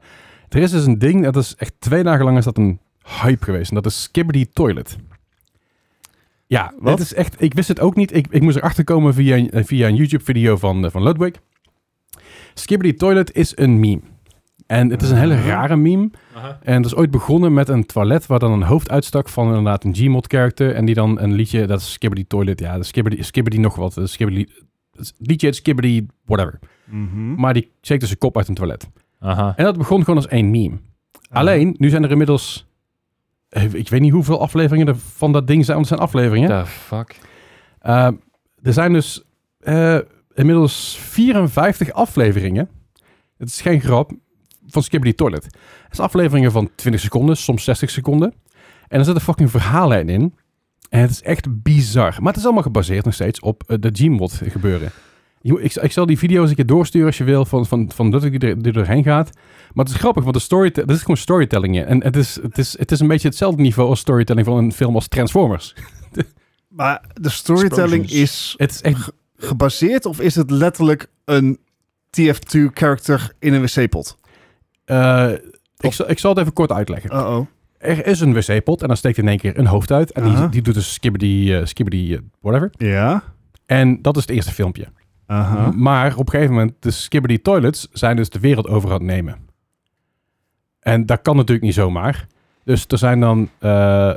S3: er is dus een ding, dat is echt twee dagen lang is dat een hype geweest. En dat is Skibberdy Toilet. Ja,
S1: Wat?
S3: dat is echt, ik wist het ook niet. Ik, ik moest erachter komen via, een- eh, via een YouTube-video van, eh, van Ludwig. Skibberdy Toilet is een meme. En het is een hele
S1: Ah.
S3: rare meme.
S2: Aha.
S3: En het is ooit begonnen met een toilet waar dan een hoofd uitstak van inderdaad een Gmod-character. En die dan een liedje, dat is Skibberdy Toilet, ja, Skibberdy, Skibberdy nog wat. eh, Skibberdy, het liedje heet Skibberdy whatever.
S1: Mhm.
S3: Maar die steekt dus zijn kop uit een toilet.
S2: Aha.
S3: En dat begon gewoon als één meme. Alleen, nu zijn er inmiddels, eh, ik weet niet hoeveel afleveringen er van dat ding zijn, want het zijn afleveringen.
S2: The fuck?
S3: Eh, er zijn dus eh, inmiddels 54 afleveringen. Het is geen grap. Van Skibberdy Toilet. Het is afleveringen van 20 seconden, soms 60 seconden. En er zit een fucking verhaallijn in. En het is echt bizar. Maar het is allemaal gebaseerd nog steeds op eh, de Gmod gebeuren. Jo, Ik, ik zal die video's een keer doorsturen als je wil, van, van, van dat ik er die er doorheen gaat. Maar het is grappig, want de story, er is gewoon storytelling in. En het is, het, is, het is een beetje hetzelfde niveau als storytelling van een film als Transformers.
S1: Maar de storytelling
S2: Explosions.
S1: is
S3: Het is echt
S1: gebaseerd of is het letterlijk een TF2-character in een wc-pot?
S3: Eh, ik,
S1: Of-
S3: zal, ik zal het even kort uitleggen.
S1: Uh-oh.
S3: Er is een wc-pot en dan steekt in één keer een hoofd uit. En die,
S1: Aha.
S3: die doet dus skibberdy, eh skibberdy eh, whatever.
S1: Ja.
S3: En dat is het eerste filmpje.
S1: Aha.
S3: Maar op een gegeven moment, de skibberdy toilets zijn dus de wereld over aan het nemen. En dat kan natuurlijk niet zomaar. Dus er zijn dan, eh, eh,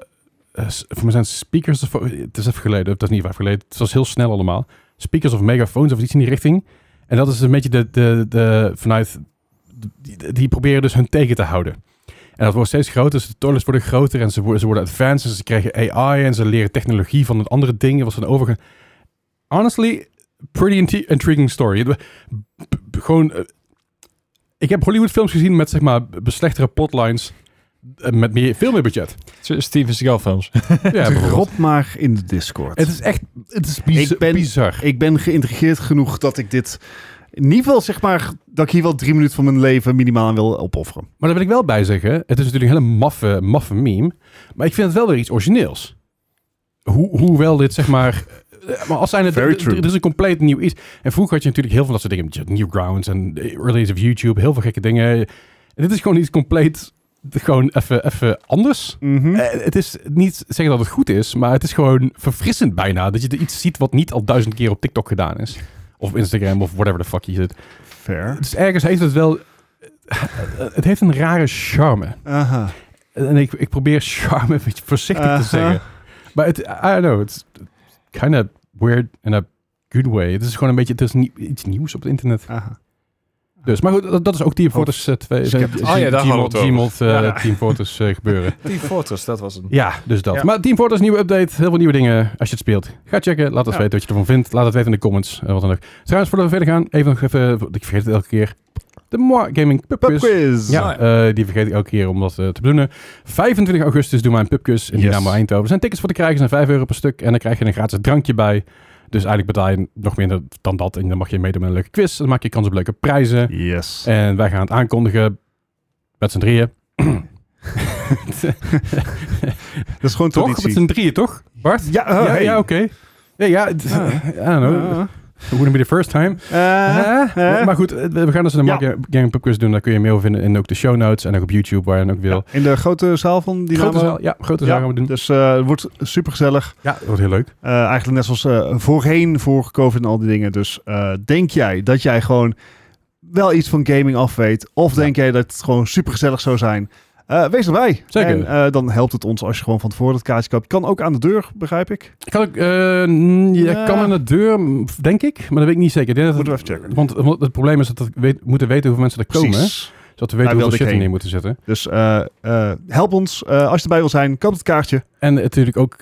S3: s- voor mij zijn het speakers, of, het is even geleden, dat is niet even geleden, het was heel snel allemaal. Speakers of megafoons of iets in die richting. En dat is een beetje de, de, de vanuit, die, die proberen dus hun tegen te houden. En dat wordt steeds groter, dus de toilets worden groter en ze worden, ze worden advanced en ze krijgen AI en ze leren technologie van een andere ding. Wat ze dan overgaan. Honestly, pretty inti- intriguing story. Het- b- b- gewoon, eh, ik heb Hollywood films gezien met zeg maar b- slechtere plotlines, eh, met meer, veel meer
S1: *laughs*
S3: budget.
S2: Zo- Steven Seagal films.
S3: ja, bijvoorbeeld.
S1: Drop maar in de Discord.
S3: Het is echt, het is biz-
S1: Ik ben-
S3: bizar.
S1: Ik ben geïntrigeerd genoeg dat ik dit... In ieder geval zeg maar dat ik hier wel drie minuten van mijn leven minimaal aan wil opofferen.
S3: Maar daar wil ik wel bij zeggen, het is natuurlijk een hele maffe, maffe meme, maar ik vind het wel weer iets origineels. Hoe, hoewel dit zeg maar... eh, Maar als zijn het,
S1: Very
S3: d- d-
S1: true.
S3: er is een compleet nieuw iets. En vroeger had je natuurlijk heel veel dat soort dingen. Newgrounds en de early days of YouTube. Heel veel gekke dingen. En dit is gewoon iets compleet... Gewoon even- even anders. Eh, het is niet zeggen dat het goed is, maar het is gewoon verfrissend bijna. Dat je er iets ziet wat niet al duizend keer op TikTok gedaan is. Of Instagram of whatever the fuck je zit.
S1: Fair.
S3: Dus ergens heeft het wel. eh, Het heeft een rare charme.
S1: Aha.
S3: En ik, ik probeer charme een beetje voorzichtig
S2: Uh-huh.
S1: Aha.
S3: te zeggen. Maar het, I don't know, it's kind of weird in a good way. Het is gewoon een beetje, het is nie- iets nieuws op het internet.
S1: Aha.
S3: Dus, maar goed, dat, dat is ook eh, Team Fortress 2.
S1: Sceptisch.
S2: Oh ja, daar hadden we het over. Ja.
S3: Team Fortress eh,
S2: *laughs*
S3: gebeuren.
S2: Team Ah, Fortress, dat was een...
S3: Ja, dus dat.
S1: Ja.
S3: Maar Team Fortress, nieuwe update. Heel veel nieuwe dingen als je het speelt. Ga checken. Laat ons
S1: Ja.
S3: weten wat je ervan vindt. Laat het weten in de comments. eh, wat dan ook. Trouwens, voordat we verder gaan, even nog even... want Ik vergeet het elke keer. De Moi Gaming Pub Quiz.
S1: Pubquiz.
S3: Ja, eh, die vergeet ik elke keer om dat eh, te bedoelen. 25 augustus doen wij een pubquiz in
S1: Yes.
S3: Dynamo Eindhoven. Er zijn tickets voor te krijgen, zijn 5 euro per stuk. En dan krijg je een gratis drankje bij. Dus eigenlijk betaal je nog minder dan dat. En dan mag je meedoen met een leuke quiz. Dan maak je kans op leuke prijzen.
S1: Yes.
S3: En wij gaan het aankondigen met z'n drieën.
S1: dat is gewoon
S3: Toch? Met
S1: traditie.
S3: z'n drieën, toch? Bart?
S1: Ja, oh,
S3: ja,
S1: hey.
S3: ja, oké. Nee, ja, het-
S1: Ah.
S3: I don't know.
S1: Ah.
S3: It wouldn't be the first time.
S1: Eh,
S3: Hè?
S1: hè?
S3: Eh, Maar goed, we we gaan dus een
S1: Ja.
S3: Mark Gang Pub Quiz doen. Daar kun je meer over vinden. En ook de show notes. En ook op YouTube, waar je dan ook wil.
S1: in de grote zaal van die
S3: grote zaal. Ja, grote zaal gaan we doen.
S1: Dus eh, het wordt supergezellig.
S3: Ja, dat wordt heel leuk.
S1: Eh, eigenlijk net zoals eh, voorheen, voor COVID en al die dingen. Dus eh, denk jij dat jij gewoon wel iets van gaming af weet? Of
S3: Ja.
S1: denk jij dat het gewoon supergezellig zou zijn? Eh, wees erbij.
S3: Zeker.
S1: En eh, dan helpt het ons als je gewoon van tevoren het kaartje koopt. Kan ook aan de deur, begrijp ik.
S3: Ik kan ook, eh, mm, je
S1: Ja.
S3: kan aan de deur, mm, denk ik, maar dat weet ik niet zeker. Ik denk dat het-
S1: Moeten we even checken.
S3: want, want het probleem is dat we weet- moeten weten hoeveel mensen er komen.
S1: Precies.
S3: Zodat we weten
S1: Daar wilde
S3: hoeveel
S1: ik
S3: shit er
S1: heen.
S3: neer moeten zetten.
S1: Dus eh, eh, help ons. eh, als je erbij wil zijn, koop het kaartje.
S3: En natuurlijk ook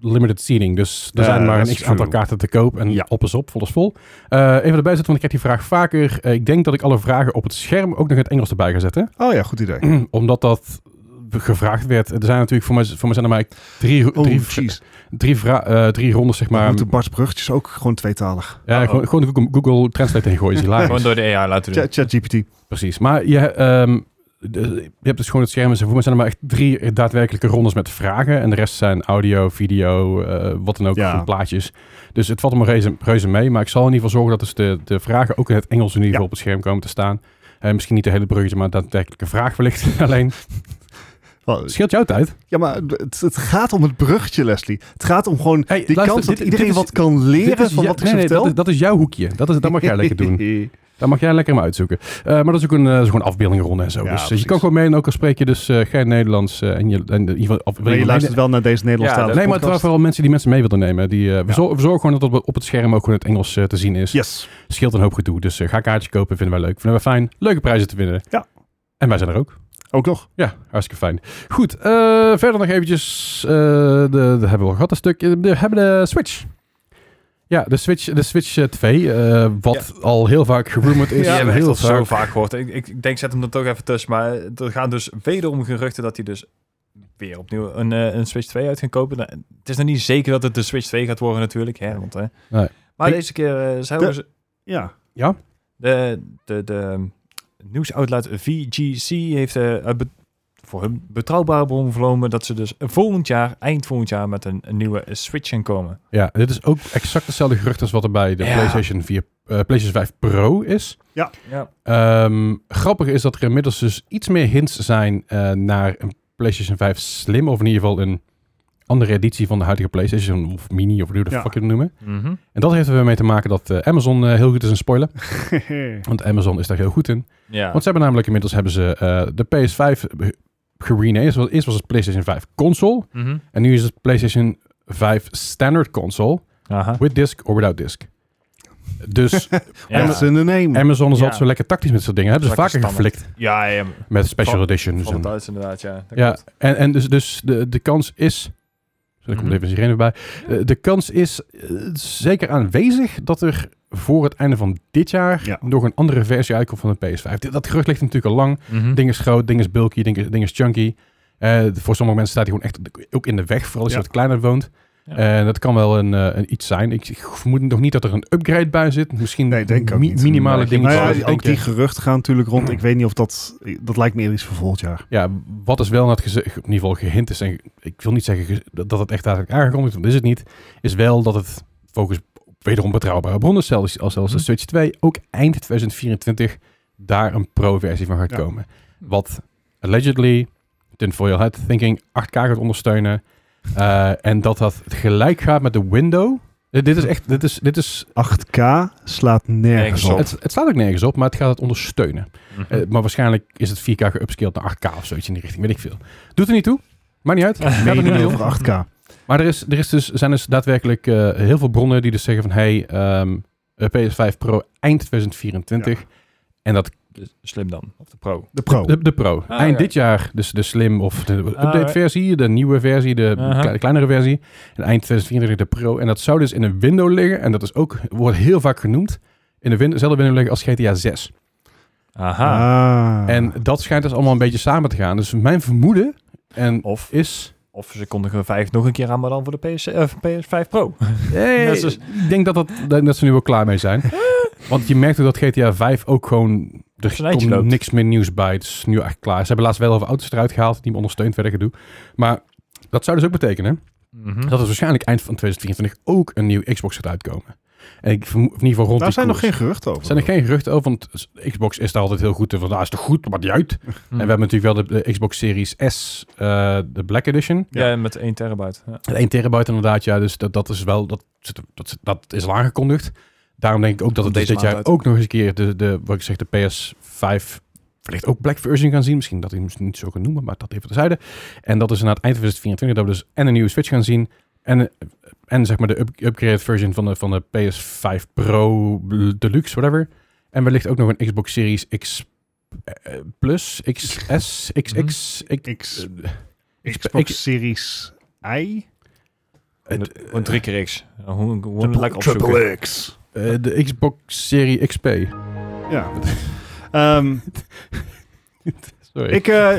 S3: limited seating. Dus er
S1: Ja,
S3: zijn maar
S1: dat
S3: een
S1: is
S3: x-aantal
S1: true.
S3: kaarten te koop. En
S1: Ja.
S3: op is op, vol is vol. Eh, even erbij zetten, want ik krijg die vraag vaker. Eh, ik denk dat ik alle vragen op het scherm ook nog in het Engels erbij ga
S1: *clears throat*
S3: zetten.
S1: Oh ja, goed idee.
S3: Omdat dat gevraagd werd. Er zijn natuurlijk, voor mij, voor mij zijn er maar drie,
S1: Oh,
S3: drie,
S1: jeez.
S3: drie, vra- eh, drie rondes, zeg
S1: Maar
S3: maar.
S1: moeten Bart's bruggetjes ook gewoon tweetalig.
S3: Ja,
S2: Uh-oh.
S3: gewoon, gewoon de Google, Google Translate ingooien.
S1: *laughs*
S3: Is hilarisch.
S2: Gewoon door de AI laten doen.
S1: Chat- ChatGPT.
S3: Precies. Maar je, ehm, de- je hebt dus gewoon het scherm. Dus voor mij zijn er maar echt drie daadwerkelijke rondes met vragen. En de rest zijn audio, video, eh, wat dan ook,
S1: Ja.
S3: van plaatjes. Dus het valt me reuze, reuze mee. Maar ik zal in ieder geval zorgen dat dus de, de vragen ook in het Engels in ieder geval
S1: Ja.
S3: op het scherm komen te staan. Eh, misschien niet de hele bruggetje, maar daadwerkelijke vraag wellicht. *laughs* Alleen,
S1: Wel,
S3: het scheelt jouw tijd.
S1: Ja, maar het, het gaat om het bruggetje, Leslie. Het gaat om gewoon
S3: Hey,
S1: die
S3: luister,
S1: kans dat
S3: dit-
S1: iedereen
S3: dit is-
S1: wat kan leren
S3: Dit is
S1: van
S3: ja-
S1: wat ik
S3: nee,
S1: ze
S3: nee,
S1: vertel.
S3: dat, is, dat is jouw hoekje. Dat, is, dat mag jij lekker
S1: *laughs*
S3: doen. Dan mag jij lekker hem uitzoeken. Eh, maar dat is ook een, eh, dat is gewoon een afbeeldingenronde en zo.
S1: Ja,
S3: dus eh, je
S1: precies.
S3: kan gewoon mee en ook al spreek je dus eh, geen Nederlands. eh, en je, en, in ieder geval, of, wil
S1: Maar je luistert wel naar deze
S2: Ja,
S1: Nederlandstalige
S3: Nee, maar het waren
S1: podcast.
S3: vooral mensen die mensen mee wilden nemen. Die, eh, we,
S1: Ja.
S3: zor- we zorgen gewoon dat het op het scherm ook gewoon het Engels eh, te zien is.
S1: Yes.
S3: Scheelt een hoop gedoe. Dus eh, ga kaartjes kopen, vinden wij leuk. Vinden wij fijn. Leuke prijzen te winnen.
S1: Ja.
S3: En wij zijn er ook.
S1: Ook nog.
S3: Ja, hartstikke fijn. Goed, eh, verder nog eventjes. eh, de, de hebben we al gehad een stuk. Eh, We hebben de Switch. Ja, de Switch, de Switch eh, 2. eh, wat al heel vaak gerumored is.
S2: Die hebben we echt
S3: heel
S2: al zo
S3: vaak.
S2: vaak gehoord. Ik, ik, ik denk, zet hem er toch even tussen. Maar er gaan dus wederom geruchten dat hij dus weer opnieuw een, eh, een Switch 2 uit gaan kopen. Nou, het is nog niet zeker dat het de Switch 2 gaat worden natuurlijk. Hè, want, hè.
S3: Nee.
S2: Maar
S3: Ik-
S2: deze keer eh zouden
S1: De-
S2: ze
S1: *laughs* Ja.
S3: Ja?
S2: de, de, de nieuwsoutlet VGC heeft eh, eh, be- voor hun betrouwbare bron verlomen dat ze dus volgend jaar, eind volgend jaar, met een, een nieuwe Switch gaan komen.
S3: Ja, dit is ook exact hetzelfde gerucht als wat er bij de
S2: Ja.
S3: PlayStation, 4, eh, PlayStation 5 Pro is.
S2: Ja.
S3: Ehm, grappig is dat er inmiddels dus iets meer hints zijn eh, naar een PlayStation 5 Slim. Of in ieder geval een andere editie van de huidige PlayStation. Of Mini, of hoe je de
S1: Ja.
S3: fuck je het noemen.
S2: Mhm.
S3: En dat heeft er weer mee te maken dat eh, Amazon eh, heel goed is in spoilen. Want Amazon is daar heel goed in.
S2: ja.
S3: Want ze hebben namelijk inmiddels hebben ze, eh, de PS5 ge- gerenamed. Zoals- Eerst was het PlayStation 5 console.
S2: Mhm.
S3: En nu is het PlayStation 5 standard console.
S2: Aha.
S3: With disc or without disc. Dus
S2: *laughs* Ja.
S1: That's in the name.
S3: Amazon is
S2: Ja.
S3: altijd zo lekker tactisch met zo'n dingen. Hebben ze
S2: Lekker
S3: vaker
S2: standaard.
S3: geflikt
S2: Ja, ja,
S3: met special
S2: Van-
S3: editions.
S2: van
S3: en-
S2: het Duits inderdaad, ja. Dat
S3: Ja,
S2: klopt.
S3: en, en dus, dus de, de kans is. Zo, daar komt
S2: Mhm.
S3: even een sirene bij. Eh, De kans is eh, zeker aanwezig dat er voor het einde van dit jaar
S1: Ja.
S3: nog een andere versie uitkomt van de PS5. Dit- Dat gerucht ligt natuurlijk al
S1: Mhm.
S3: lang.
S2: Mhm.
S3: Ding is groot, ding is bulky, ding is, ding is chunky. Eh, voor sommige mensen staat hij gewoon echt ook in de weg, vooral als je
S1: Ja.
S3: wat kleiner woont.
S2: Ja.
S3: En dat kan wel een, eh, een iets zijn. Ik, ik vermoed nog niet dat er een upgrade bij zit. Misschien
S1: Nee, denk ik ook niet.
S3: minimale
S2: Nee,
S3: dingen.
S1: Nou
S3: zoals
S1: ja,
S3: ik
S1: ook
S3: denk,
S1: die
S3: eh,
S1: geruchten gaan natuurlijk rond. Ik weet niet of dat... Dat lijkt me eerder iets voor volgend jaar.
S3: Ja, wat is wel net geze- in ieder geval gehint is, en ge- ik wil niet zeggen ge- dat het echt daadwerkelijk aangekondigd is, want is het niet, is wel dat het focus op wederom betrouwbare bronnen, zelfs als zelfs de
S2: Mhm.
S3: Switch 2, ook eind 2024 daar een pro-versie van gaat
S1: Ja.
S3: komen. Wat allegedly tinfoil hat thinking 8K gaat ondersteunen eh, en dat dat gelijk gaat met de window. Eh, Dit is echt, dit is, dit is,
S1: 8K slaat nergens
S2: Nergens op.
S1: op.
S3: het, het slaat ook nergens op, maar het gaat het ondersteunen.
S2: Mhm.
S3: Eh, maar waarschijnlijk is het 4K geupscaled naar 8K of zoiets in die richting, weet ik veel. Doet er niet toe. Maakt niet uit. Gaat er niet
S1: Menen
S3: om.
S1: over 8K.
S3: Maar er, is, er is dus, zijn dus daadwerkelijk eh, heel veel bronnen die dus zeggen van... hey, ehm, eh, PS5 Pro eind 2024. En dat
S2: Dus slim dan, of de pro.
S1: De pro.
S3: de, de Pro.
S2: Ah,
S3: eind
S2: oké.
S3: dit jaar dus de Slim of de
S2: alright.
S3: update-versie, de nieuwe versie, de
S2: Aha.
S3: kle- kleinere versie. En eind 2024 de Pro. En dat zou dus in een window liggen. En dat is ook, wordt heel vaak genoemd. In de win- dezelfde window liggen als GTA 6.
S2: Aha.
S1: Ah.
S3: En dat schijnt dus allemaal een beetje samen te gaan. Dus mijn vermoeden en
S2: Of,
S3: is...
S2: of ze kondigen 5 nog een keer aan, maar dan voor de PS, eh, PS5 Pro.
S3: Hey,
S2: is dus-
S3: ik denk dat, dat, dat ze nu wel klaar mee
S1: *laughs*
S3: zijn. Want je merkt ook dat GTA 5 ook gewoon... Er
S2: Zijn eitje
S3: komt
S2: loopt.
S3: niks meer nieuws bij. Het is nu echt klaar. Ze hebben laatst wel over auto's eruit gehaald. Die me ondersteund verder gedoe. Maar dat zou dus ook betekenen...
S2: Mhm.
S3: dat er waarschijnlijk eind van 2024 ook een nieuw Xbox gaat uitkomen. En ik vermoed in ieder geval rond
S1: Daar
S3: die
S1: zijn nog
S3: koers.
S1: geen geruchten over.
S3: zijn er geen geruchten over, want Xbox is daar altijd heel goed in. Van, daar is toch goed, maar die uit.
S2: Mhm.
S3: En
S1: Hmm.
S3: we hebben natuurlijk wel de, de Xbox Series S, eh, de Black Edition.
S2: ja, met 1 terabyte. Ja.
S3: 1 terabyte inderdaad, ja. Dus dat, dat is wel, dat, zit- dat, zit- dat is al aangekondigd. Daarom denk ik ook dat het
S2: Komt
S3: dus
S2: deze
S3: dit jaar
S2: maand uit.
S3: ook nog eens een keer de, de, wat ik zeg, de PS5 wellicht ook Black Version gaan zien. Misschien dat hij hem dus niet zo kan noemen, maar dat even terzijde. En dat is aan het eind van 2024 dat we dus en een nieuwe Switch gaan zien. En, en zeg maar de up upgraded version van de, van de PS5 Pro Deluxe, whatever. En wellicht ook nog een Xbox Series X eh, Plus, XS, XX, X,
S1: X, Xbox Series I?
S2: Gewoon drie keer X. Gewoon gewoon
S1: Triple-
S2: lekker opzoeken.
S1: Triple X.
S3: eh, de Xbox Series XP.
S1: Ja. Ehm,
S3: Sorry.
S1: ik, eh,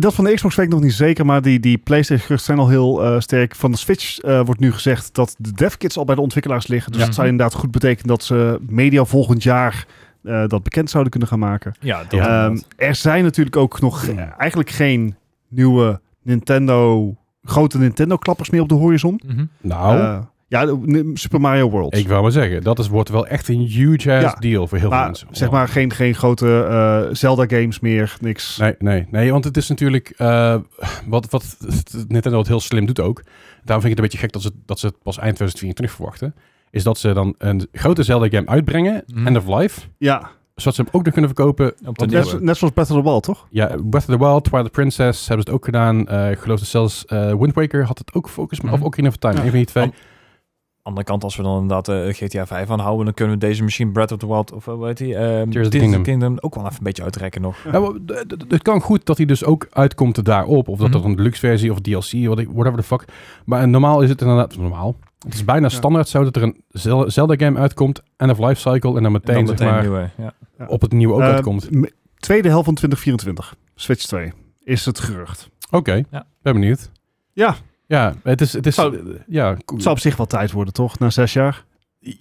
S1: dat van de Xbox weet ik nog niet zeker, maar die, die PlayStation-geruchten zijn al heel eh, sterk. Van de Switch eh, wordt nu gezegd dat de devkits al bij de ontwikkelaars liggen. Dus
S2: Ja.
S1: dat zou inderdaad goed betekenen dat ze media volgend jaar eh, dat bekend zouden kunnen gaan maken.
S2: Ja, dat
S1: Ehm,
S2: inderdaad.
S1: er zijn natuurlijk ook nog eh, eigenlijk geen nieuwe Nintendo, grote Nintendo-klappers meer op de horizon.
S2: Mhm.
S3: nou,
S1: Eh, ja, de- ne- Super Mario World.
S3: ik wou maar zeggen, dat is, wordt wel echt een huge ass
S1: Ja,
S3: deal voor heel veel
S1: maar
S3: mensen.
S1: zeg maar geen, geen grote eh, Zelda-games meer, niks.
S3: Nee, nee, nee, want het is natuurlijk eh, wat, wat Nintendo het heel slim doet ook. Daarom vind ik het een beetje gek dat ze, dat ze het pas eind 2024 verwachten. Is dat ze dan een grote Zelda-game uitbrengen,
S2: Mhm.
S3: end of life,
S1: Ja,
S3: zodat ze hem ook nog kunnen verkopen.
S2: Op de
S3: Want
S1: net,
S2: nieuwe.
S1: net zoals Battle of the Wild, toch?
S3: Ja, Breath of the Wild, Twilight Princess hebben ze het ook gedaan. Eh, ik geloof dat zelfs eh, Wind Waker had het ook focus, maar
S2: Mhm.
S3: of Ocarina of Time,
S1: Ja.
S3: een van die twee.
S2: Andere kant, als we dan inderdaad eh, GTA 5 aanhouden, dan kunnen we deze misschien Breath of the Wild of eh, hoe heet die? ehm
S3: Tears of the
S2: Tears of
S3: Kingdom.
S2: the Kingdom ook wel even een beetje uitrekken nog.
S3: Ja, maar Nou, d- d- d- het kan goed dat hij dus ook uitkomt daarop. Of dat
S2: Mhm.
S3: er een deluxe versie of DLC, wat ik- whatever the fuck. Maar eh, normaal is het inderdaad... Normaal. Het is bijna
S1: Ja.
S3: standaard zo dat er een Zel- Zelda-game uitkomt. End of life cycle. En dan
S2: En
S3: meteen,
S2: dan
S3: zeg
S2: meteen
S3: maar,
S2: nieuwe. Ja.
S1: nieuw.
S3: op het nieuwe ook
S1: Eh,
S3: uitkomt.
S1: m- Tweede helft van 2024, Switch 2, is het gerucht.
S3: Oké,
S2: Ja.
S3: ben benieuwd.
S1: Ja.
S3: Ja, het is... Het is
S1: Zou-
S3: ja, cool.
S1: Het zou op zich wel tijd worden, toch? Na zes jaar.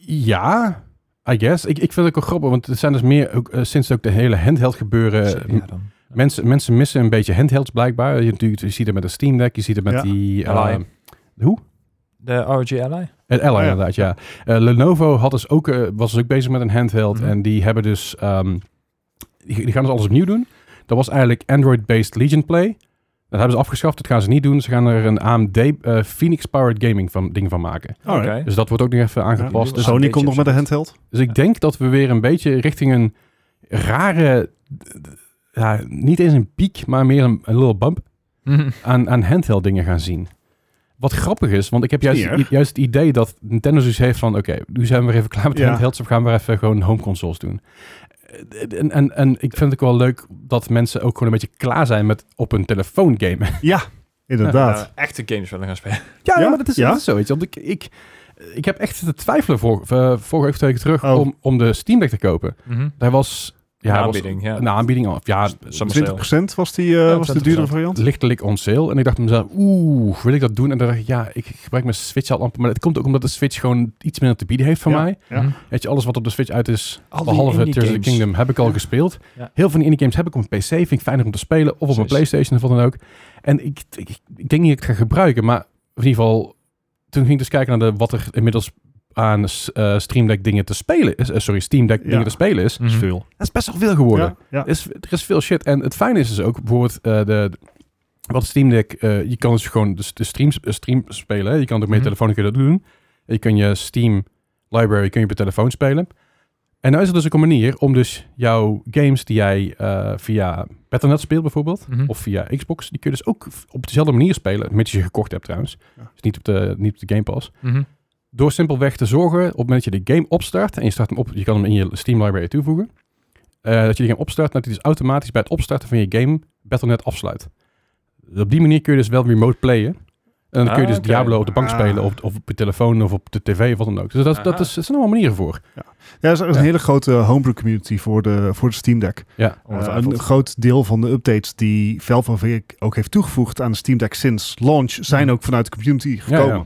S3: ja, I guess. Ik, ik vind het ook wel grappig, want het zijn dus meer... Ook, eh, sinds ook de hele handheld gebeuren...
S2: ja, dan.
S3: Mensen, mensen missen een beetje handhelds blijkbaar. Je, natuurlijk- je ziet het met de Steam Deck, je ziet het met
S1: Ja.
S3: die... eh,
S2: Ally.
S3: hoe?
S2: De ROG Ally?
S3: Het Ally
S1: Oh, ja.
S3: inderdaad, ja. Eh, Lenovo had dus ook, eh, was dus ook bezig met een handheld.
S2: Mhm.
S3: En die hebben dus... ehm, die, die gaan dus alles opnieuw doen. Dat was eigenlijk Android-based Legion Play. Dat hebben ze afgeschaft. Dat gaan ze niet doen. Ze gaan er een AMD eh, Phoenix-powered gaming van, ding van maken.
S1: Alright.
S2: Oké.
S3: Dus dat wordt ook nog even aangepast.
S2: Ja.
S3: dus,
S1: Sony
S2: AMD
S1: komt nog met een handheld. *laughs*
S3: dus ik denk dat we weer een beetje richting een rare... Ja, niet eens een piek, maar meer een, een little bump
S2: Mhm.
S3: aan, aan handheld dingen gaan zien. Wat grappig is, want ik heb juist,
S1: Niet erg.
S3: juist het idee dat Nintendo dus heeft van... Oké, nu zijn we weer even klaar met
S1: Ja.
S3: handhelds. We gaan weer even gewoon home consoles doen. Eh, En, en, en ik vind het ook wel leuk dat mensen ook gewoon een beetje klaar zijn met op hun telefoon gamen. *laughs*
S1: Inderdaad.
S2: *laughs* Ja, Eh, echte games willen gaan spelen.
S3: Ja,
S1: Ja?
S3: maar dat is,
S1: Ja?
S3: dat is zo. Weet je, want ik, ik, ik heb echt te twijfelen voor, voor- vorige week of twee weken terug
S1: Oh.
S3: om, om de Steam Deck te kopen. Daar was... Ja,
S2: Een
S3: was
S2: aanbieding, ja.
S3: Een aanbieding of ja,
S2: Summer sale.
S1: 20% was, die, eh,
S2: Ja,
S1: was de
S2: 20%.
S1: duurdere variant.
S3: lichtelijk on sale. En ik dacht mezelf, oeh, wil ik dat doen? En dan dacht ik, ja, ik gebruik mijn Switch al amper. Maar het komt ook omdat de Switch gewoon iets minder te bieden heeft van
S1: Ja.
S3: mij.
S1: Ja.
S2: Mhm.
S3: Weet je, alles wat op de Switch uit is,
S2: Al die
S3: behalve
S2: indie
S3: Tears of the
S2: games.
S3: Kingdom, heb ik al gespeeld.
S2: Ja.
S3: Heel veel van die indie games heb ik op mijn PC, vind ik fijner om te spelen. Of op mijn
S2: Precies.
S3: Playstation of wat dan ook. En ik, ik, ik denk niet dat ik het ga gebruiken, maar in ieder geval... Toen ging ik dus kijken naar de, wat er inmiddels aan eh, Stream Deck dingen te spelen is. Eh, sorry, Steam Deck
S1: Ja.
S3: dingen te spelen is.
S2: Mhm.
S1: is veel.
S3: Dat is best wel veel geworden.
S1: Ja, ja.
S3: Er is, er is veel shit. En het fijne is dus ook, bijvoorbeeld, eh, de, de- wat Steam Deck, eh, je kan dus gewoon de, de streams, eh, stream spelen. hè. Je kan het ook met je
S2: Mhm.
S3: telefoon kun je dat doen. Je kan je Steam library kun je op je telefoon spelen. En nou is er dus ook een manier om dus jouw games die jij eh, via Battle.net speelt bijvoorbeeld,
S2: Mhm.
S3: of via Xbox, die kun je dus ook v- op dezelfde manier spelen, mits je ze gekocht hebt trouwens.
S1: Ja.
S3: Dus niet op, de, niet op de Game Pass.
S2: Mhm.
S3: Door simpelweg te zorgen, op het moment dat je de game opstart, en je start hem op, je kan hem in je Steam library toevoegen, eh, dat je de game opstart, en dat hij dus automatisch bij het opstarten van je game Battle.net afsluit. Dus op die manier kun je dus wel remote playen. En dan kun je
S2: Ah,
S3: dus
S2: oké.
S3: Diablo op de bank
S1: Ah.
S3: spelen, of, of op je telefoon, of op de tv, of wat dan ook. Dus dat, dat,
S2: Aha.
S3: is, dat zijn allemaal manieren voor.
S1: Ja, er is een
S3: Ja. Oh,
S1: hele grote eh, homebrew community voor de, voor de Steam Deck.
S3: Ja.
S1: Eh,
S2: Ongetwijfeld.
S1: een groot deel van de updates die Valve en Vic ook heeft toegevoegd aan de Steam Deck sinds launch zijn
S2: Mhm.
S1: ook vanuit de community
S3: Ja,
S1: gekomen.
S3: ja.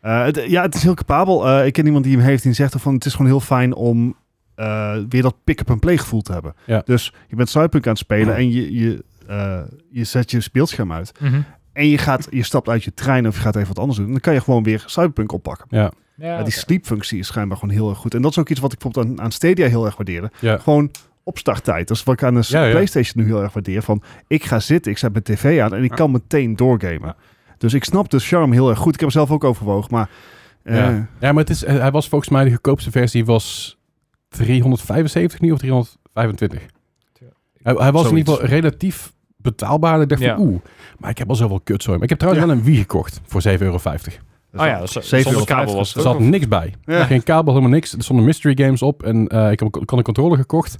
S1: Eh, het, ja, het is heel capabel. Eh, ik ken iemand die hem heeft die zegt van het is gewoon heel fijn om eh, weer dat pick-up en play gevoel te hebben.
S3: Ja.
S1: Dus je bent Cyberpunk aan het spelen
S3: Ja.
S1: en je, je, eh, je zet je speelscherm uit.
S2: Mhm.
S1: En je, gaat, je stapt uit je trein of je gaat even wat anders doen. Dan kan je gewoon weer Cyberpunk oppakken.
S3: Ja.
S2: Ja,
S1: Ja, die
S2: oké.
S1: sleepfunctie is schijnbaar gewoon heel erg goed. En dat is ook iets wat ik bijvoorbeeld aan, aan Stadia heel erg waardeerde.
S3: Ja.
S1: Gewoon opstarttijd. Dat is wat ik aan de
S3: Ja, ja.
S1: PlayStation nu heel erg waardeer. Van, ik ga zitten, ik zet mijn tv aan en ik
S3: Ja.
S1: kan meteen doorgamen. Dus ik snap de charme heel erg goed. Ik heb hem zelf ook overwogen, maar... eh,
S3: Ja. Ja, maar het is, hij was volgens mij de goedkoopste versie was 375 nu of 325.
S2: Ik
S3: Hij, hij was in
S1: Zoiets.
S3: ieder geval relatief betaalbaar. Ik dacht
S2: Ja.
S3: van, oeh, maar ik heb al zoveel kutzooi. Maar ik heb trouwens wel een Wii gekocht voor 7,50 euro.
S2: Oh ja, dat is-
S1: 7,50
S2: zonder kabel was
S3: Er
S2: het
S3: zat
S2: ook.
S3: niks bij.
S1: Ja.
S3: Geen kabel, helemaal niks. Er stonden mystery games op en eh, ik heb ik had een controller gekocht.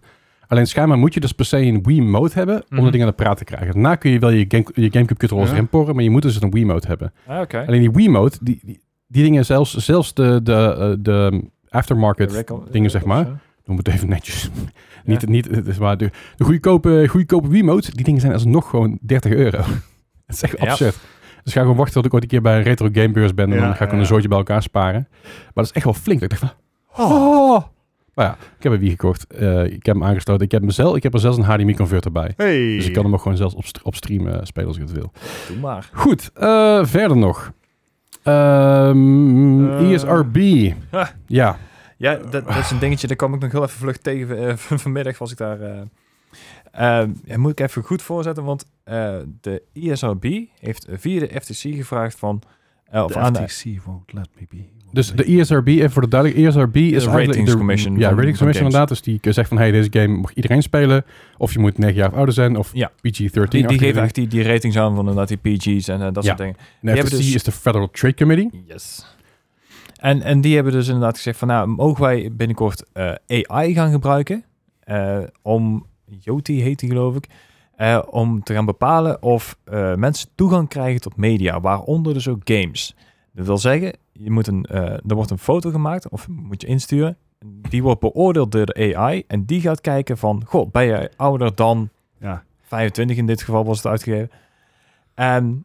S3: Alleen schijnbaar moet je dus per se een Wii-mode hebben om
S2: Mhm.
S3: de dingen aan de praat te krijgen. Daarna kun je wel je, game, je GameCube-controllers
S1: Ja.
S3: erin porren, maar je moet dus een Wii-mode hebben.
S2: Ah, Oké.
S3: Alleen die Wiimote, die, die, die dingen zelfs, zelfs de, de, eh, de aftermarket,
S2: De recon-
S3: dingen, zeg maar.
S2: Ja.
S3: noem het even netjes. *laughs* niet, niet, het is maar de, de goedkope, goedkope Wiimote, die dingen zijn alsnog gewoon 30 euro. *laughs* Het is echt
S2: Ja.
S3: absurd. Dus ik ga gewoon wachten tot ik ooit een keer bij een retro gamebeurs ben en
S1: Ja,
S3: dan ga ik gewoon
S1: ja.
S3: een zootje bij elkaar sparen. Maar dat is echt wel flink. Ik dacht van, oh. Maar ja, ik heb een Wii gekocht. Eh, ik heb hem aangesloten. Ik heb, hem zelf, ik heb er zelfs een HDMI-converter bij.
S1: Hey.
S3: Dus ik kan hem ook gewoon zelfs op, st- op stream eh, spelen als ik het wil.
S2: Doe maar.
S3: Goed, eh, verder nog. Ehm
S1: Eh.
S3: ESRB.
S2: Ha.
S3: Ja.
S2: Ja, dat, dat is een dingetje. Daar kwam ik nog heel even vlug tegen. eh, *laughs* van- vanmiddag was ik daar. eh eh, ja, moet ik even goed voorzetten, want eh, de ISRB heeft via de FTC gevraagd van... eh, of aan de-
S1: FTC won't let me be.
S3: Dus de ESRB, even voor de duidelijkheid, E ESRB is
S2: De
S3: eigenlijk
S2: Ratings
S3: de-
S2: Commission
S3: Ja,
S2: van-
S3: Ratings
S2: van
S3: Commission inderdaad. Dus die zegt van, hey, deze game mag iedereen spelen. Of je moet 9 jaar of ouder zijn, of
S2: Ja.
S3: PG-13.
S2: die, die geven echt die, die ratings aan van inderdaad die PG's en eh,
S3: Ja.
S2: dat soort dingen.
S3: De FTC
S2: hebben dus-
S3: is de Federal Trade Committee.
S2: Yes. En, en die hebben dus inderdaad gezegd van... Nou, mogen wij binnenkort eh, AI gaan gebruiken? eh, om... Joti heet die geloof ik. eh, om te gaan bepalen of eh, mensen toegang krijgen tot media. Waaronder dus ook games. Dat wil zeggen, je moet een, eh, er wordt een foto gemaakt of moet je insturen. Die wordt beoordeeld door de AI. En die gaat kijken van... Goh, ben jij ouder dan
S1: Ja.
S2: 25 in dit geval was het uitgegeven. En,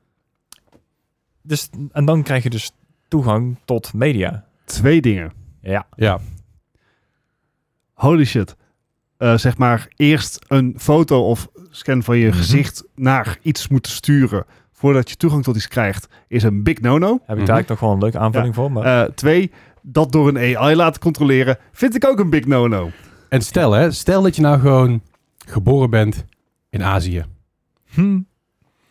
S2: dus, en dan krijg je dus toegang tot media.
S1: Twee dingen.
S2: Ja,
S3: Ja,
S1: Holy shit. Eh, zeg maar eerst een foto of scan van je
S3: Mhm.
S1: gezicht naar iets moeten sturen voordat je toegang tot iets krijgt, is een big no-no.
S2: heb
S3: Mhm.
S2: ik daar ook nog wel een leuke aanvulling voor.
S3: Oh.
S2: Maar
S1: Eh, twee, dat door een AI laten controleren, vind ik ook een big no-no.
S3: en stel hè, stel dat je nou gewoon geboren bent in Azië.
S2: hm,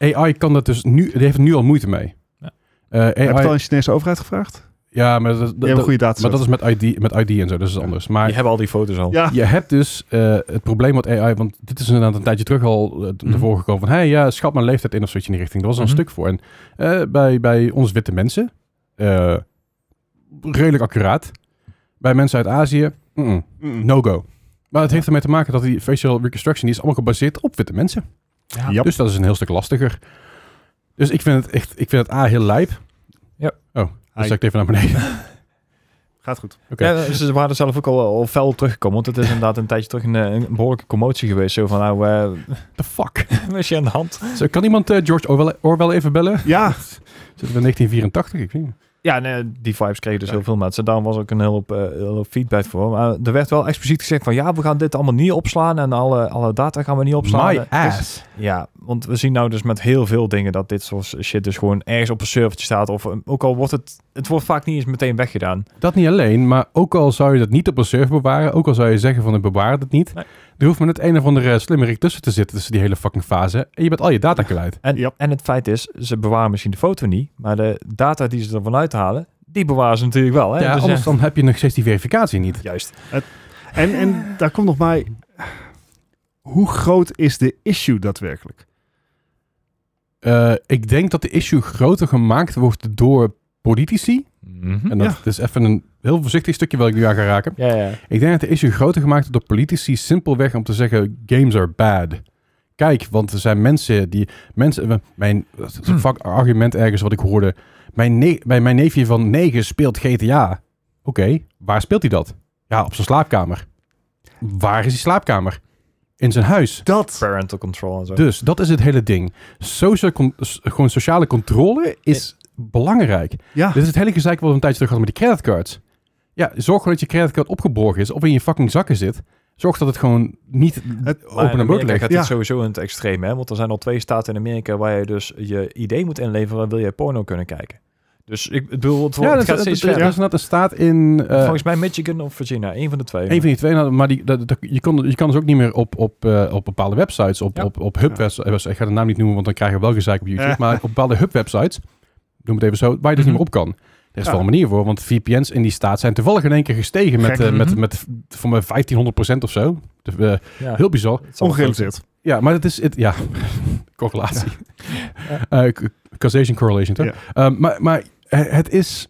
S2: AI.
S3: AI kan dat dus nu, die heeft er nu al moeite mee.
S2: Ja.
S3: Eh, AI,
S1: Heb je het al aan de Chinese overheid gevraagd? Die
S3: ja, maar dat, dat,
S1: hebben een
S3: dat-
S1: goede data.
S3: maar dat is met ID, met ID en zo, dus dat is anders. Maar
S2: Je hebt al die foto's al.
S1: Ja.
S3: Je hebt dus eh, het probleem met AI, want dit is inderdaad een tijdje terug al eh, naar
S2: Mhm.
S3: voren gekomen van, hé, hey, ja, schat mijn leeftijd in of zoiets in die richting. Daar was er een
S2: Mhm.
S3: stuk voor. En eh, bij, bij ons witte mensen, eh, redelijk accuraat. Bij mensen uit Azië, mm-mm,
S1: Mm.
S3: no-go. Maar het heeft ermee te maken dat die facial reconstruction, die is allemaal gebaseerd op witte mensen.
S1: Yep.
S3: Dus dat is een heel stuk lastiger. Dus ik vind het echt, ik vind het A, heel lijp.
S2: Ja.
S3: Oh,
S1: Hi.
S3: dan zet ik het even naar beneden.
S2: *laughs*
S1: Gaat goed.
S3: Oké.
S2: Ja, ze waren er zelf ook al, al fel op teruggekomen. Want het is inderdaad een tijdje terug een, eh, een behoorlijke commotie geweest. Zo van, nou, eh *laughs*
S3: The fuck?
S2: wat is je aan de hand?
S3: Zo, kan iemand eh, George Orwell, Orwell even bellen?
S1: Ja,
S3: Zitten we in 1984? Ik weet niet.
S2: Ja, nee, die vibes kregen dus heel veel mensen. Daarom was ook een heel hoop, eh, heel hoop feedback voor. Maar er werd wel expliciet gezegd van... ja, we gaan dit allemaal niet opslaan... en alle, alle data gaan we niet opslaan.
S3: My
S2: Eh,
S3: ass.
S2: Ja, want we zien nou dus met heel veel dingen dat dit soort shit dus gewoon ergens op een servertje staat. Of eh, ook al wordt het, het wordt vaak niet eens meteen weggedaan.
S3: Dat niet alleen, maar ook al zou je dat niet op een server bewaren, ook al zou je zeggen van ik bewaar het niet,
S2: Nee.
S3: er hoeft maar net een of andere slimmerik tussen te zitten tussen die hele fucking fase en je bent al je data kwijt.
S2: En,
S1: Yep.
S2: en het feit is, ze bewaren misschien de foto niet, maar de data die ze ervan uithalen, die bewaren ze natuurlijk wel. Hè?
S3: Ja,
S2: Dus,
S3: anders
S2: eh,
S3: dan heb je nog steeds die verificatie niet.
S2: Juist.
S1: en, en daar komt nog bij. Hoe groot is de issue daadwerkelijk?
S3: Eh, ik denk dat de issue groter gemaakt wordt door politici. En dat is even een heel voorzichtig stukje wat ik nu aan ga raken.
S2: Ja, ja.
S3: Ik denk dat de issue groter gemaakt wordt door politici simpelweg om te zeggen games are bad. Kijk, want er zijn mensen die mensen eh, mijn dat is een fuck argument ergens wat ik hoorde. Mijn ne- mijn, mijn neefje van 9 speelt GTA. Oké, waar speelt hij dat? Ja, op zijn slaapkamer. Waar is die slaapkamer? In zijn huis.
S1: Dat.
S2: Parental control en zo.
S3: Dus dat is het hele ding. Social con- s- gewoon sociale controle is belangrijk.
S2: *laughs*
S1: Ja.
S3: Dit is het hele gezeik wat we een tijdje terug hadden met die creditcards. Ja, zorg gewoon dat je creditcard opgeborgen is of in je fucking zakken zit. Zorg dat het gewoon niet
S1: Het-
S2: Maar
S3: open en bloot
S2: Eh, Amerika
S3: ligt.
S2: gaat dit
S1: Ja.
S2: sowieso in het extreme, hè? Want er zijn al twee staten in Amerika waar je dus je idee moet inleveren, wil je porno kunnen kijken. Dus ik bedoel, het, wordt-
S3: Ja,
S2: het
S3: dat, dat,
S2: gaat
S3: dat,
S2: steeds
S3: dat is
S2: verder.
S3: inderdaad een staat in... eh,
S2: Volgens mij Michigan of Virginia, één van de twee.
S3: een van die twee, nou, maar die, dat, dat- je, kon, je kan dus ook niet meer op, op, eh, op bepaalde websites, op,
S2: Ja.
S3: op, op hubwebsites, ik ga de naam niet noemen, want dan krijgen we wel gezeik op YouTube,
S1: Ja.
S3: maar op bepaalde hubwebsites, noem het even zo, waar je
S2: Mhm.
S3: dus niet meer op kan. Er is
S1: Ja.
S3: wel een manier voor, want VPN's in die staat zijn toevallig in één keer gestegen met,
S1: Gek.
S3: eh, met,
S2: Mhm.
S3: met, voor me 1500% of zo. Dus, eh,
S2: Ja.
S3: heel bizar.
S2: Het zal-
S1: Ongerealiseerd.
S3: Ja, maar het is... Het, ja, *laughs* correlatie. Eh, c- causation correlation, toch?
S1: Ja.
S3: Eh, maar, maar het is...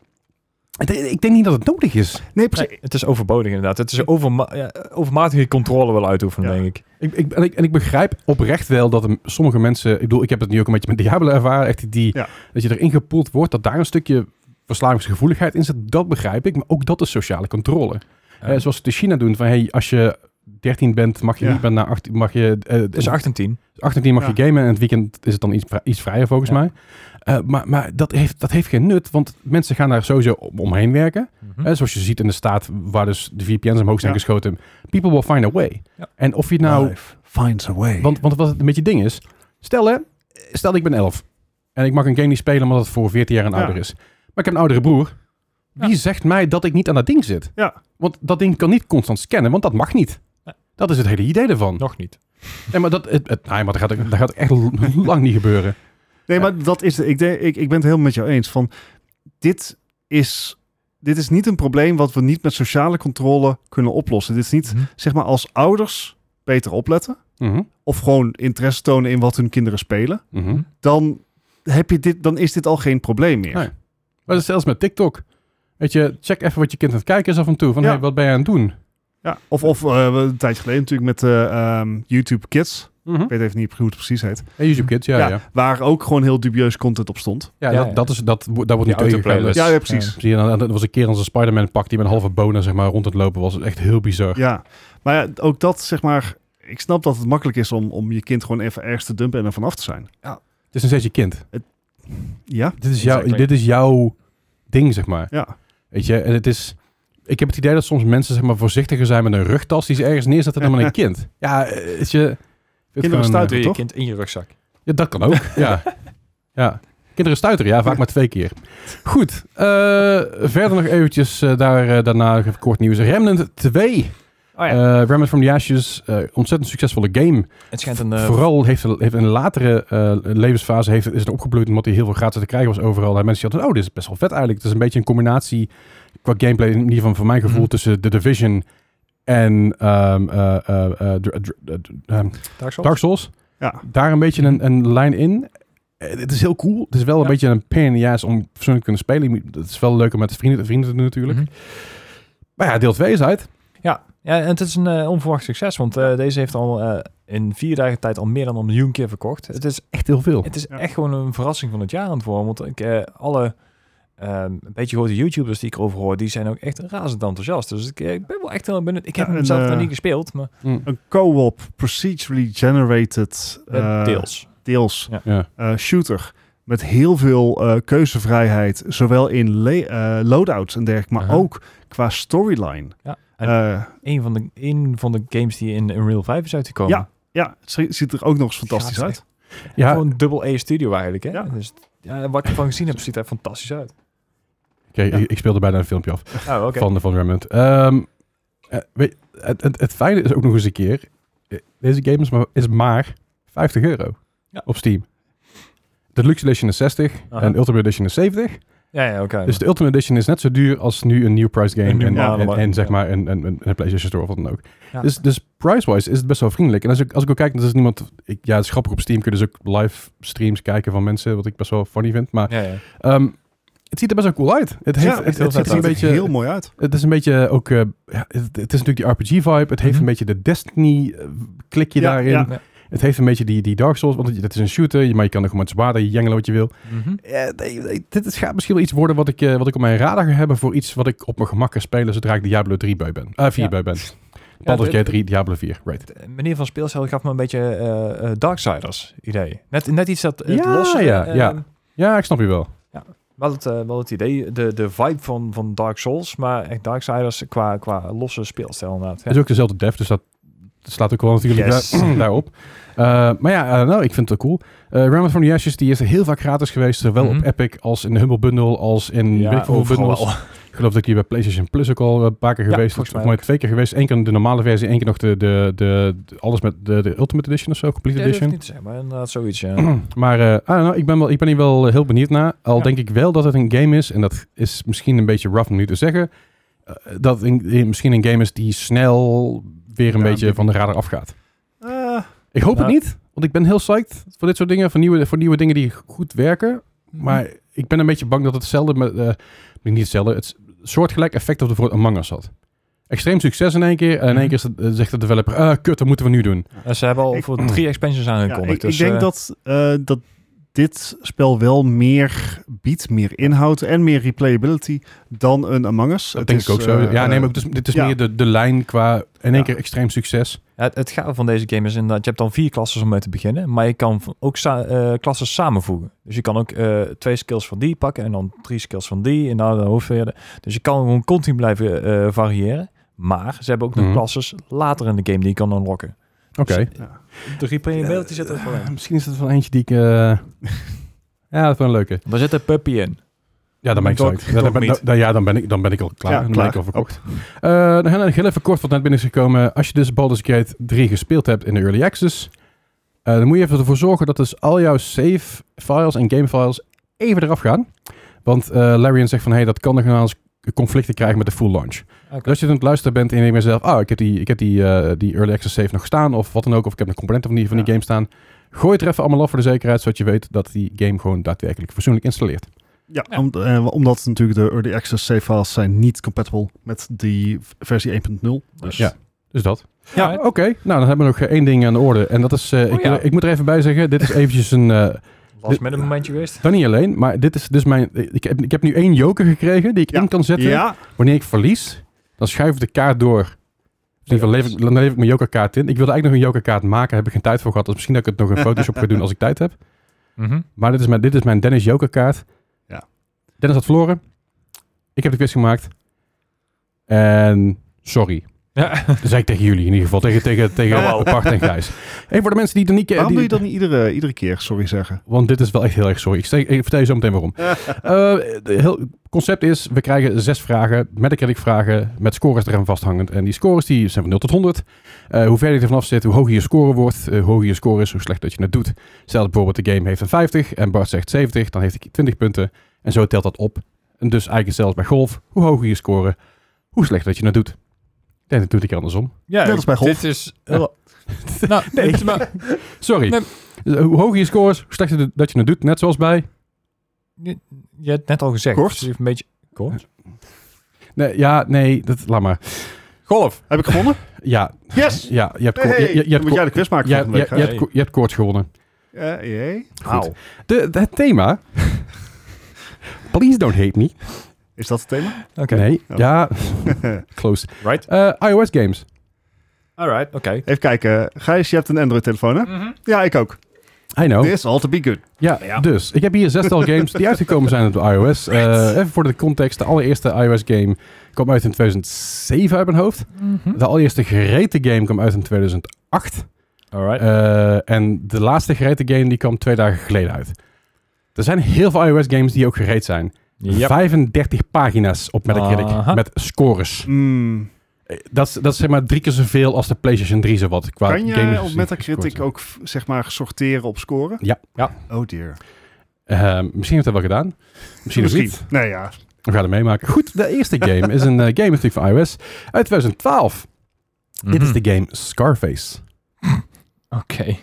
S3: het- ik denk niet dat het nodig is.
S1: Nee,
S2: Nee,
S1: precies.
S2: het is overbodig inderdaad. Het is overma ja, overmatige controle wil uitoefenen,
S1: Ja.
S2: denk ik.
S3: Ik, ik, en, ik, en ik begrijp oprecht wel dat er sommige mensen... Ik bedoel, ik heb het nu ook een beetje met Diablo ervaren. Echt die, die-
S1: Ja.
S3: Dat je erin gepoeld wordt, dat daar een stukje verslavingsgevoeligheid in zit. Dat begrijp ik, maar ook dat is sociale controle. Eh, zoals ze het in China doen, van hey, als je 13 bent, mag je
S1: Ja.
S3: niet meer naar 18... Mag je, eh,
S2: Tussen 8 en 10.
S3: 18 mag
S1: Ja.
S3: je gamen en het weekend is het dan iets, vri- iets vrijer volgens
S2: Ja.
S3: mij. Eh, maar maar dat, heeft, dat heeft geen nut, want mensen gaan daar sowieso om- omheen werken.
S2: Hm.
S3: Eh, zoals je ziet in de staat waar dus de VPN's omhoog zijn
S1: Ja.
S3: geschoten. People will find a way.
S2: Ja.
S3: En of je nou...
S1: Life finds a way.
S3: Want, want wat het een beetje ding is... Stel hè, stel ik ben 11 en ik mag een game niet spelen omdat het voor 14 jaar en
S1: Ja.
S3: ouder is. Maar ik heb een oudere broer. Wie
S2: Ja.
S3: zegt mij dat ik niet aan dat ding zit?
S1: Ja.
S3: Want dat ding kan niet constant scannen, want dat mag niet.
S2: Nee.
S3: Dat is het hele idee ervan.
S2: Nog niet.
S3: Nee, maar dat, het, het- nee, maar dat, gaat, dat gaat echt *laughs* l- lang niet gebeuren.
S1: Nee, maar dat is. de- Ik, denk, ik, ik ben het helemaal met jou eens. Van, dit, is, dit is niet een probleem wat we niet met sociale controle kunnen oplossen. Dit is niet, zeg maar, als ouders beter opletten.
S3: Mhm,
S1: of gewoon interesse tonen in wat hun kinderen spelen.
S3: mhm.
S1: dan, heb je dit, dan is dit al geen probleem meer.
S3: Nee. Maar dat is zelfs met TikTok. Weet je, check even wat je kind aan het kijken is af en toe. Van,
S1: Ja.
S3: hey, wat ben je aan het doen?
S1: Ja, of of eh, we- een tijdje geleden natuurlijk met eh, ehm, YouTube Kids.
S3: Mhm.
S1: Ik weet even niet hoe het precies heet.
S3: Hey, YouTube Kids, ja, ja.
S1: Ja,
S3: ja.
S1: Waar ook gewoon heel dubieus content op stond.
S3: dat,
S2: ja.
S3: Dat, is, dat, wo- daar wordt
S2: Die
S3: niet tegengekomen.
S2: autoplaylist.
S1: Ja, ja, precies.
S3: Zie je, dan- dat was een keer onze Spider-Man pak die met een halve bonen zeg maar, rond het lopen was. Echt heel bizar.
S1: Ja, maar ja, ook dat zeg maar... Ik snap dat het makkelijk is om, om je kind gewoon even ergens te dumpen en er vanaf te zijn.
S3: Het is nog steeds je kind.
S1: Ja,
S3: Dit is, jouw,
S2: Exactly.
S3: dit is jouw ding, zeg maar.
S1: ja.
S3: Weet je, en het is... Ik heb het idee dat soms mensen zeg maar, voorzichtiger zijn met een rugtas die ze ergens neerzetten dan met een kind. Ja, eh, weet je...
S1: Kinderen
S3: stuiten.
S1: stuiten
S2: Doe je
S1: toch?
S2: kind in je rugzak.
S3: Ja, dat
S2: *laughs*
S3: kan ook. ja. ja. Kinderen stuiteren, ja, vaak maar twee keer. Goed, eh, verder nog eventjes eh, daar, eh, daarna even kort nieuws. Remnant 2.
S2: Oh ja.
S3: Eh, Remnant from the Ashes, eh, ontzettend succesvolle game.
S2: het schijnt een... eh,
S3: Vooral heeft, heeft in een latere eh, levensfase heeft, is het opgebloeid omdat hij heel veel gratis te krijgen was overal. En mensen dachten, oh, dit is best wel vet eigenlijk. Het is een beetje een combinatie qua gameplay, in ieder geval van mijn gevoel,
S2: Mhm.
S3: tussen The Division en ehm, eh, eh, eh, dr- dr- eh, dr- ehm,
S2: Dark Souls?
S3: Dark Souls
S1: Ja.
S3: daar een beetje een, een lijn in. Eh, Het is heel cool. Het is wel een
S2: Ja.
S3: beetje een pain in the ass om persoonlijk te kunnen spelen. Je moet- Het is wel leuk om met vrienden, vrienden te doen natuurlijk.
S2: Mhm.
S3: Maar ja, deel 2 is uit.
S2: Ja, ja, en het is een eh, onverwacht succes, want eh, deze heeft al eh, in vier dagen tijd al meer dan een miljoen keer verkocht. Het is,
S3: Echt heel veel.
S2: het is
S1: Ja.
S2: echt gewoon een verrassing van het jaar aan het worden, want ik, eh, alle ehm, een beetje grote YouTubers die ik erover hoor, die zijn ook echt razend enthousiast. Dus ik, eh, ik ben wel echt heel benieuwd. Ik heb
S1: Ja,
S2: hem
S1: en,
S2: zelf nog
S1: eh,
S2: niet gespeeld, maar
S3: Mm.
S1: Een co-op, procedurally generated...
S2: eh,
S1: eh,
S2: deels.
S1: deels
S3: Ja.
S1: eh, shooter. Met heel veel eh, keuzevrijheid, zowel in le- eh, loadouts en dergelijke, maar
S2: Aha.
S1: ook qua storyline.
S2: Ja, en
S1: Eh,
S2: een, van de, een van de games die in Unreal 5 is uitgekomen.
S1: ja, het zie- ziet er ook nog eens fantastisch
S2: Gaat
S1: uit.
S3: ja.
S2: Gewoon dubbel A studio eigenlijk, hè?
S1: Ja.
S2: Dus, ja, wat ik ervan gezien heb, ziet er fantastisch
S1: *laughs*
S2: uit.
S3: Oké,
S1: Ja.
S3: ik, ik speelde bijna een filmpje af
S2: Oh, oké.
S3: van, van Remnant. Ehm, eh, weet, het, het, het fijne is ook nog eens een keer, eh, deze game is maar, is maar 50 euro
S2: Ja.
S3: op Steam. De Deluxe Edition is 60
S2: Aha.
S3: en Ultimate Edition is 70.
S2: Ja, ja, oké.
S3: Dus de Ultimate Edition is net zo duur als nu een nieuw price game.
S2: Een
S3: en,
S2: normale
S3: en, en,
S2: markt,
S3: zeg
S2: ja.
S3: maar een, een, een een PlayStation Store of wat dan ook.
S2: Ja.
S3: Dus, dus price-wise is het best wel vriendelijk. En als ik, als ik ook kijk, dat is niemand. Ik, ja, het is grappig op Steam. Kun je dus ook live streams kijken van mensen. Wat ik best wel funny vind. Maar
S2: ja, ja.
S3: ehm, het ziet er best wel cool uit. Het, heeft,
S1: heel
S3: het, het
S2: vet
S3: ziet er een
S2: uit.
S3: beetje.
S1: heel mooi uit.
S3: Het is een beetje ook. eh, ja, het, het is natuurlijk die RPG-vibe. Het heeft
S2: Mhm.
S3: een beetje de Destiny-klikje
S1: Ja,
S3: daarin.
S1: ja.
S2: Ja.
S3: Het heeft een beetje die, die Dark Souls. Want het het is een shooter. je- Maar je kan er gewoon met zwaarden jengelen wat je wil.
S2: Mhm.
S3: Eh, nee, nee, dit is, gaat misschien wel iets worden wat ik, eh, wat ik op mijn radar ga hebben voor iets wat ik op mijn gemak kan spelen zodra ik Diablo 3 bij ben. Eh 4
S2: Ja.
S3: bij ben. Baldur's
S2: dit-
S3: Gate 3, Diablo 4. Right.
S2: de manier van speelstijl gaf me een beetje eh, eh, Darksiders idee. Net, net iets dat het
S3: Ja,
S2: losse,
S3: ja,
S2: eh,
S3: ja. Ja, ik snap je wel.
S2: Wel het, eh, wel het idee, de, de vibe van, van Dark Souls, maar echt Darksiders qua, qua losse speelstijl inderdaad. Ja.
S3: Het is ook dezelfde dev, dus dat slaat ook wel natuurlijk
S1: Yes.
S3: daar- *clears throat* daarop. Eh, maar ja, eh, nou, ik vind het wel cool. Eh Remnant from the Ashes, die is heel vaak gratis geweest. Zowel
S2: Mhm.
S3: op Epic als in de Humble Bundle, als in
S2: Ja,
S3: weet ik veel hoeveel
S2: overal
S3: bundles. Ik geloof dat ik hier bij PlayStation Plus ook al een paar keer
S2: Ja,
S3: geweest.
S2: volgens
S3: Volgens
S2: mij
S3: mij twee keer geweest. Eén keer de normale versie, één keer nog de, de, de, de- alles met de, de Ultimate Edition of zo, Complete
S2: Ja, dat hoef ik
S3: Edition.
S2: niet te zeggen, maar inderdaad zoiets. Ja.
S3: *clears throat* Maar eh, I don't know, ik, ben wel, ik ben hier wel eh, heel benieuwd naar. Al
S2: Ja.
S3: denk ik wel dat het een game is, en dat is misschien een beetje rough om nu te zeggen, eh, dat het een- eh, misschien een game is die snel weer een
S1: Ja,
S3: beetje
S1: een
S3: van de radar afgaat.
S1: Eh,
S3: Ik hoop
S2: Ja.
S3: het niet, want ik ben heel psyched voor dit soort dingen, voor nieuwe, voor nieuwe dingen die goed werken. Maar ik ben een beetje bang dat het hetzelfde, met, eh, niet hetzelfde, het soortgelijk effect op de voor Among Us had. Extreem succes in één keer en in
S2: Mhm.
S3: één keer is het- eh, zegt de developer, eh kut, dat moeten we nu doen.
S2: Eh, ze hebben al
S1: Ik-
S2: voor drie expansions aangekondigd.
S1: ik,
S2: dus,
S1: ik denk
S2: eh,
S1: dat, eh, dat dit spel wel meer biedt, meer inhoud en meer replayability dan een Among Us.
S3: Dat
S1: Het
S3: denk
S1: is,
S3: ik ook zo.
S1: eh,
S3: ja, nee,
S1: eh,
S3: maar dus, dit is
S1: ja.
S3: meer de, de lijn qua in één
S1: Ja.
S3: keer extreem succes.
S2: het, het gave van deze game is inderdaad, je hebt dan vier klassen om mee te beginnen, maar je kan v- ook sa- eh, klassen samenvoegen. Dus je kan ook eh, twee skills van die pakken en dan drie skills van die en dan de hoofdverder. Dus je kan gewoon continu blijven eh, variëren. Maar ze hebben ook nog
S3: Mhm.
S2: klasses later in de game die je kan unlocken.
S3: Oké.
S1: ja.
S2: De replayability zit er voor in.
S3: Ah, misschien is het wel eentje die ik... eh, *laughs* ja, dat is wel een leuke.
S2: *laughs* Daar zit een puppy in.
S3: Ja, dan ben ik
S2: Dog-
S3: psyched. Ja, dan ben-
S2: dogmeat.
S3: dan- ja, dan ben ik, dan ben ik al klaar.
S1: Ja,
S3: dan ben
S1: klaar.
S3: ik al verkocht. Eh, dan gaan we nog heel even kort wat net binnen is gekomen. Als je dus Baldur's Gate 3 gespeeld hebt in de Early Access, eh, dan moet je even ervoor zorgen dat dus al jouw save files en game files even eraf gaan. Want eh Larian zegt van, hey, dat kan nog wel eens conflicten krijgen met de full launch.
S2: Oké.
S3: Dus als je aan het luisteren bent en je denkt bij jezelf, ah, ik heb, die, ik heb die, eh, die Early Access save nog staan of wat dan ook, of ik heb nog componenten van die, van die
S1: Ja.
S3: game staan, gooi het er even allemaal af voor de zekerheid, zodat je weet dat die game gewoon daadwerkelijk fatsoenlijk installeert.
S1: Ja,
S2: Ja.
S1: om- eh, omdat natuurlijk de Early Access save files zijn niet compatible met die versie 1.0. Dus
S3: Ja. Dus dat.
S2: Ja.
S3: Oké, nou dan hebben we nog eh, één ding aan de orde. En dat is, eh,
S2: Oh,
S3: ik,
S2: ja.
S3: ik moet er even bij zeggen, dit is eventjes een, eh,
S2: Last minute momentje geweest.
S3: dan niet alleen, maar dit is dus mijn, ik heb, ik heb nu één joker gekregen die ik
S1: Ja.
S3: in kan zetten.
S1: ja,
S3: Wanneer ik verlies, dan schuif ik de kaart door. Dus dan leef, ik, dan leef ik mijn jokerkaart in. Ik wilde eigenlijk nog een jokerkaart maken, daar heb ik geen tijd voor gehad. Dus misschien dat ik het nog in Photoshop ga doen als ik tijd heb.
S2: Mhm.
S3: Maar dit is mijn, dit is mijn Dennis jokerkaart.
S1: Ja.
S3: Dennis had verloren. Ik heb de quiz gemaakt. En sorry.
S2: Ja.
S3: Dat zei ik tegen jullie in ieder geval. Tegen, tegen, tegen
S1: Oh, wow.
S3: Bart en Gijs. Even voor de mensen die het niet kennen.
S1: waarom
S3: die-
S1: doe je dat niet iedere, iedere keer sorry zeggen?
S3: Want dit is wel echt heel erg sorry. Ik, zeg- ik vertel je zo meteen waarom. *laughs* Het heel concept is, we krijgen zes vragen met de vragen met scores eraan vasthangend. En die scores die zijn van 0 tot 100. Eh, hoe verder je er vanaf zit, hoe hoger je score wordt, eh, hoe hoger je score is, hoe slecht dat je het doet. Stel dat bijvoorbeeld de game heeft een 50 en Bart zegt 70, dan heeft hij 20 punten. En zo telt dat op. En dus eigenlijk zelfs bij golf, hoe hoger je score, hoe slecht dat je het doet. Nee, dat doe ik andersom.
S2: Ja,
S1: Net als bij golf.
S2: Dit is... *laughs* nou,
S3: Nee.
S2: dit is maar-
S3: Sorry.
S2: Nee.
S3: Dus, eh, Hoe hoger je scores, hoe slechter dat je het doet. Net zoals bij
S2: je hebt net al gezegd.
S1: Kort.
S2: dus het is een beetje... Kort?
S3: Nee, ja, nee, dat, laat maar.
S2: Golf.
S1: Heb ik gewonnen?
S3: *laughs* Ja,
S1: Yes!
S3: ja je hebt ko-
S1: Hey,
S3: je- je- je hebt
S1: moet
S3: ko-
S1: jij de quiz maken
S3: je-
S1: volgende
S3: je-
S1: week, hè?
S3: je hebt ko- je hebt koorts gewonnen.
S1: Eh, jee.
S3: Goed.
S1: Au.
S3: De, de- het
S1: *laughs*
S3: thema... Please don't hate me.
S1: Is dat het thema?
S2: Oké.
S3: Nee,
S1: Oh. *laughs*
S3: ja, close.
S2: Right.
S3: Eh, iOS games.
S2: Alright, oké.
S1: Even kijken. Gijs, je hebt een Android-telefoon, hè? Ja, ik ook.
S3: I know.
S1: This all to be good.
S3: Ja, dus. Ik heb
S1: *laughs*
S3: hier zestal games die uitgekomen zijn op de iOS. Eh, even voor de context. De allereerste iOS game kwam uit in 2007 uit mijn hoofd. De allereerste gereten game kwam uit in 2008.
S2: Alright.
S3: Eh, en de laatste gereten game die kwam twee dagen geleden uit. Er zijn heel veel iOS games die ook gereed zijn.
S2: Yep.
S3: 35 pagina's op Metacritic
S2: Aha.
S3: met scores.
S1: Mm.
S3: Eh, Dat is, dat is zeg maar drie keer zoveel als de PlayStation 3 zowat. Qua
S1: Kan
S3: games
S1: je op
S3: die gescoord
S1: Metacritic
S3: zijn.
S1: ook, f- zeg maar, sorteren op scoren?
S3: Ja.
S2: Ja.
S1: Oh dear.
S3: Eh, misschien heeft hij wel gedaan. Misschien, ook niet.
S1: Nee, ja.
S3: We gaan het meemaken. Goed, de eerste game is een eh, game natuurlijk van iOS uit 2012. Dit is de game Scarface.
S2: Mhm. Oké.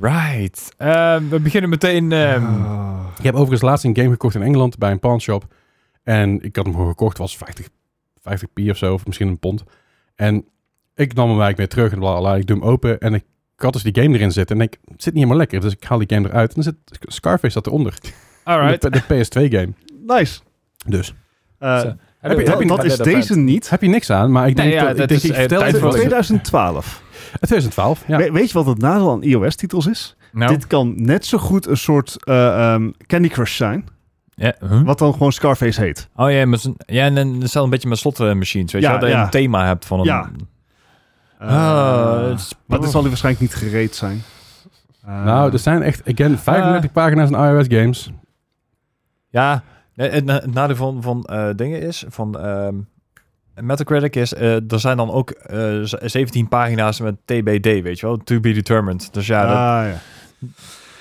S2: Right. Ehm, we beginnen meteen... ehm,
S1: Ah.
S3: Ik heb overigens laatst een game gekocht in Engeland bij een pawnshop. En ik had hem gewoon gekocht, was 50, 50p of zo, of misschien een pond. En ik nam hem eigenlijk weer terug en bla bla. Ik doe hem open en ik, ik had dus die game erin zitten. En ik, het zit niet helemaal lekker, dus ik haal die game eruit. En dan zit Scarface dat eronder.
S2: Alright.
S3: De, de PS2 game.
S1: Nice.
S3: Dus.
S1: Eh,
S2: Zo.
S3: heb je-
S1: dat-
S3: heb je-
S1: dat is deze niet.
S3: Heb je niks aan, maar ik denk
S2: Nee, ja,
S3: dat,
S2: dat
S3: ik, denk,
S2: is,
S3: ik
S2: eh,
S3: vertel
S2: tijd
S3: het
S2: voor-
S3: wel.
S1: 2012.
S3: 2012, ja.
S1: We- weet je wat het nadeel aan iOS-titels is?
S2: Nou.
S1: Dit kan net zo goed een soort eh, ehm, Candy Crush zijn,
S2: Ja, huh?
S1: wat dan gewoon Scarface heet.
S2: Oh ja, maar zo'n- ja, en dan is het een beetje met slotmachines, weet
S1: Ja,
S2: je wel? Dat je
S1: ja.
S2: een thema hebt van een...
S1: Ja. Eh,
S2: Ah, het is-
S1: maar dit zal hij waarschijnlijk niet gereed zijn. Eh,
S3: Nou, er zijn echt,
S2: Ah.
S3: again, 35 pagina's aan iOS games.
S2: Ja, nee, het, na- het nadeel van, van eh, dingen is, van ehm, Metacritic is, eh, er zijn dan ook eh, z- 17 pagina's met TBD, weet je wel, to be determined. Dus ja,
S1: ah, ja.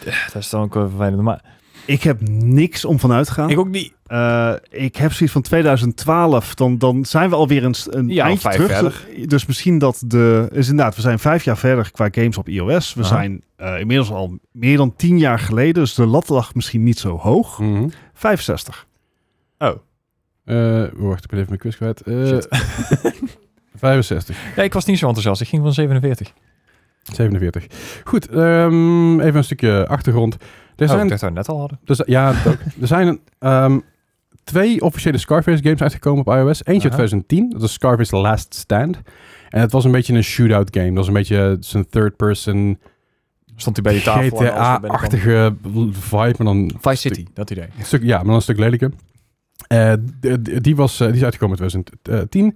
S2: dat, dat is dan ook wel vervelend. Maar
S1: Ik heb niks om vanuit te gaan.
S2: Ik ook niet.
S1: Eh, ik heb zoiets van 2012. Dan, dan zijn we alweer een, s- een
S2: Ja,
S1: eindje
S2: vijf
S1: terug.
S2: verder.
S1: Dus misschien dat de... Is inderdaad, we zijn vijf jaar verder qua games op iOS. We
S2: Aha.
S1: zijn eh, inmiddels al meer dan tien jaar geleden. Dus de lat lag misschien niet zo hoog.
S3: Mhm.
S1: 65.
S2: Oh.
S3: Eh, wacht, ik ben even mijn quiz kwijt. Eh, 65,
S2: Ja, ik was niet zo enthousiast. Ik ging van 47.
S3: 47. Goed, ehm, even een stukje achtergrond. Er
S2: Oh,
S3: zijn,
S2: ik dacht dat we het net al hadden.
S3: er zijn- ja, dat
S2: *laughs*
S3: ook. er zijn ehm, twee officiële Scarface games uitgekomen op iOS. Eentje uit
S2: Aha.
S3: 2010, dat is Scarface Last Stand. En het was een beetje een shootout game. Dat was een beetje zijn third-person
S2: Stond hij bij je tafel. en alles erbij kwam.
S3: GTA-achtige vibe, maar dan
S2: Vice City, dat idee.
S3: Een stuk, ja, maar dan een stuk lelijker. Eh, d- d- die, was, eh, die is uitgekomen in 2010.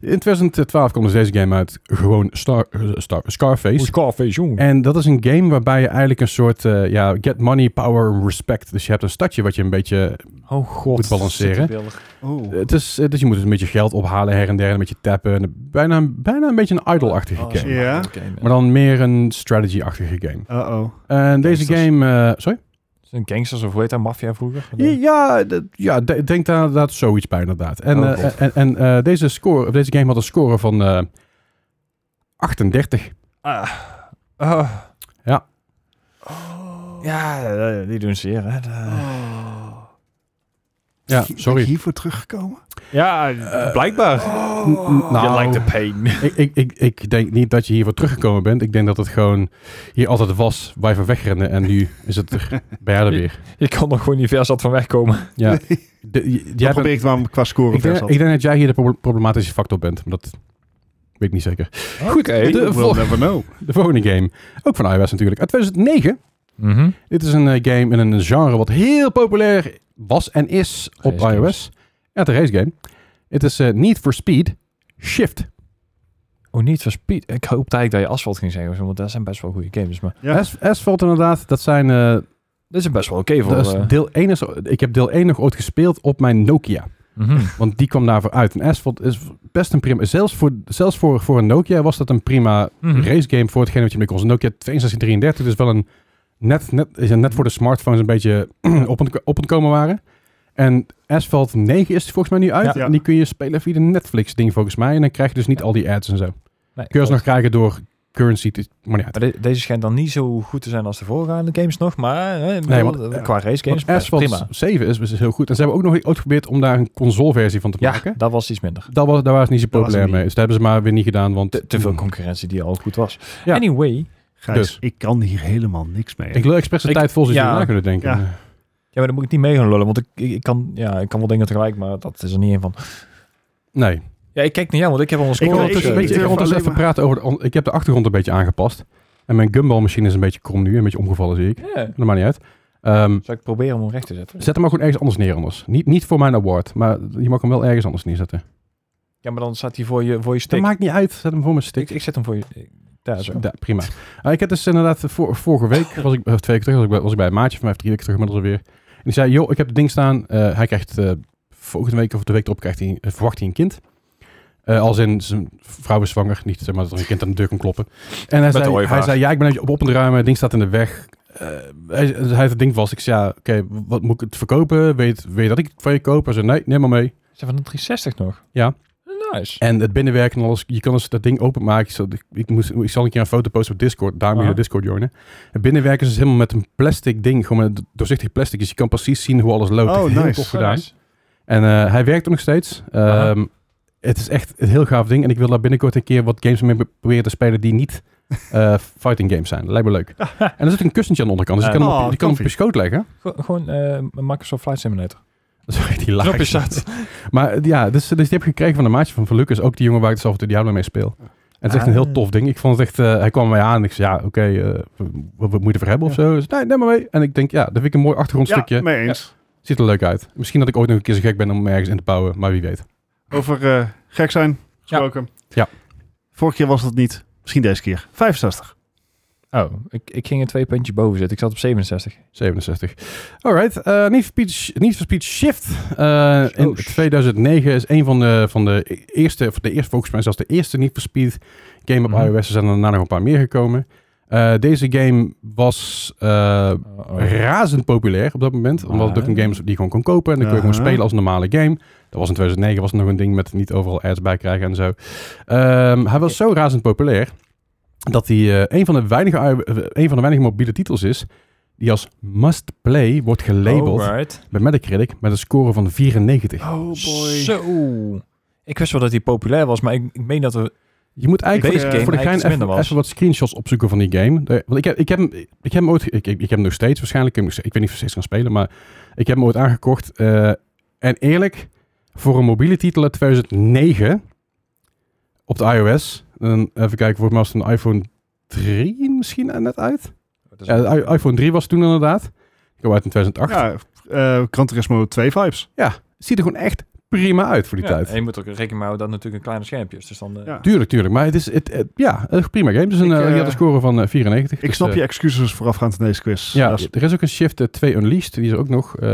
S3: In 2012 kwam dus deze game uit, gewoon Star, eh, Star- Scarface.
S2: Scarface, jong.
S3: En dat is een game waarbij je eigenlijk een soort eh, ja, get money, power, and respect. Dus je hebt een stadje wat je een beetje.
S2: Oh god.
S3: Moet balanceren.
S2: citybeeldig.
S1: Oh.
S3: Het is, eh, dus je moet dus een beetje geld ophalen her en der, een beetje tappen. En Bijna, bijna een beetje een idol-achtige
S2: Oh,
S3: game.
S2: zo'n
S1: Ja.
S2: idle game.
S3: Maar dan meer een strategy-achtige game.
S1: Uh-oh.
S3: En deze
S2: Gangsters.
S3: game. eh, sorry?
S2: Zo'n Gangsters of hoe heet dat? Mafia vroeger?
S3: Ja, d- ja d- denk daar inderdaad zoiets bij inderdaad. En,
S2: Oh,
S3: eh,
S2: God.
S3: en, en eh, deze, score, of deze game had een score van eh, 38.
S2: Ah.
S3: Ja.
S2: Ja, eh, die doen zeer. Hè? De-
S1: Oh.
S3: Ja,
S1: Ben ik
S3: sorry. Eh,
S1: hiervoor teruggekomen? Oh.
S2: Ja, *laughs* blijkbaar.
S3: Nou,
S2: pain.
S3: ik, *laughs* ik, ik, ik denk niet dat je hiervoor teruggekomen bent. Ik denk dat het gewoon hier altijd was waar je van wegrennen. En nu is het
S1: *laughs*
S3: er bij jou er weer.
S2: Je kon nog gewoon niet ver zat van wegkomen.
S3: Ja.
S1: Nee.
S3: De- j- jij
S1: Ja,
S3: bent-
S1: probeer ik het maar qua score
S3: ik, denk,
S1: vers had.
S3: ik denk dat jij hier de proble- problematische factor bent. Maar dat weet ik niet zeker.
S2: Goed,
S3: *laughs*
S2: hé.
S3: de-
S1: We'll
S3: vol-
S1: never know.
S3: De volgende game. Ook van iOS natuurlijk. Uit 2009. Dit is een eh, game in een genre wat heel populair was en is op
S2: Racegames.
S3: iOS. Ja, de race game. Het is eh, Need for Speed Shift.
S2: Oh, niet voor Speed. Ik hoop eigenlijk dat je asfalt ging zeggen, want dat zijn best wel goede games. Maar
S1: Ja.
S3: As- Asphalt inderdaad, dat zijn... eh,
S2: dit is best wel oké voor...
S3: dat is
S2: eh,
S3: deel 1 is, ik heb deel 1 nog ooit gespeeld op mijn Nokia.
S2: mhm.
S3: Want die kwam daarvoor uit. En Asphalt is best een prima... Zelfs voor, zelfs voor, voor een Nokia was dat een prima
S2: Mhm.
S3: race game voor hetgeen wat je mee kon. Een Nokia 6233, dus wel een... Net, net, is net voor de smartphones een beetje *clears throat* op en, op en komen waren. En Asphalt 9 is volgens mij nu uit.
S1: Ja.
S3: En die kun je spelen via de Netflix ding volgens mij. En dan krijg je dus niet al die ads en zo.
S2: Nee,
S3: Kun je
S2: klopt.
S3: alsnog krijgen door currency te... Maar niet uit.
S2: Maar de- deze schijnt dan niet zo goed te zijn als de voorgaande games nog, maar eh, ik
S3: Nee,
S2: bedoel,
S1: want-
S2: qua race games
S3: Want
S2: best
S3: Asphalt
S2: prima.
S3: 7 is, is heel goed. En ze hebben ook nog ooit geprobeerd om daar een consoleversie van te
S2: Ja,
S3: maken.
S2: dat was iets minder.
S3: Dat was, daar waren ze niet zo
S1: Dat was
S3: populair
S1: hem
S3: mee. Dus dat hebben ze maar weer niet gedaan. Want
S2: Te, te veel concurrentie die al goed was.
S3: Hmm. Ja.
S2: Anyway,
S1: Gijs,
S3: Dus.
S1: ik kan hier helemaal niks mee.
S3: Ik wil expres de
S2: Ik-
S3: tijd vol zoals
S2: ja.
S3: jullie na kunnen denken.
S1: Ja.
S2: ja, maar dan moet ik niet mee gaan lullen, want ik, ik, ik kan, ja, ik kan wel dingen tegelijk, maar dat is er niet één van.
S3: Nee.
S2: Ja, ik kijk naar jou, want ik heb al een
S3: Ik
S1: wil
S3: wil
S2: score.
S1: ondertussen
S3: ondertussen,
S1: een
S2: opgeschreven.
S3: een
S1: beetje-
S3: beetje,
S1: alleen maar-
S3: even praten over de... on- ik heb de achtergrond een beetje aangepast. En mijn gumball machine is een beetje krom nu. Een beetje omgevallen zie ik.
S2: Ja.
S3: Dat maakt niet uit. Ehm,
S2: Zal ik proberen om hem recht te zetten?
S3: zet hem maar gewoon ergens anders neer anders. Niet, niet voor mijn award. Maar je mag hem wel ergens anders neerzetten.
S2: Ja, maar dan staat hij voor je, voor je
S3: Dat
S2: stick.
S3: maakt niet uit. Zet hem voor mijn stick.
S2: Ik, ik zet hem voor je... eh, Daar zo.
S3: Ja, prima. Ah, ik heb dus inderdaad vor- vorige week, was ik, of twee weken terug, was ik, bij- was ik bij een maatje van mij, of drie weken terug inmiddels alweer. En die zei, joh, ik heb het ding staan. Eh, hij krijgt eh, volgende week of de week erop krijgt hij, eh, verwacht hij een kind. Eh, als in zijn vrouw is zwanger, niet zeg maar dat er een kind aan de deur komt kloppen. En hij,
S2: de
S3: zei,
S2: ooievaar.
S3: hij zei, ja, ik ben even op op en ruimen, het ding staat in de weg. Eh, hij, hij had het ding vast. Ik zei, ja, oké, wat moet ik het verkopen? Weet, weet je dat ik het van je koop? Hij zei, nee, neem maar mee.
S2: Is dat van een 360 nog?
S3: Ja.
S2: Nice.
S3: En het binnenwerk en alles. Je kan dus dat ding openmaken. Ik zal, ik, moest, ik zal een keer een foto posten op Discord. Daar moet je
S2: Aha.
S3: de Discord joinen. Het binnenwerk is dus helemaal met een plastic ding. Gewoon met een doorzichtig plastic. Dus je kan precies zien hoe alles loopt.
S1: Oh,
S3: Heel
S1: nice.
S3: tof
S1: Oh,
S3: gedaan. En eh, hij werkt ook nog steeds.
S2: Aha.
S3: Ehm, het is echt een heel gaaf ding. En ik wil daar binnenkort een keer wat games mee pro- proberen te spelen die niet eh, fighting games zijn. Lijkt
S1: *laughs*
S3: me leuk. en er zit een kussentje aan de onderkant. Dus je
S2: Eh,
S3: kan, hem op-
S1: oh,
S3: je kan hem op je
S1: koffie.
S3: schoot leggen.
S2: Go- gewoon eh, Microsoft Flight Simulator.
S3: *laughs* Sorry, die laag.
S2: Knopjes zat.
S3: *laughs* Maar eh, ja, dus, dus die heb ik gekregen van de maatje van, van Lucas. Ook die jongen waar ik zelf de Diablo mee speel. En het is echt een heel
S2: Ah.
S3: tof ding. Ik vond het echt... eh, hij kwam mij aan en ik zei, ja, oké, eh, wat, wat moet je ervoor hebben of zo? Hij zei, nee, neem maar mee. En ik denk, ja, dat vind ik een mooi achtergrondstukje.
S1: Ja, mee eens.
S3: Ziet er leuk uit. Misschien dat ik ooit nog een keer zo gek ben om hem ergens in te bouwen, maar wie weet.
S1: Over eh, gek zijn gesproken.
S3: Ja.
S1: Vorige keer was dat niet. Misschien deze keer. 65.
S2: Oh, ik, ik ging er twee puntjes boven zitten. Ik zat op 67.
S3: 67. Alright, eh Need, for Speed, Need for Speed Shift. eh, in
S2: Oh, sh-
S3: 2009 is een van de, van de eerste, of de eerste, volgens mij zelfs de eerste Need for Speed game op
S2: Mhm.
S3: iOS. Er zijn er daarna nog een paar meer gekomen. Eh, deze game was eh,
S2: Oh,
S3: razend populair op dat moment. Omdat het ook een game is die je gewoon kon kopen. En dan kon je
S1: Ah, Aha.
S3: gewoon spelen als een normale game. Dat was in 2009 was het nog een ding met niet overal ads bij krijgen en zo. Ehm, hij was zo razend populair dat hij eh, een, van de weinige, een van de weinige mobiele titels is die als must-play wordt gelabeld
S2: Alright.
S3: bij Metacritic met een score van 94.
S1: Oh
S2: Zo. Ik wist wel dat hij populair was, maar ik, ik meen dat er...
S3: Je moet eigenlijk
S1: Deze
S3: voor
S1: game
S3: de, voor de
S2: eigenlijk
S3: kleine
S2: iets minder
S3: even,
S2: was.
S3: even wat screenshots opzoeken van die game. Eh, want ik heb, ik heb, hem, ik heb hem ooit, ik, ik, ik heb hem nog steeds waarschijnlijk. Ik, heb hem nog steeds- ik weet niet of ik steeds kan spelen, maar ik heb hem ooit aangekocht. eh, en eerlijk, voor een mobiele titel uit 2009 op de iOS. En even kijken, volgens mij was het een iPhone 3 misschien eh, net uit. Ja, de i- iPhone 3 was het toen inderdaad. Ik kwam uit in 2008.
S1: Ja, eh Gran Turismo 2 vibes.
S3: Ziet er gewoon echt prima uit voor die
S2: Ja,
S3: tijd.
S2: En je moet ook rekening houden dat het natuurlijk een kleine schermpje is. Dus dan... eh,
S1: Ja.
S3: Tuurlijk, tuurlijk. Maar het is, het, het- ja, een prima game. Dus een,
S1: Ik,
S3: eh, die
S1: eh,
S3: had een score van eh, 94.
S1: Ik
S3: Dus,
S1: snap
S3: eh,
S1: je excuses voorafgaand aan deze quiz.
S3: Ja,
S1: Dat is-
S3: er is ook een Shift eh, 2 Unleashed, die is er ook nog, eh,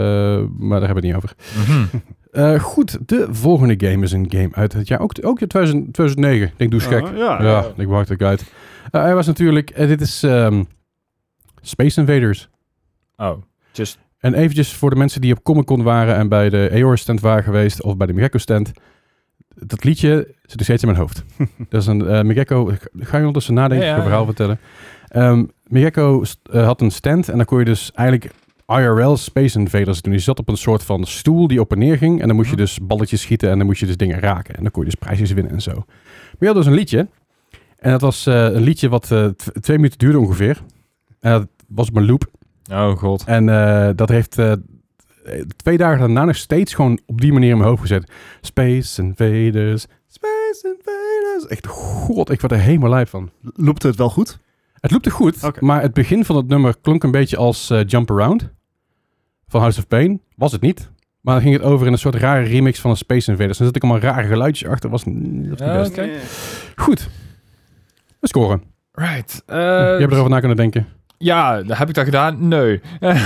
S3: maar daar hebben we het niet over.
S2: mhm.
S3: Eh, goed, de volgende game is een game uit het jaar, ook, ook uit 2000 2009. Ik denk, doe eens gek.
S1: Ah, ja.
S3: ja, ik wacht ook uit. Eh, hij was natuurlijk, eh, dit is ehm, Space Invaders.
S2: Oh. Just...
S3: En eventjes voor de mensen die op Comic Con waren en bij de Eeyore stand waren geweest, of bij de Megekko stand. Dat liedje zit nog steeds in mijn hoofd.
S2: *laughs*
S3: dat is een eh Megekko, ga je ondertussen nadenken, ik ga
S2: Ja, ja,
S3: een verhaal
S2: ja.
S3: vertellen. Ehm Megekko st- eh, had een stand en dan kon je dus eigenlijk IRL Space Invaders doen. Je zat op een soort van stoel die op en neer ging en dan moest je
S2: Mhm.
S3: dus balletjes schieten en dan moest je dus dingen raken. En dan kon je dus prijsjes winnen en zo. Maar je had dus een liedje. En dat was eh, een liedje wat eh, tw- twee minuten duurde ongeveer. En dat was op een loop.
S2: Oh god.
S3: En eh, dat heeft eh, twee dagen daarna nog steeds gewoon op die manier in mijn hoofd gezet. Space Invaders, Space Invaders. Echt, god, ik word er helemaal lijp van.
S1: Loopt het wel goed?
S3: Het loopt er goed,
S1: Oké.
S3: maar het begin van het nummer klonk een beetje als eh, Jump Around van House of Pain. Was het niet. Maar dan ging het over in een soort rare remix van een Space Invaders. Dan zat ik allemaal rare geluidjes achter. Was, n- dat was niet
S2: Ja,
S3: best.
S2: Oké.
S3: Goed. We scoren.
S2: Right. eh,
S3: Je hebt erover na kunnen denken.
S2: Ja, dat heb ik dat gedaan? Nee.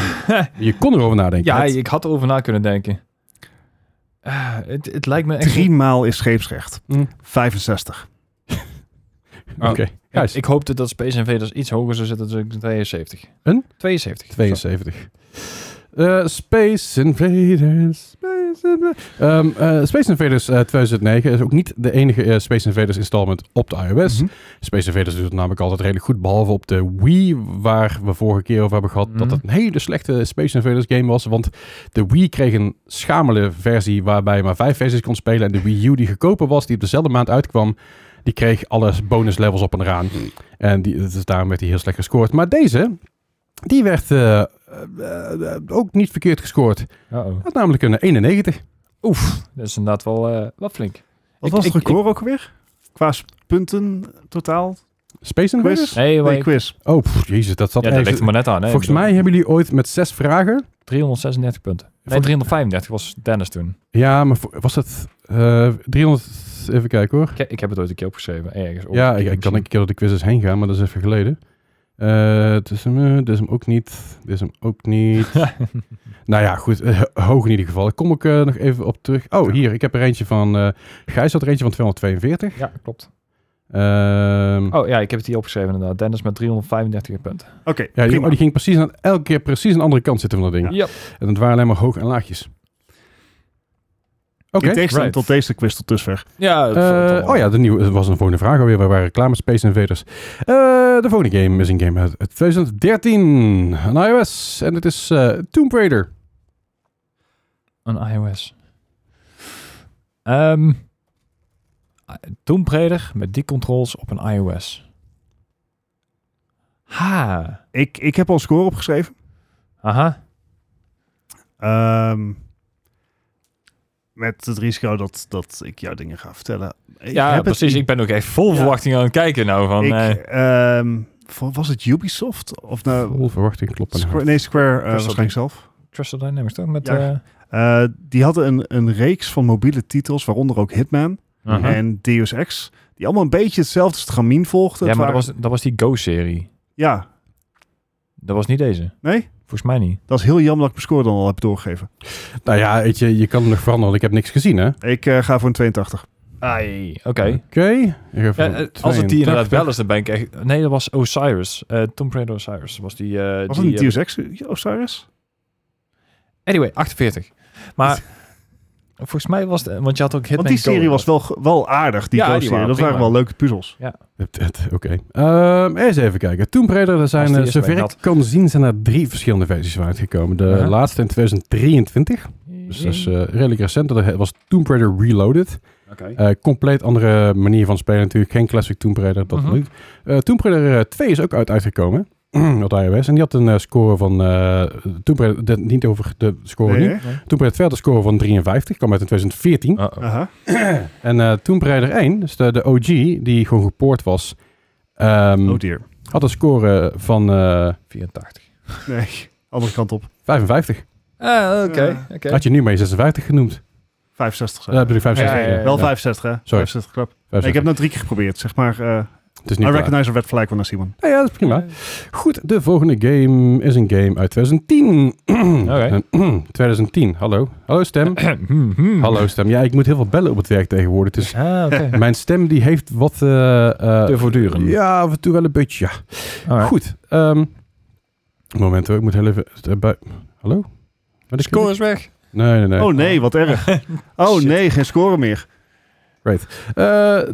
S2: *laughs*
S3: Je kon erover nadenken.
S2: ja,
S3: Het-
S2: ik had erover na kunnen denken. Eh, het, het lijkt me echt...
S1: Drie maal is scheepsrecht.
S3: Hm.
S1: 65.
S3: Oké, Gijs,
S2: Ik, ik hoopte dat Space Invaders iets hoger zou zitten, dus ik 72.
S3: Een?
S2: 72.
S3: 72. Eh, Space Invaders. Space Invaders. Ehm, eh, Space Invaders eh, 2009 is ook niet de enige eh, Space Invaders installment op de iOS.
S1: Mhm.
S3: Space Invaders doet het namelijk altijd redelijk goed. Behalve op de Wii, waar we vorige keer over hebben gehad
S2: Mhm.
S3: dat het een hele slechte Space Invaders game was. Want de Wii kreeg een schamele versie waarbij je maar vijf versies kon spelen. En de Wii U die goedkoper was, die op dezelfde maand uitkwam, die kreeg alle bonus levels op en eraan. En die, dus daarom werd hij heel slecht gescoord. Maar deze, die werd eh, eh, eh, ook niet verkeerd gescoord.
S2: Uh-oh.
S3: Had namelijk een 91.
S2: Oef, dat is inderdaad wel, eh, wel flink.
S1: Wat
S2: Ik-
S1: was het
S2: ik-
S1: record ook alweer? Qua s- punten totaal?
S3: Space Invaders?
S1: Quiz?
S2: Hey,
S1: Nee,
S2: maar-
S1: quiz.
S3: Oh, pff, jezus, dat zat
S2: ja, dat
S3: ergens-
S2: ligt er maar net aan. Hè?
S3: Volgens mij hebben jullie ooit met zes vragen...
S2: 336 punten. Nee,
S3: Volgens-
S2: 335 was Dennis toen.
S3: Ja, maar vo- was dat eh 300... Even kijken hoor.
S2: Ik, ik heb het ooit een keer opgeschreven. Ergens op-
S3: ja, ik, ik kan een keer door de quizzes heen gaan, maar dat is even geleden. Eh, Het is hem, eh, dit is hem ook niet. Dit is hem ook
S2: *laughs*
S3: niet. nou ja, goed. eh, ho- hoog in ieder geval. Daar kom ik eh, nog even op terug. Oh, hier. Ik heb er eentje van... eh Gijs had er eentje van 242.
S2: Ja, klopt.
S3: Ehm,
S2: Oh ja, ik heb het hier opgeschreven inderdaad. Dennis met 335 punten.
S1: Oké,
S3: Ja, die,
S1: prima.
S3: oh, die ging precies aan, elke keer precies aan de andere kant zitten van dat ding.
S2: Ja.
S3: En het waren alleen maar hoog en laagjes. Oké.
S1: In tegenstelling
S2: right.
S1: tot deze quiz tot dusver.
S2: Ja, dat valt
S3: Eh,
S2: wel.
S3: oh ja, de nieuwe, het was een volgende vraag alweer. We waren klaar met Space Invaders. Eh, de volgende game is een game uit uit 2013. Een iOS. En het is eh, Tomb Raider.
S2: Een iOS. Ehm Tomb Raider met die controls op een iOS. Ha.
S1: Ik, ik heb al een score opgeschreven.
S2: Aha.
S1: Ehm, met het risico dat, dat ik jou dingen ga vertellen. Ik
S2: ja,
S1: heb het
S2: precies. Ik ben ook echt vol
S1: Ja.
S2: verwachting aan het kijken nou. Van,
S1: Ik,
S2: eh,
S1: ehm, voor- was het Ubisoft? Of
S2: Oh.
S1: nou,
S3: Vol Oh, verwachting kloppen.
S1: Square, nee, Square eh,
S2: Crystal
S1: waarschijnlijk zelf.
S2: Crystal Dynamics toch? Met,
S1: Ja.
S2: eh,
S1: Eh, die hadden een, een reeks van mobiele titels, waaronder ook Hitman
S2: aha.
S1: en Deus Ex. Die allemaal een beetje hetzelfde stramien volgden.
S2: Ja,
S1: Het
S2: maar dat
S1: waren-
S2: was, dat was die Go-serie.
S1: Ja,
S2: Dat was niet deze.
S1: nee?
S2: Volgens mij niet.
S1: Dat is heel jammer dat ik mijn score dan al heb doorgegeven.
S3: Nou ja, weet je, je kan het nog veranderen. want Ik heb niks gezien, hè?
S1: Ik eh, ga voor een 82.
S2: Ai, oké.
S3: Oké. Ik geef
S2: Ja,
S3: hem
S2: eh, als het die inderdaad
S3: 82.
S2: wel is, dan ben ik echt... Nee, dat was Osiris. eh Tomb Raider Osiris was die... eh,
S1: Was het
S2: die
S1: niet
S2: eh,
S1: Deus Ex Osiris?
S2: anyway, 48.
S1: *laughs*
S2: Maar volgens mij was het... Want je had ook Hitman
S1: Want die serie
S2: Go.
S1: was wel, ge- wel aardig, die
S2: Ja, die
S1: Ghost serie.
S2: waren
S1: Dat waren
S2: prima.
S1: wel leuke puzzels.
S3: Het- het- Oké. Ehm, eens even kijken. Tomb Raider, er
S2: Als
S3: zijn,
S2: die
S3: eh,
S2: is
S3: zover
S2: bij
S3: ik
S2: dat.
S3: kan zien, zijn er drie verschillende versies van uitgekomen. De
S2: Uh-huh.
S3: laatste in 2023, dus dat is eh, redelijk recent. Dat was Tomb Raider Reloaded. Eh, compleet andere manier van spelen natuurlijk. Geen classic Tomb Raider, dat
S2: Mhm.
S3: niet. Eh, Tomb Raider eh, 2 is ook uit, uitgekomen *clears throat* op iOS. En die had een eh, score van... eh Tomb Raider, dit- niet over de score
S1: Nee,
S3: nu.
S1: hè?
S2: Nee.
S3: Tomb Raider 2 had een score van 53, kwam uit in 2014.
S2: Uh-oh.
S1: Aha.
S3: En eh Tomb Raider 1, dus de, de OG, die gewoon gepoord was... ehm,
S1: Oh dear.
S3: had een score van eh,
S2: 84.
S1: Nee, andere kant op.
S3: 55.
S2: Ah, oké.
S1: Ja.
S2: oké.
S3: Had je nu maar je 56 genoemd.
S1: 65.
S3: Dat bedoel ik 65.
S2: Ja, ja, ja.
S1: Wel
S3: Ja,
S1: 65, hè? 65 club. Nee,
S3: 55.
S1: ik heb het nou drie keer geprobeerd, zeg maar. eh,
S3: Het is
S1: I
S3: niet waar.
S1: recognize a red flag when I see one.
S3: Ja, ja, dat is prima. Goed, de volgende game is een game uit 2010. *clears throat*
S2: Oké.
S3: En, 2010, hallo. Hallo
S2: *clears throat*
S3: stem.
S2: *clears throat* Hmm, hmm.
S3: hallo stem. Ja, ik moet heel veel bellen op het werk tegenwoordig.
S2: *laughs*
S3: Dus
S2: Ah,
S3: *laughs*
S2: oké.
S3: mijn stem die heeft wat... eh, eh,
S2: Te voortdurend.
S3: Ja, af en toe wel een beetje, ja.
S2: Alright.
S3: Goed. ehm, moment hoor, ik moet heel even... eh, bui- hallo? Wat is
S2: Score is weg.
S3: Nee, nee, nee.
S1: Oh nee, wat
S2: *laughs*
S1: erg. Oh nee, geen score meer.
S3: Eh,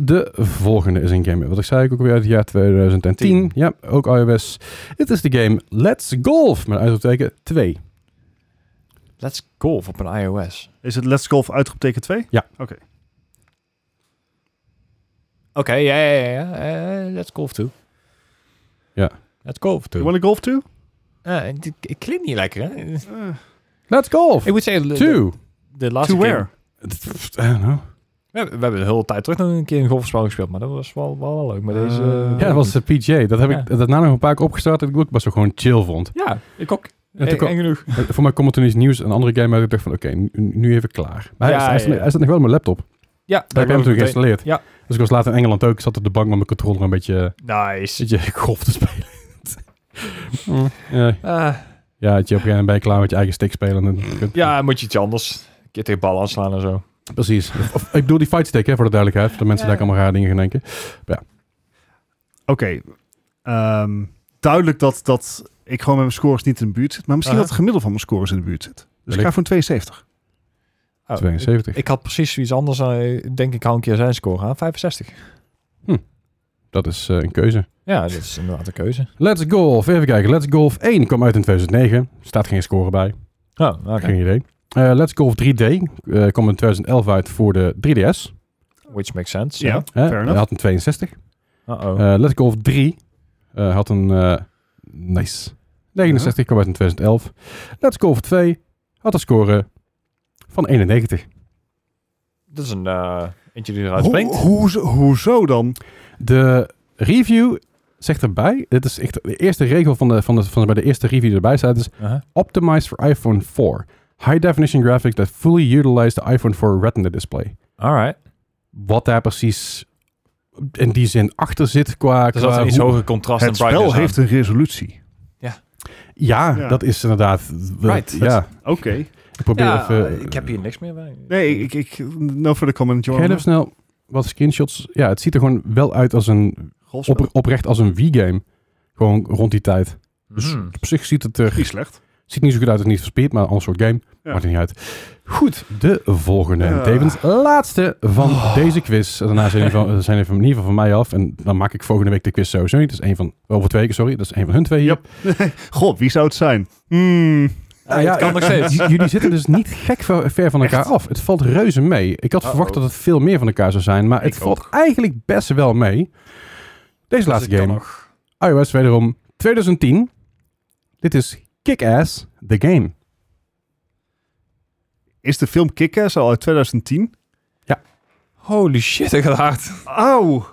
S3: de volgende is een game. Wat ik zei, ook weer uit het jaar 2010.
S1: Tien.
S3: Ja, ook iOS. Het is de game Let's Golf. Met een uitroepteken 2.
S2: Let's golf op een iOS.
S1: Is het Let's Golf uitroepteken 2?
S2: Oké, ja, ja, ja. ja. Eh, let's golf too.
S3: Ja.
S2: Let's golf
S1: You
S2: too.
S1: wanna golf too?
S2: Eh, het- het klinkt niet lekker, hè?
S1: Eh,
S3: Let's Golf
S2: Ik moet zeggen... de- De,
S3: 2.
S2: de laatste
S1: to
S2: keer-
S1: where?
S3: Pff, I don't know.
S2: We hebben, we hebben de hele tijd terug nog een keer een golfspel gespeeld, maar dat was wel, wel, wel leuk. Maar deze,
S1: Eh,
S3: Ja, dat was de PJ. Dat heb
S2: Ja.
S3: ik daarna nog een paar keer opgestart. Dat ik het best wel gewoon chill
S2: *laughs*
S3: vond.
S2: Ja, ik ook.
S3: En toen
S2: Eh,
S3: kwam-
S2: eng genoeg.
S3: Eh, Voor mij komt er toen iets nieuws. Een andere game uit. Ik dacht van, oké, nu, nu even klaar. Maar hij,
S2: Ja,
S3: is- hij, is-
S2: ja, ja.
S3: hij staat nog wel op mijn laptop. Dat
S2: Ja,
S3: heb ik hem natuurlijk geïnstalleerd.
S2: Ja.
S3: Dus ik was later in Engeland ook. Ik zat op de bank met mijn controller een beetje, eh,
S2: Nice.
S3: een beetje *laughs* golf te
S2: *laughs*
S3: spelen. Mm, ja.
S2: Ah,
S3: Ja, dat je op een gegeven moment ben je klaar met je eigen stick spelen. En
S2: ja, moet je iets anders. Een keer tegen ballen aanslaan en zo.
S3: precies. Of, ik bedoel die fight stick, hè, voor de duidelijkheid. Dat mensen
S2: Ja.
S3: daar allemaal rare dingen gaan denken.
S1: Oké. Ehm, duidelijk dat, dat ik gewoon met mijn scores niet in de buurt zit. Maar misschien
S2: Aha.
S1: dat het gemiddelde van mijn scores in de buurt zit. Dus ik ga
S3: Wellicht.
S1: voor een 72.
S2: Oh,
S3: 72.
S2: Ik, ik had precies zoiets anders. eh, Ik denk ik hou een keer zijn score aan. 65.
S3: Dat is eh, een keuze.
S2: Ja, dat is inderdaad een keuze.
S3: Let's Golf. Even kijken. Let's Golf 1 kwam uit in 2009. Staat geen score bij.
S2: Oh, oké.
S3: Geen idee. Eh, Let's Golf 3D eh, kwam in 2011 uit voor de 3DS.
S2: Which makes sense.
S1: Ja,
S3: Hè?
S1: fair
S3: Hij
S1: enough.
S3: had een 62.
S2: Uh-oh.
S3: Eh, Let's Golf 3 eh, had een... eh, nice. 69 kwam uit in 2011. Let's Golf 2 had een score van 91.
S2: dat is een eh, eentje die eruit
S1: Hoe-
S2: springt.
S1: hoezo- hoezo dan?
S3: De review zegt erbij, dit is echt de eerste regel van de, van de, van de, bij de eerste review die erbij staat, is
S2: Uh-huh.
S3: optimized for iPhone 4. High definition graphics that fully utilize the iPhone 4 retina display.
S2: Alright.
S3: Wat daar precies in die zin achter zit qua...
S2: Er
S3: qua
S2: zat Dus een iets
S3: hoe-
S2: hoger contrast en
S1: Het
S2: brightness
S1: spel heeft een resolutie.
S3: ja,
S1: Ja.
S3: dat is inderdaad...
S2: Right.
S3: Ja,
S1: Oké.
S3: ik probeer
S2: Ja,
S3: even...
S2: ik heb hier niks meer bij.
S1: Nee, ik, ik, no further comment,
S3: Ga even
S1: Johan.
S3: snel wat screenshots... Ja, het ziet er gewoon wel uit als een...
S1: Golfspel.
S3: Op, oprecht als een Wii-game. Gewoon rond die tijd. Dus
S2: Hmm.
S3: Op zich ziet het er
S1: Niet slecht.
S3: Ziet niet zo goed uit als niet for Speed, maar een ander soort game.
S1: Ja.
S3: Maakt er niet uit. Goed, de volgende. En
S1: Ja.
S3: tevens laatste van deze quiz. En Daarna zijn die van, *laughs* zijn die van, in ieder geval van mij af. En dan maak ik volgende week de quiz sowieso niet. Dat is een van, over twee weken, sorry. Dat is een van hun twee hier.
S1: Yep. God, wie zou het zijn? Hmm.
S2: Ah, het kan nog steeds.
S3: j- jullie zitten dus niet gek ver, ver van elkaar af. Het valt reuze mee. Ik had
S2: Uh-oh.
S3: verwacht dat het veel meer van elkaar zou zijn. Maar het
S1: Ik
S3: valt
S1: ook.
S3: eigenlijk best wel mee. Deze
S2: Dus
S3: laatste
S2: ik kan
S3: game.
S2: nog-
S3: iOS wederom 2010. Dit is Kick-Ass, the game.
S1: Is de film Kick-Ass al uit 2010?
S2: Holy shit, ik had hard.
S1: Auw.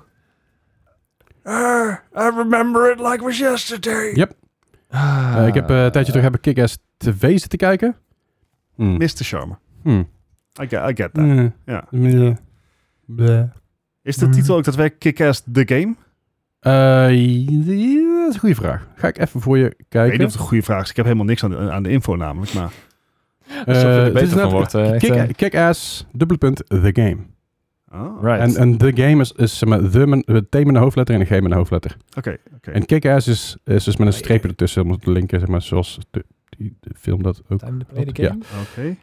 S1: Ah, I remember it like it was yesterday.
S3: Eh, ik heb eh, een
S2: Ah.
S3: tijdje terug heb ik Kick-Ass TV zitten kijken. Hmm.
S1: Mr. Charmer.
S3: Hmm.
S1: I get, I get that. Ja.
S3: Eh, bleh.
S1: Is
S3: Hmm.
S1: de titel ook dat wij Kick-Ass The Game?
S3: Eh, ja, dat is een goede vraag. Ga ik even voor je
S1: Ik weet
S3: kijken.
S1: niet of het een goede vraag is. Ik heb helemaal niks aan de, aan de info namelijk. Maar
S3: Eh,
S2: Alsof je er
S3: het is
S2: beter van
S3: inderdaad
S2: wordt. eh, echt, eh.
S3: Kick- Kick-Ass, dubbele punt, The Game.
S1: Oh.
S2: Right.
S3: En, eh, en The Game is, is zeg maar, the met, het T met een hoofdletter en de G met een hoofdletter.
S1: Oké, oké.
S3: En Kick-Ass is, is dus met een streepje ertussen om het te linken, zeg maar, zoals de, die, de film dat ook.
S2: Time to play the
S3: Ja.
S2: game.
S1: Oké.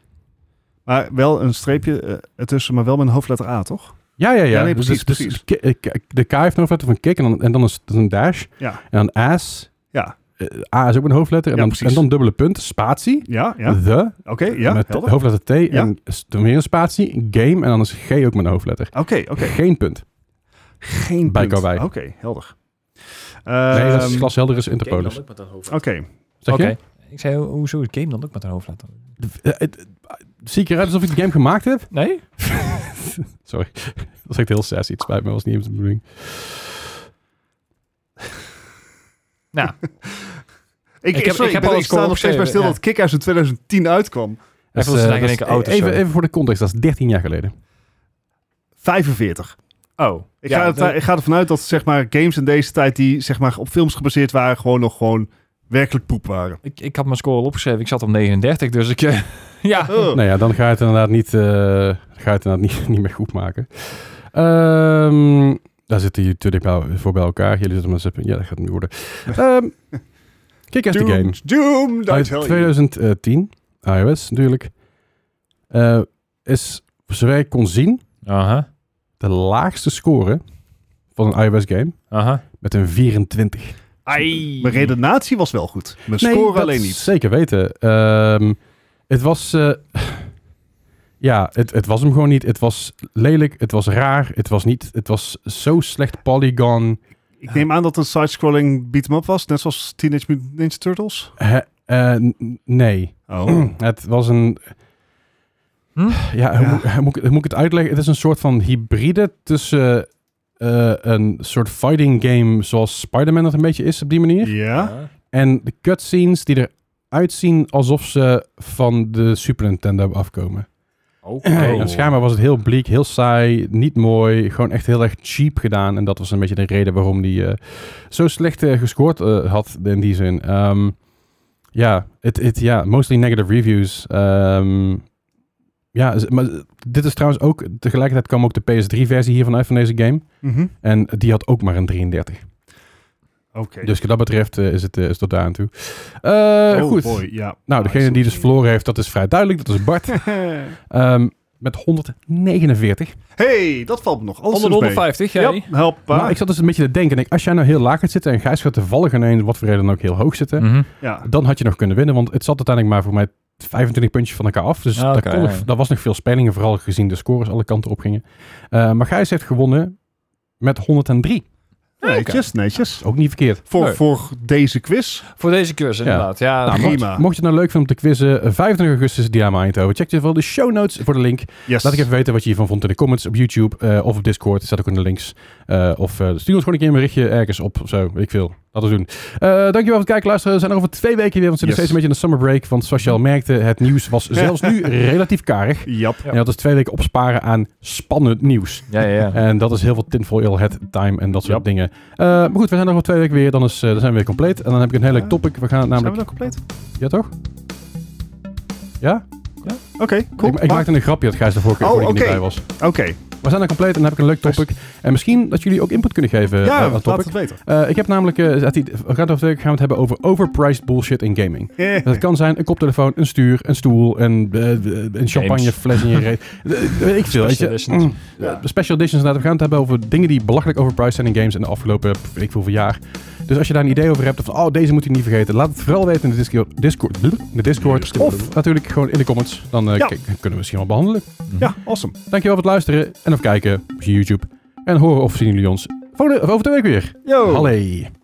S1: Maar wel een streepje eh, ertussen, maar wel met een hoofdletter A, toch?
S3: Ja, ja, ja.
S1: Ja, nee,
S3: Dus-
S1: precies,
S3: dus-
S1: precies.
S3: dus ki- eh, ki- de K heeft een hoofdletter van kick en dan, en dan is het een dash.
S1: Ja.
S3: En dan ass.
S1: Ja.
S3: Eh, A is ook een hoofdletter. En,
S1: Ja,
S3: dan,
S1: precies.
S3: en dan dubbele punt, spatie.
S1: Ja, ja.
S3: The,
S1: Oké, ja,
S3: Hmm. met
S1: helder.
S3: hoofdletter T. En s- dan weer een spatie, game. En dan is G ook met een hoofdletter.
S1: Oké, oké.
S3: Geen punt.
S1: Geen
S3: Bij
S1: punt.
S3: Karwei.
S1: Oké, helder.
S3: nee, dat is
S1: Ehm,
S3: glashelder is
S4: Game dan
S3: Interpolis.
S4: ook met dat hoofd.
S1: Oké,
S3: Zeg
S2: Oké.
S3: je?
S2: Ik zei, ho- hoezo is game dan ook met een hoofdletter?
S3: Eh, het- Zie ik eruit alsof ik de game gemaakt heb?
S2: Nee?
S3: Sorry. *laughs* dat was echt heel sassy. Het spijt me, was niet eens de bedoeling.
S2: Nou,
S1: Ik,
S2: Ik heb-
S1: sorry,
S2: ik heb
S1: ben-
S2: alles
S1: sta nog steeds bij stil
S2: opgeschreven,
S1: dat Kick-Ass in 2010 uitkwam.
S2: Even
S3: Dat
S2: als
S3: is,
S2: ze
S3: eh,
S2: denken
S3: dat
S2: in
S3: is-
S2: één keer oud of
S3: even,
S2: zo.
S3: even voor de context, dat is 13 jaar geleden.
S1: 45.
S2: oh.
S1: Ik,
S2: Ja,
S1: ga, het, eh,
S2: dat-
S1: ik ga ervan uit dat zeg maar, games in deze tijd die zeg maar, op films gebaseerd waren, gewoon nog gewoon werkelijk poep waren.
S2: Ik, ik had mijn score al opgeschreven. Ik zat op 39, dus ik... eh, *laughs* ja.
S1: Oh.
S3: Nou ja, dan ga je het inderdaad niet, eh, ga je het inderdaad niet, *laughs* niet meer goed maken. Ehm, daar zitten jullie natuurlijk wel voor bij elkaar. Jullie zitten met z'n... Ja, dat gaat het nu
S1: *laughs*
S3: worden. Ehm Kick-Ass the Game.
S1: Doomed, doomed, I
S3: Uit
S1: tell you.
S3: 2010. iOS natuurlijk. Eh, is, zover ik kon zien,
S2: Aha.
S3: de laagste score van een iOS game.
S2: Aha.
S3: Met een 24.
S2: Ai.
S1: Mijn redenatie was wel goed. Mijn score
S3: dat
S1: alleen niet.
S3: Zeker weten. Ehm, het was. eh, ja, het, het was hem gewoon niet. Het was lelijk. Het was raar. Het was niet. Het was zo slecht polygon.
S1: Ik neem aan dat het een side-scrolling beat-em-up was, net zoals Teenage Mutant Ninja Turtles.
S3: Hè, eh, n- nee.
S1: Oh.
S3: Het was een.
S2: Hm?
S3: Ja,
S1: Ja.
S3: hoe Moet, ik- hoe moet ik, hoe moet ik het uitleggen? Het is een soort van hybride tussen eh, een soort fighting game zoals Spider-Man dat een beetje is op die manier.
S1: Ja?
S3: En de cutscenes die eruit zien alsof ze van de Super Nintendo afkomen.
S2: Oké.
S3: En schijnbaar was het heel bleek, heel saai, niet mooi. Gewoon echt heel erg cheap gedaan. En dat was een beetje de reden waarom die eh, zo slecht eh, gescoord eh, had in die zin. Ehm, ja, het het ja, mostly negative reviews. Ehm, ja, z- maar dit is trouwens ook... Tegelijkertijd kwam ook de PS3-versie hiervan uit van deze game.
S1: Mhm.
S3: En die had ook maar een 33.
S1: Oké.
S3: Dus wat dat betreft eh, is, het, eh, is tot daar aan toe. Eh,
S1: oh
S3: goed.
S1: boy, ja.
S3: Nou, degene die dus
S2: *laughs*
S3: verloren heeft, dat is vrij duidelijk. Dat is Bart. Ehm, met 149.
S1: *laughs* hey, dat valt me nog. Alles
S2: Onder de
S1: is
S3: dus
S1: mee.
S2: 150, jij?
S1: Ja, help. eh, pa.
S3: Maar ik zat dus een beetje te denken, en ik, als jij nou heel laag gaat zitten en Gijs gaat toevallig ineens, wat voor reden dan ook, heel hoog zitten,
S2: Mhm.
S1: ja.
S3: dan had je nog kunnen winnen, want het zat uiteindelijk maar voor mij 25 puntjes van elkaar af. Dus
S2: Ah, oké,
S3: daar, kon nog-
S2: ja.
S3: daar was nog veel spelingen, vooral gezien de scores alle kanten op gingen. Eh, maar Gijs heeft gewonnen met 103.
S1: Netjes, netjes.
S3: Dat is ook niet verkeerd.
S1: Voor,
S2: Leuk.
S1: voor deze quiz.
S2: Voor deze cursus, inderdaad. Ja, *laughs*
S1: Nou,
S2: dat-
S1: prima.
S3: Mocht je het nou leuk vinden om te quizzen, eh, 25 augustus Diama Eindhoven. Check je wel de show notes voor de link.
S1: Yes.
S3: Laat ik even weten wat je hiervan vond in de comments op YouTube eh, of op Discord. Staat ook in de links. Eh, of eh, stuur ons gewoon een keer een berichtje ergens op of zo. weet Ik veel. Laten we doen. Eh, dankjewel voor het kijken, luisteren. We zijn er over twee weken weer, want we zitten
S1: Yes.
S3: steeds een beetje in de summer break. Want zoals je al merkte, het nieuws was zelfs
S1: *laughs*
S3: nu relatief karig.
S1: Jap.
S2: Ja.
S3: En dat is twee weken opsparen aan spannend nieuws.
S2: ja, ja. ja.
S3: En dat is heel veel tinfoil head time en dat soort
S1: Ja.
S3: dingen. Eh, maar goed, we zijn er over twee weken weer. Dan, is, eh, dan zijn we weer compleet. En dan heb ik een heel leuk topic. We gaan
S1: Zijn
S3: het
S1: we
S3: namelijk...
S1: dan compleet?
S3: Ja, toch? Ja?
S1: Oké, cool.
S3: Ik, Eh, ik maakte een grapje dat Gijs de vorige keer
S1: Oh,
S3: voor die
S1: oké.
S3: niet bij was.
S1: Oké,
S3: We zijn er compleet en dan heb ik een leuk topic. En misschien dat jullie ook input kunnen geven eh,
S1: ja,
S3: aan het
S1: laat
S3: topic.
S1: het weten.
S3: Eh, ik heb namelijk, eh, uit die- we gaan het over gaan we het hebben over overpriced bullshit in gaming.
S1: Eh,
S3: Dat kan zijn een koptelefoon, een stuur, een stoel, een, eh, een
S1: *laughs*
S3: champagnefles in je reet. Eh, Weet ik veel, weet je.
S2: Special editions.
S3: Mm, eh, Special editions. inderdaad. We gaan het hebben over dingen die belachelijk overpriced zijn in games in de afgelopen, weet ik hoeveel jaar. Dus als je daar een idee over hebt, of van, oh, deze moet je niet vergeten, laat het vooral weten in de Discord, Discord, in de Discord of natuurlijk gewoon in de comments. Dan eh,
S1: Ja.
S3: k- kunnen we misschien wel behandelen.
S1: Ja, awesome.
S3: Dankjewel voor het luisteren en of kijken via YouTube. En horen of zien jullie ons volgende, of over de week weer.
S1: Yo.
S3: Allee.